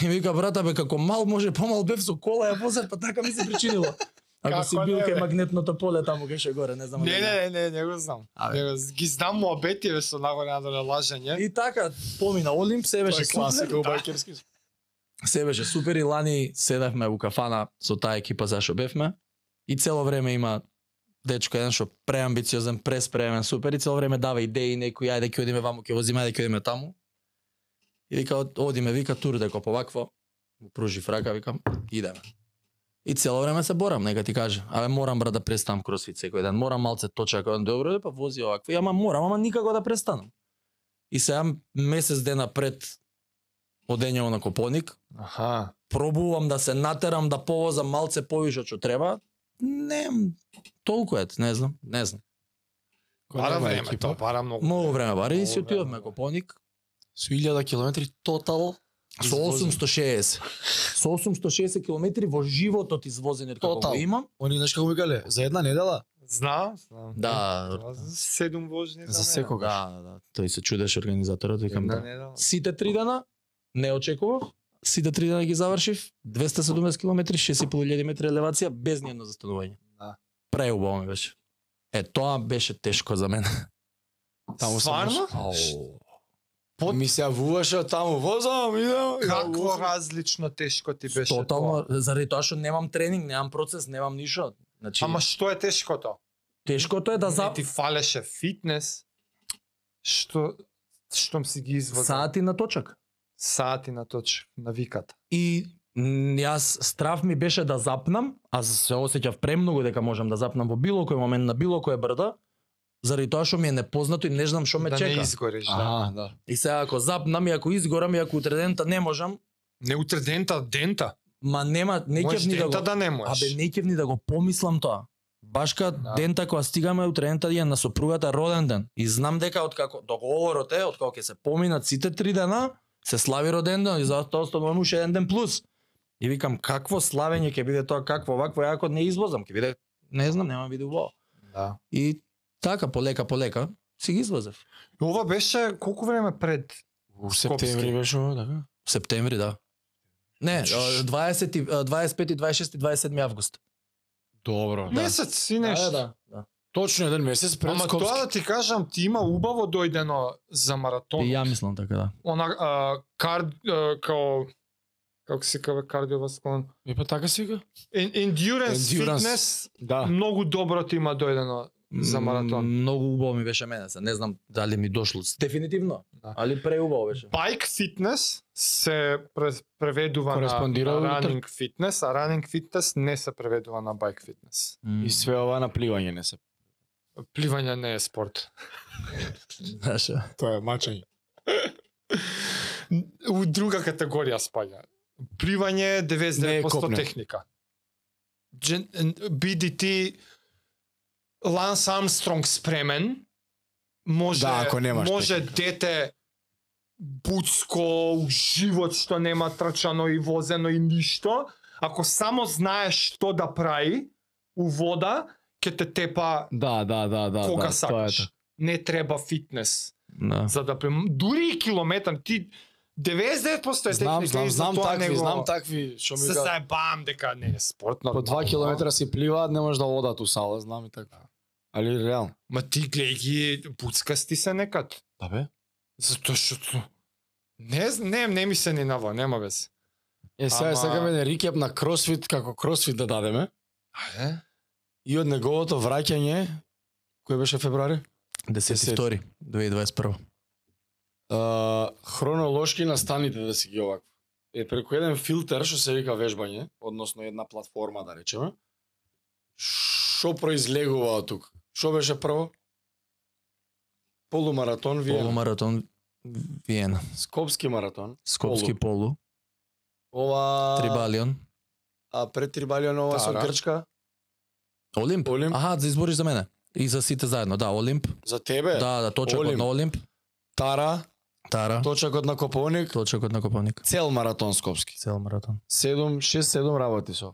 [SPEAKER 2] И вика брата бе како мал може помал бев со кола ја возев, па така ми се причинило. Ако
[SPEAKER 1] Како
[SPEAKER 2] си бил
[SPEAKER 1] не,
[SPEAKER 2] кај
[SPEAKER 1] бе?
[SPEAKER 2] магнетното поле таму кај ше горе, не знам.
[SPEAKER 1] Не, не,
[SPEAKER 2] дали
[SPEAKER 1] не, не, не го знам.
[SPEAKER 2] Абе.
[SPEAKER 1] Не го з- ги знам муабетиве со нагоре надоле лажење.
[SPEAKER 2] И така помина Олимп, се беше супер.
[SPEAKER 1] Да.
[SPEAKER 3] класика у байкерски.
[SPEAKER 2] Се беше супер и лани седевме у кафана со таа екипа зашо бевме. И цело време има дечко еден што преамбициозен, преспремен, супер и цело време дава идеи некои, ајде ќе одиме ваму, ќе возиме, ајде ќе одиме таму. И вика, од- одиме, вика, тур деко повакво, му пружи фрака, викам, идеме. И цело време се борам, нека ти каже. Абе морам брат да престанам кросфит секој ден. Морам малце точа кој добро е, па вози овакво. И ама морам, ама никако да престанам. И сега месец дена пред одењето на Копоник,
[SPEAKER 1] Аха.
[SPEAKER 2] пробувам да се натерам да повозам малце повише што треба. Не, толку е, не знам, не знам.
[SPEAKER 1] Бара време, тоа бара многу.
[SPEAKER 2] Многу време бари и
[SPEAKER 1] Многу
[SPEAKER 2] си отидовме
[SPEAKER 1] време.
[SPEAKER 2] Копоник
[SPEAKER 3] Со 1000 километри тотал.
[SPEAKER 2] со 860. Со 860 километри во животот извозени како
[SPEAKER 3] Тотал.
[SPEAKER 2] го имам.
[SPEAKER 3] Они знаеш како ми гале, за една недела.
[SPEAKER 1] Знам, знам.
[SPEAKER 2] Да,
[SPEAKER 1] Тоа за Седум вожни
[SPEAKER 3] За секој.
[SPEAKER 2] да, да, тој се чудеше организаторот, викам да.
[SPEAKER 1] да.
[SPEAKER 2] Сите три дена не очекував. Сите три дена ги завршив, 270 км, 6.500 метри елевација без ни едно застанување.
[SPEAKER 1] Да.
[SPEAKER 2] Преубаво ми беше. Е, тоа беше тешко за мене.
[SPEAKER 3] Таму се
[SPEAKER 1] Стварно?
[SPEAKER 3] Под... Ми се јавуваше таму, возам, идам.
[SPEAKER 1] Какво
[SPEAKER 3] јавувам.
[SPEAKER 1] различно тешко ти беше тоа?
[SPEAKER 2] Тотално, заради тоа што немам тренинг, немам процес, немам ништо. Значи,
[SPEAKER 1] Ама што е тешкото?
[SPEAKER 2] тешкото е да за
[SPEAKER 1] Не ти фалеше фитнес, што штом си ги извозил
[SPEAKER 2] сати на точак.
[SPEAKER 1] сати на точ на виката.
[SPEAKER 2] И м, јас страв ми беше да запнам, а се осеќав премногу дека можам да запнам во било кој момент на било кое брда, заради тоа што ми е непознато и не знам што ме
[SPEAKER 1] да не
[SPEAKER 2] чека.
[SPEAKER 1] изгореш, да.
[SPEAKER 3] А, да.
[SPEAKER 2] И сега ако запнам и ако изгорам и ако утре дента не можам,
[SPEAKER 1] Не утре дента, дента.
[SPEAKER 2] ма нема не
[SPEAKER 1] Можеш
[SPEAKER 2] ќе ни да
[SPEAKER 1] дента
[SPEAKER 2] го
[SPEAKER 1] да не можеш.
[SPEAKER 2] Абе не ќе ни да го помислам тоа. Башка да.
[SPEAKER 1] Да.
[SPEAKER 2] дента кога стигаме утрента е на сопругата роден ден. И знам дека од како договорот е, од кога ќе се поминат сите три дена, се слави роден ден и затоа остануваме уште еден ден плюс. И викам какво славење ќе биде тоа, какво вакво, ја ако не извозам, ќе биде не знам, нема да биде убаво.
[SPEAKER 1] Да.
[SPEAKER 2] И така полека полека си ги извозев.
[SPEAKER 1] И Ова беше колку време пред
[SPEAKER 3] У септември беше, ова, така?
[SPEAKER 2] Септември, да. Не, 20, и- а, 25, и 26 и 27 август.
[SPEAKER 3] Добро, да.
[SPEAKER 1] Месец и нешто.
[SPEAKER 2] да, да.
[SPEAKER 3] Точно еден месец пред
[SPEAKER 1] Ама
[SPEAKER 3] Скопски.
[SPEAKER 1] тоа да ти кажам, ти има убаво дојдено за маратон.
[SPEAKER 2] И ја мислам така, да.
[SPEAKER 1] Она а, кар, а, као како се кава кардиоваскуларно.
[SPEAKER 3] Е, па така сега?
[SPEAKER 1] Ен- Endurance,
[SPEAKER 3] Endurance.
[SPEAKER 1] fitness
[SPEAKER 3] Да.
[SPEAKER 1] многу добро ти има дојдено. За маратон.
[SPEAKER 2] М, Многу убаво ми беше мене, се. не знам дали ми дошло. Дефинитивно,
[SPEAKER 1] Да.
[SPEAKER 2] али преубаво беше.
[SPEAKER 1] Bike fitness се пре- преведува на, на
[SPEAKER 3] Кореспондира во
[SPEAKER 1] running fitness, а running fitness не се преведува на bike fitness.
[SPEAKER 2] М,
[SPEAKER 3] И све ова на пливање не се.
[SPEAKER 1] Пливање не е спорт.
[SPEAKER 2] Знаеш, а.
[SPEAKER 3] Тоа е мачање.
[SPEAKER 1] У друга категорија спаѓа. Пливање е
[SPEAKER 3] Не е
[SPEAKER 1] 99%
[SPEAKER 3] копнено.
[SPEAKER 1] техника. Джен, биди ти Ланс Армстронг спремен, може,
[SPEAKER 3] Да, ако немаш
[SPEAKER 1] може дете буцко у живот што нема трчано и возено и ништо, ако само знаеш што да прави у вода, ќе те тепа
[SPEAKER 3] Да, да, да, да.
[SPEAKER 1] кога
[SPEAKER 3] да, тоа е
[SPEAKER 1] сакаш.
[SPEAKER 3] тоа.
[SPEAKER 1] Не треба фитнес
[SPEAKER 2] Да.
[SPEAKER 1] за да прем... дури и километар ти 99% е
[SPEAKER 3] Знам,
[SPEAKER 1] техника
[SPEAKER 3] знам,
[SPEAKER 1] и за
[SPEAKER 3] знам
[SPEAKER 1] тоа
[SPEAKER 3] такви,
[SPEAKER 1] него
[SPEAKER 3] знам такви, што ми
[SPEAKER 1] Се
[SPEAKER 3] кажа.
[SPEAKER 1] заебавам дека не е спорт,
[SPEAKER 3] По
[SPEAKER 1] нормално,
[SPEAKER 3] 2
[SPEAKER 1] ама-
[SPEAKER 3] километра си пливаат, не може да одат у сала, знам и така. Али реално.
[SPEAKER 1] Ма ти глеј ги буцкасти се некад.
[SPEAKER 3] Да бе.
[SPEAKER 1] Затоа што не, з- не, не ми се ни наво, нема без.
[SPEAKER 3] Е, сега
[SPEAKER 1] Ама-
[SPEAKER 3] сакаме да рикеп на кросфит, како кросфит да дадеме.
[SPEAKER 1] Ајде.
[SPEAKER 3] И од неговото враќање, кое беше февруари?
[SPEAKER 2] 10.2. 2021.
[SPEAKER 3] а, хронолошки настаните да си ги овакво. Е, преку еден филтер, што се вика вежбање, односно една платформа, да речеме, што произлегува од тук? Што беше прво? Полумаратон, вие,
[SPEAKER 2] Полумаратон Виена.
[SPEAKER 3] Скопски маратон.
[SPEAKER 2] Скопски полу.
[SPEAKER 3] Ова,
[SPEAKER 2] Трибалион.
[SPEAKER 3] а пред Трибалион ова со
[SPEAKER 1] Тара.
[SPEAKER 3] Грчка.
[SPEAKER 2] Олимп.
[SPEAKER 3] Олимп.
[SPEAKER 2] Аха, за избориш за мене. И за сите заедно. Да, Олимп.
[SPEAKER 3] За тебе,
[SPEAKER 2] Да, да, точакот
[SPEAKER 3] Олимп.
[SPEAKER 2] на Олимп.
[SPEAKER 3] Тара,
[SPEAKER 2] Тара.
[SPEAKER 3] точакот на Коповник,
[SPEAKER 2] Точакот на Копавник.
[SPEAKER 3] цел маратон Скопски.
[SPEAKER 2] Цел маратон.
[SPEAKER 3] 7, 6-7 работи со.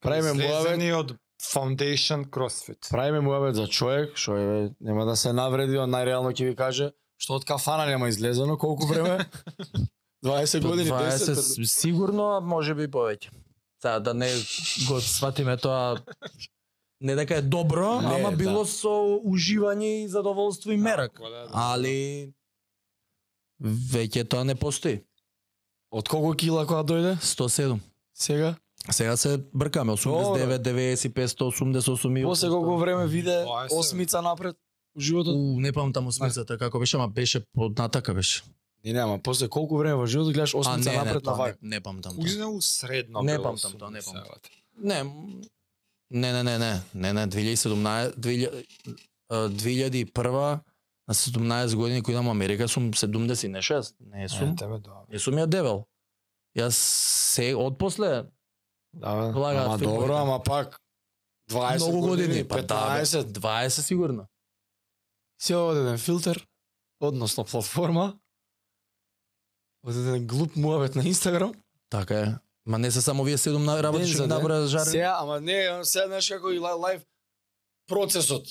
[SPEAKER 3] Правиме муавет,
[SPEAKER 1] Излезени од Foundation CrossFit.
[SPEAKER 3] Правиме муабет за човек, што е, бе, нема да се навреди, он најреално ќе ви каже, што од кафана нема излезено, колку време? 20 години, 10,
[SPEAKER 2] 20 сигурно, а може би и повеќе. Сега да не го сватиме тоа не дека е добро,
[SPEAKER 3] Не,
[SPEAKER 2] ама
[SPEAKER 3] да.
[SPEAKER 2] било со уживање и задоволство и мерак.
[SPEAKER 1] Така, да,
[SPEAKER 2] Али веќе тоа не постои.
[SPEAKER 3] Од колку кила кога дојде
[SPEAKER 2] 107.
[SPEAKER 3] сега?
[SPEAKER 2] Сега се бркаме 89, 90, 588 и
[SPEAKER 3] После колку време виде
[SPEAKER 1] 20.
[SPEAKER 3] осмица напред у животот?
[SPEAKER 2] У, не памтам осмицата како беше, ама беше под натака беше.
[SPEAKER 3] Не, нема, после колку време во животот гледаш
[SPEAKER 2] А не,
[SPEAKER 3] осмица
[SPEAKER 2] не,
[SPEAKER 3] напред на
[SPEAKER 2] тоа не,
[SPEAKER 3] вака?
[SPEAKER 2] не памтам. тоа.
[SPEAKER 1] Кузне у средно
[SPEAKER 2] Не
[SPEAKER 1] било
[SPEAKER 2] памтам
[SPEAKER 1] сум,
[SPEAKER 2] тоа, не
[SPEAKER 1] се
[SPEAKER 2] памтам.
[SPEAKER 1] врати.
[SPEAKER 2] Не, м, не, не, не, не, не, не, 2017, 2000, а, 2001, на 17 години кој идам во Америка, сум 70 и не 6, не сум,
[SPEAKER 1] тебе да.
[SPEAKER 2] не сум ја девел. Јас се отпосле,
[SPEAKER 3] Да, бе.
[SPEAKER 2] Влагаат
[SPEAKER 3] ама
[SPEAKER 2] фитболите.
[SPEAKER 3] добро, ама пак 20
[SPEAKER 2] многу години, па да, бе,
[SPEAKER 3] 15,
[SPEAKER 2] 20 сигурно.
[SPEAKER 3] Се од еден филтер, односно платформа, од еден глуп муабет на Инстаграм,
[SPEAKER 2] Така е. Ма не се само вие 7 работи
[SPEAKER 3] Ден
[SPEAKER 2] што
[SPEAKER 3] за
[SPEAKER 2] ги
[SPEAKER 3] ден.
[SPEAKER 2] набра жар.
[SPEAKER 3] Сега, ама не, он сега знаеш како и ла- лайф процесот.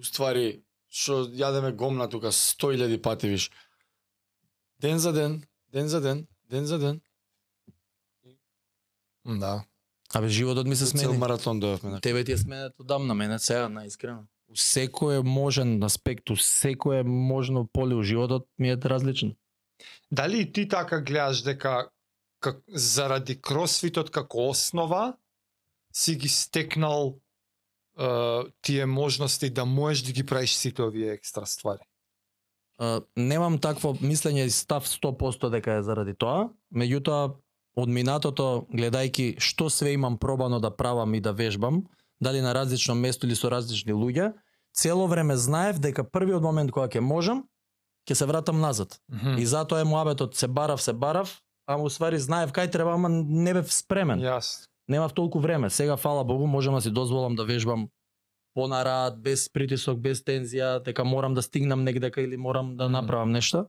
[SPEAKER 3] Уствари, што јадеме гомна тука 100.000 пати виш. Ден за ден, ден за ден, ден за ден.
[SPEAKER 1] Да.
[SPEAKER 2] Абе животот ми се
[SPEAKER 3] Цел
[SPEAKER 2] смени.
[SPEAKER 3] маратон дојавме. на-
[SPEAKER 2] Тебе ти е сменет одамна мене сега наискрено. У секој можен аспект, у секое можно поле у животот ми е различно.
[SPEAKER 1] Дали и ти така гледаш дека как, заради кросфитот како основа си ги стекнал е, тие можности да можеш да ги правиш сите овие екстра ствари?
[SPEAKER 2] А, немам такво мислење и став 100% дека е заради тоа, меѓутоа од минатото гледајќи што све имам пробано да правам и да вежбам, дали на различно место или со различни луѓе, цело време знаев дека првиот момент кога ќе можам, ќе се вратам назад. И затоа е муабетот се барав, се барав, ама уствари знаев кај треба, ама не бев спремен
[SPEAKER 1] Јас.
[SPEAKER 2] немав толку време. Сега фала Богу можам да си дозволам да вежбам понарад, без притисок, без тензија, дека морам да стигнам негдека или морам да направам нешта.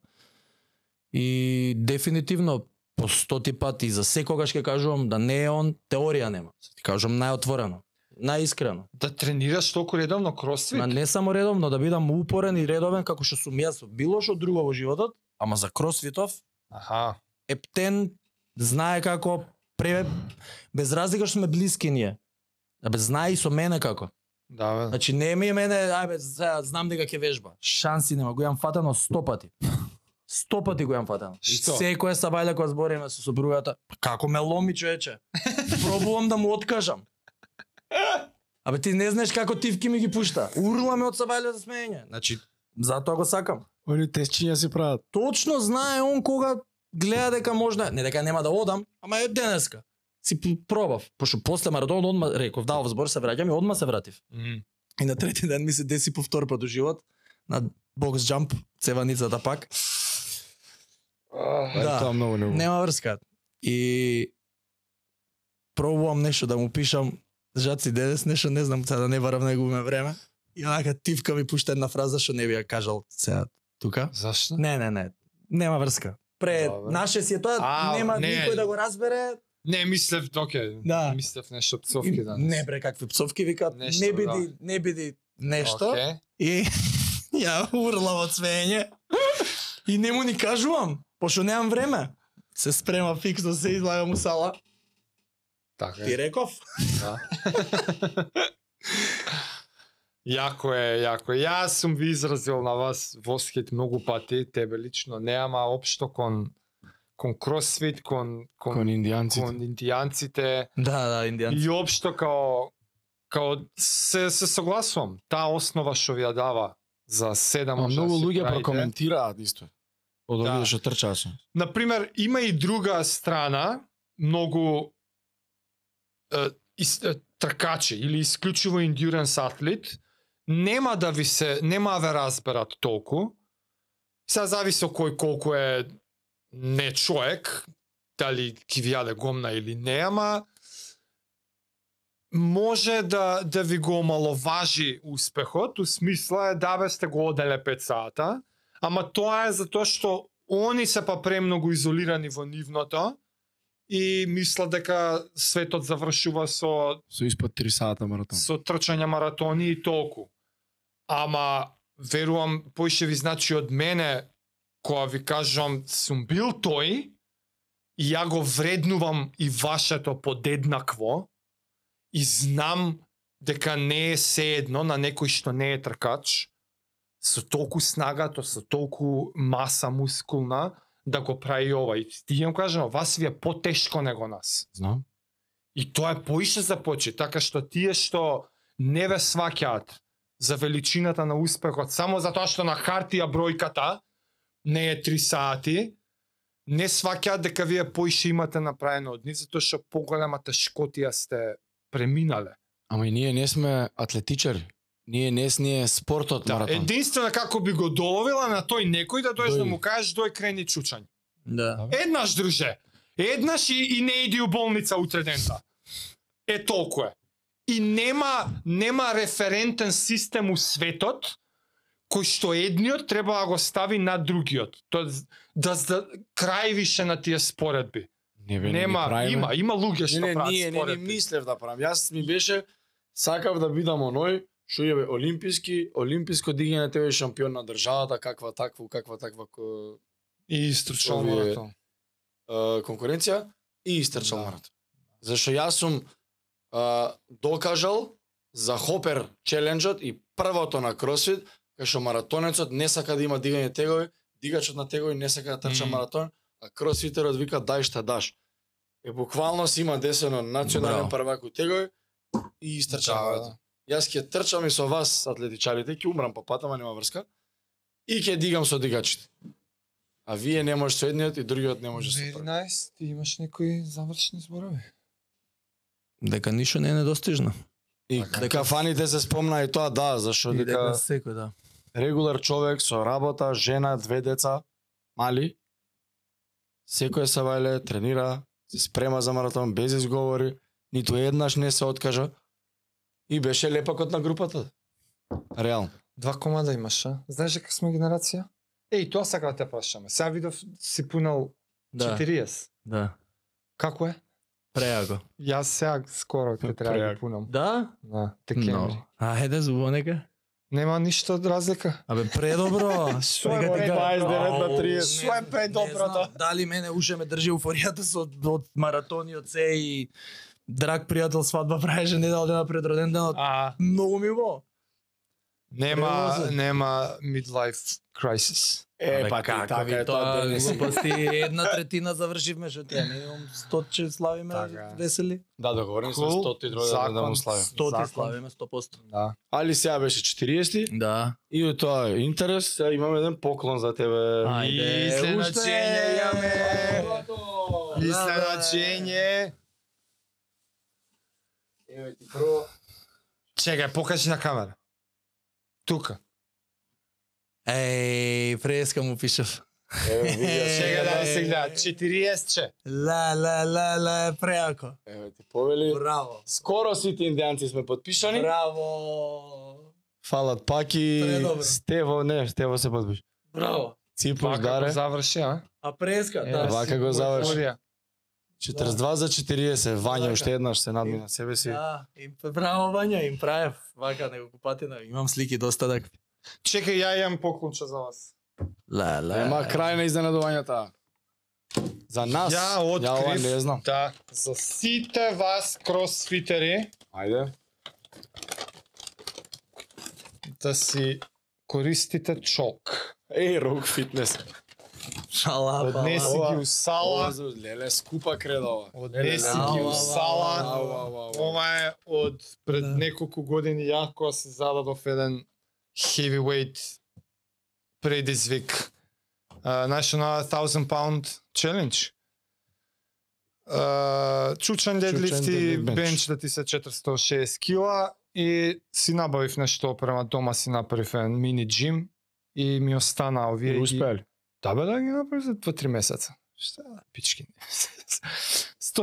[SPEAKER 2] И дефинитивно по стоти пати за секогаш ќе кажувам да не е он, теорија нема. Ти кажувам најотворено, најискрено.
[SPEAKER 1] Да тренираш толку редовно кросфит?
[SPEAKER 2] Ма не само редовно, да бидам упорен и редовен како што сум јас во било што друго во животот, ама за кросфитов
[SPEAKER 1] Аха.
[SPEAKER 2] ептен знае како пре... без разлика што сме блиски ние. Абе знае и со мене како.
[SPEAKER 3] Да, бе.
[SPEAKER 2] Значи не ми е мене, ајбе, сега знам дека ќе вежба. Шанси нема, го имам фатано 100 пати. 100 пати го имам фатано. И
[SPEAKER 1] Што?
[SPEAKER 2] Секоја сабајле која збориме со сопругата, па како ме ломи човече. Пробувам да му откажам. Абе ти не знаеш како тивки ми ги пушта. Урламе од сабајле за смеење. Значи, затоа го сакам.
[SPEAKER 5] Они тесчиња си прават.
[SPEAKER 2] Точно знае он кога гледа дека можна, не дека нема да одам, ама е денеска. Си п- пробав. Пошто после маратон одма реков, дав збор се враќам и одма се вратив.
[SPEAKER 1] Мгм.
[SPEAKER 2] И на трети ден ми се деси повтор пат у живот на бокс джамп, цеваницата пак.
[SPEAKER 5] Да. Тоа многу не
[SPEAKER 2] Нема врска. И пробувам нешто да му пишам Жаци дедес, нешто не знам, сега да не барам да не губиме време. И онака тивка ми пушта една фраза што не би ја кажал сега тука.
[SPEAKER 1] Па.
[SPEAKER 3] Зашто?
[SPEAKER 2] Не, не, не. Нема врска. Пре,
[SPEAKER 3] Добре.
[SPEAKER 2] наше си е тоа,
[SPEAKER 1] А,
[SPEAKER 2] нема
[SPEAKER 1] не.
[SPEAKER 2] никој да го разбере.
[SPEAKER 1] Не, мислев, окей.
[SPEAKER 2] Да.
[SPEAKER 1] Мислев нешто псовки да
[SPEAKER 2] не бре, какви псовки викаат,
[SPEAKER 1] Нешто, да.
[SPEAKER 2] не биди, не биди нешто.
[SPEAKER 1] Okay.
[SPEAKER 2] И ја урлам од смеење. И не му ни кажувам, пошто немам време. Се спрема фиксно, се излагам у сала.
[SPEAKER 1] Така е.
[SPEAKER 2] Ти реков?
[SPEAKER 1] Јако е, јако е. Јас сум ви изразил на вас восхит многу пати, тебе лично не, ама општо кон кон кросфит, кон
[SPEAKER 3] па.
[SPEAKER 1] кон
[SPEAKER 5] Кон индијанците.
[SPEAKER 1] кон индијанците
[SPEAKER 2] Да, да, индијанци.
[SPEAKER 1] и општо као као се се согласувам. Таа основа што ви ја дава за седам
[SPEAKER 5] Ама
[SPEAKER 1] можа
[SPEAKER 5] многу
[SPEAKER 1] да си
[SPEAKER 5] луѓе
[SPEAKER 1] правите.
[SPEAKER 5] прокоментираат исто. Од
[SPEAKER 1] Да.
[SPEAKER 5] овие што трчаат со.
[SPEAKER 1] Например, има и друга страна, многу е, ис, е, тркачи или исклучиво ендюранс атлет, нема да ви се, нема да ве разберат толку. Сега зависи о кој колку е не човек, дали ќе ви јаде гомна или не, ама може да да ви го омаловажи успехот, у смисла е да бе сте го оделе 5 сата, ама тоа е затоа што они се па премногу изолирани во нивното и мислат дека светот завршува со
[SPEAKER 5] Со испод 3 сата маратон.
[SPEAKER 1] со трчања маратони и толку. Ама верувам поише ви значи од мене кога ви кажам сум бил тој и ја го вреднувам и вашето подеднакво и знам дека не е се едно на некој што не е тркач со толку снага, то со толку маса мускулна да го прави ова. И ти ја кажам, вас ви е потешко него нас.
[SPEAKER 5] Знам.
[SPEAKER 1] И тоа е поише започи, така што тие што не ве сваќаат за величината на успехот, само затоа што на хартија бројката не е 3 сати, не сваќаат дека вие поише имате направено од нив, затоа што поголемата шкотија сте преминале.
[SPEAKER 5] Ама и ние не сме атлетичари. Ние не с- ние е спортот
[SPEAKER 1] Да,
[SPEAKER 5] маратон.
[SPEAKER 1] единствено како би го доловила на тој некој да дојдеш
[SPEAKER 5] Дојди.
[SPEAKER 1] да му кажеш дој крени чучање.
[SPEAKER 2] Да.
[SPEAKER 1] Еднаш друже. Еднаш и, и не иди у болница утре дента. Е толку е. И нема нема референтен систем у светот кој што едниот треба да го стави на другиот. Тоа з- да, да крај више на тие споредби.
[SPEAKER 5] Не бе, не
[SPEAKER 1] нема,
[SPEAKER 5] ги правиме.
[SPEAKER 1] има, има луѓе што
[SPEAKER 3] Не, не,
[SPEAKER 1] прават
[SPEAKER 3] ние не, не
[SPEAKER 1] споредби.
[SPEAKER 3] мислев да правам. Јас ми беше сакав да бидам оној што е бе, олимписки, олимписко дигање тебе шампион на државата, каква таква, каква таква ко-
[SPEAKER 1] И стручал
[SPEAKER 3] Овие-
[SPEAKER 1] маратон.
[SPEAKER 3] е, конкуренција и истрчал
[SPEAKER 1] Да.
[SPEAKER 3] марат. Зашто јас сум е, докажал за хопер челенџот и првото на кросфит, кај што маратонецот не сака да има дигање тегови, дигачот на тегови не сака да трча
[SPEAKER 1] Мм.
[SPEAKER 3] маратон, а кросфитерот вика дај што даш. Е буквално си има десено национален
[SPEAKER 2] Браво.
[SPEAKER 3] првак у тегови и истрча
[SPEAKER 1] Да,
[SPEAKER 3] маратон. Јас ќе трчам и со вас, атлетичарите, ќе умрам по пат, ама нема врска. И ќе дигам со дигачите. А вие не можеш со едниот и другиот не
[SPEAKER 1] да
[SPEAKER 3] може со првиот.
[SPEAKER 1] ти имаш некои завршни зборови?
[SPEAKER 2] Дека ништо не е недостижно.
[SPEAKER 3] И дека фаните се спомна и тоа, да, зашто дека
[SPEAKER 2] секој да.
[SPEAKER 3] регулар човек со работа, жена, две деца, мали, секој сабајле тренира, се спрема за маратон без изговори, ниту еднаш не се откажа. И беше лепакот на групата. Реално.
[SPEAKER 1] Два комада имаш, а? Знаеш дека сме генерација? Еј, тоа сакам да те прашаме. Сега видов си пунал
[SPEAKER 2] Да.
[SPEAKER 1] 40.
[SPEAKER 2] Да.
[SPEAKER 1] Како е?
[SPEAKER 2] Преаго.
[SPEAKER 1] Јас сега скоро ќе треба да
[SPEAKER 5] Преак.
[SPEAKER 1] ги пунам.
[SPEAKER 2] Да?
[SPEAKER 1] На декември. No.
[SPEAKER 2] А, еде зубо нека.
[SPEAKER 1] Нема ништо од разлика.
[SPEAKER 2] Абе, предобро.
[SPEAKER 1] Што е
[SPEAKER 2] Дека
[SPEAKER 1] во
[SPEAKER 2] ти га-
[SPEAKER 1] 29 на
[SPEAKER 2] Ау,
[SPEAKER 1] 30.
[SPEAKER 2] Не-
[SPEAKER 1] Кое е
[SPEAKER 2] не знам,
[SPEAKER 1] пејдоброто?
[SPEAKER 2] Дали мене уште ме држи еуфоријата со од маратони од се и драг пријател свадба правеше недела дена пред роден денот.
[SPEAKER 1] А,
[SPEAKER 2] Многу ми во.
[SPEAKER 1] нема,
[SPEAKER 2] Превозот.
[SPEAKER 1] нема midlife crisis.
[SPEAKER 2] Абе,
[SPEAKER 6] Е, па ти,
[SPEAKER 2] какви
[SPEAKER 6] така е тоа.
[SPEAKER 2] тоа
[SPEAKER 6] донеси.
[SPEAKER 2] глупости. Една третина завршивме што тие не имам 100 че славиме
[SPEAKER 1] Така е.
[SPEAKER 2] весели.
[SPEAKER 3] Да, договорени сме
[SPEAKER 1] Cool.
[SPEAKER 3] 100 дроја да му славим.
[SPEAKER 2] 100
[SPEAKER 1] Закон.
[SPEAKER 2] ти славиме 100%.
[SPEAKER 1] Да.
[SPEAKER 3] Али сега беше 40
[SPEAKER 2] Да.
[SPEAKER 3] и од тоа е интерес, сега имаме еден поклон за тебе.
[SPEAKER 2] Ајде,
[SPEAKER 1] Изначење
[SPEAKER 2] уште.
[SPEAKER 1] имаме. Изначење.
[SPEAKER 3] Еве ти прво
[SPEAKER 1] Чекај, покажи на камера. Тука.
[SPEAKER 2] Еј, фреска му пишав.
[SPEAKER 3] Еве види
[SPEAKER 2] Е,
[SPEAKER 1] Чека
[SPEAKER 3] сега
[SPEAKER 1] да
[SPEAKER 3] да
[SPEAKER 1] не се
[SPEAKER 2] е,
[SPEAKER 1] гледа.
[SPEAKER 2] е.
[SPEAKER 1] 40
[SPEAKER 2] Ла, ла, ла, ла, преако.
[SPEAKER 3] Еве ти повели.
[SPEAKER 2] Браво.
[SPEAKER 3] Скоро сите индијанци сме подпишани.
[SPEAKER 2] Браво.
[SPEAKER 3] Фалат паки.
[SPEAKER 2] Предобро.
[SPEAKER 3] Стево, не, Стево се подпиш.
[SPEAKER 2] Браво.
[SPEAKER 3] Ципуш,
[SPEAKER 1] Вака го
[SPEAKER 3] Даре.
[SPEAKER 1] заврши, а?
[SPEAKER 2] А преска,
[SPEAKER 1] Е,
[SPEAKER 2] да.
[SPEAKER 3] вака
[SPEAKER 1] си
[SPEAKER 3] го заврши.
[SPEAKER 1] подборија.
[SPEAKER 3] 42 за 40. Вања
[SPEAKER 2] Така.
[SPEAKER 3] уште еднаш се надмина себе си.
[SPEAKER 2] Да, им браво Вања, им правев вака неколку пати на имам слики доста так.
[SPEAKER 1] Чекај, ја имам поклонче за вас.
[SPEAKER 2] Ла, ла.
[SPEAKER 3] Нема крај на изненадувањата. Да. За нас,
[SPEAKER 1] Ја
[SPEAKER 3] ја ова
[SPEAKER 1] открив,
[SPEAKER 3] не знам.
[SPEAKER 1] да, за сите вас кросфитери,
[SPEAKER 3] Ајде.
[SPEAKER 1] да си користите чок.
[SPEAKER 3] Еј, рок фитнес.
[SPEAKER 2] Шала,
[SPEAKER 1] Однеси
[SPEAKER 2] бала.
[SPEAKER 1] ги у сала,
[SPEAKER 3] Ова, леле, скупа кредо ова.
[SPEAKER 1] однеси
[SPEAKER 2] Ау,
[SPEAKER 1] ги
[SPEAKER 2] ау,
[SPEAKER 1] у сала.
[SPEAKER 2] ау,
[SPEAKER 3] Ау, ау, ау, ау.
[SPEAKER 1] Ова е од пред
[SPEAKER 2] Да.
[SPEAKER 1] неколку години јако се зададов еден heavyweight предизвик. А, Знаеш, на 1000 pound challenge. А, Чучен дедлифт и
[SPEAKER 3] deadlift bench.
[SPEAKER 1] бенч да ти се 406 кила и си набавив нешто према дома си направив еден мини джим и ми остана овие
[SPEAKER 3] Вие
[SPEAKER 1] ги-
[SPEAKER 3] успеали.
[SPEAKER 1] Да бе, да ги направи за 2-3 месеца. Шта, пички. 160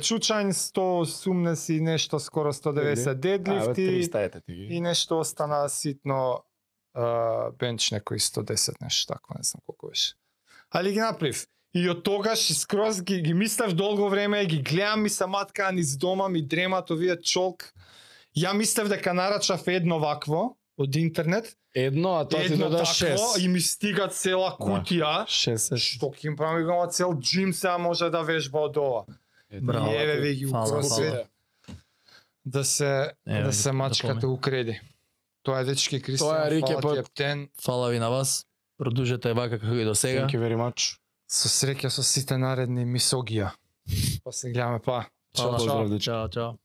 [SPEAKER 1] чучањ, 118 и нешто скоро 190
[SPEAKER 3] Ајде,
[SPEAKER 1] дедлифти
[SPEAKER 3] 300 ете ти ги.
[SPEAKER 1] и нешто остана ситно а, бенч некои 110 нешто такво, не знам колку беше. Али ги направив. И од тогаш и скроз ги, ги мислев долго време, ги гледам и самат каа низ дома ми дремат овие чолк. Ја мислев дека нарачав едно вакво од интернет,
[SPEAKER 3] Едно, а тоа ти Да.
[SPEAKER 1] едно
[SPEAKER 3] дода
[SPEAKER 1] такво
[SPEAKER 3] 6.
[SPEAKER 1] и ми стига цела кутија.
[SPEAKER 3] 6
[SPEAKER 1] Што ќе им правам играма цел джим сега може да вежба од ова.
[SPEAKER 2] Браво.
[SPEAKER 1] И еве ви ги
[SPEAKER 2] Фала,
[SPEAKER 1] украсве
[SPEAKER 2] фала.
[SPEAKER 1] да се
[SPEAKER 2] Еве
[SPEAKER 1] да
[SPEAKER 2] ги,
[SPEAKER 1] се
[SPEAKER 2] да
[SPEAKER 1] мачкате
[SPEAKER 2] помни.
[SPEAKER 1] укради. Тоа е дечки Кристијан.
[SPEAKER 3] Тоа е па-
[SPEAKER 1] фала
[SPEAKER 3] Рике
[SPEAKER 1] ти,
[SPEAKER 3] под-
[SPEAKER 1] ептен.
[SPEAKER 2] Фала ви на вас. Продужете вака како и до сега.
[SPEAKER 3] Thank you very much.
[SPEAKER 1] Со среќа со сите наредни мисогија. Па се гледаме па.
[SPEAKER 2] Фала.
[SPEAKER 3] Поздрав, дечки.
[SPEAKER 2] Чао, чао.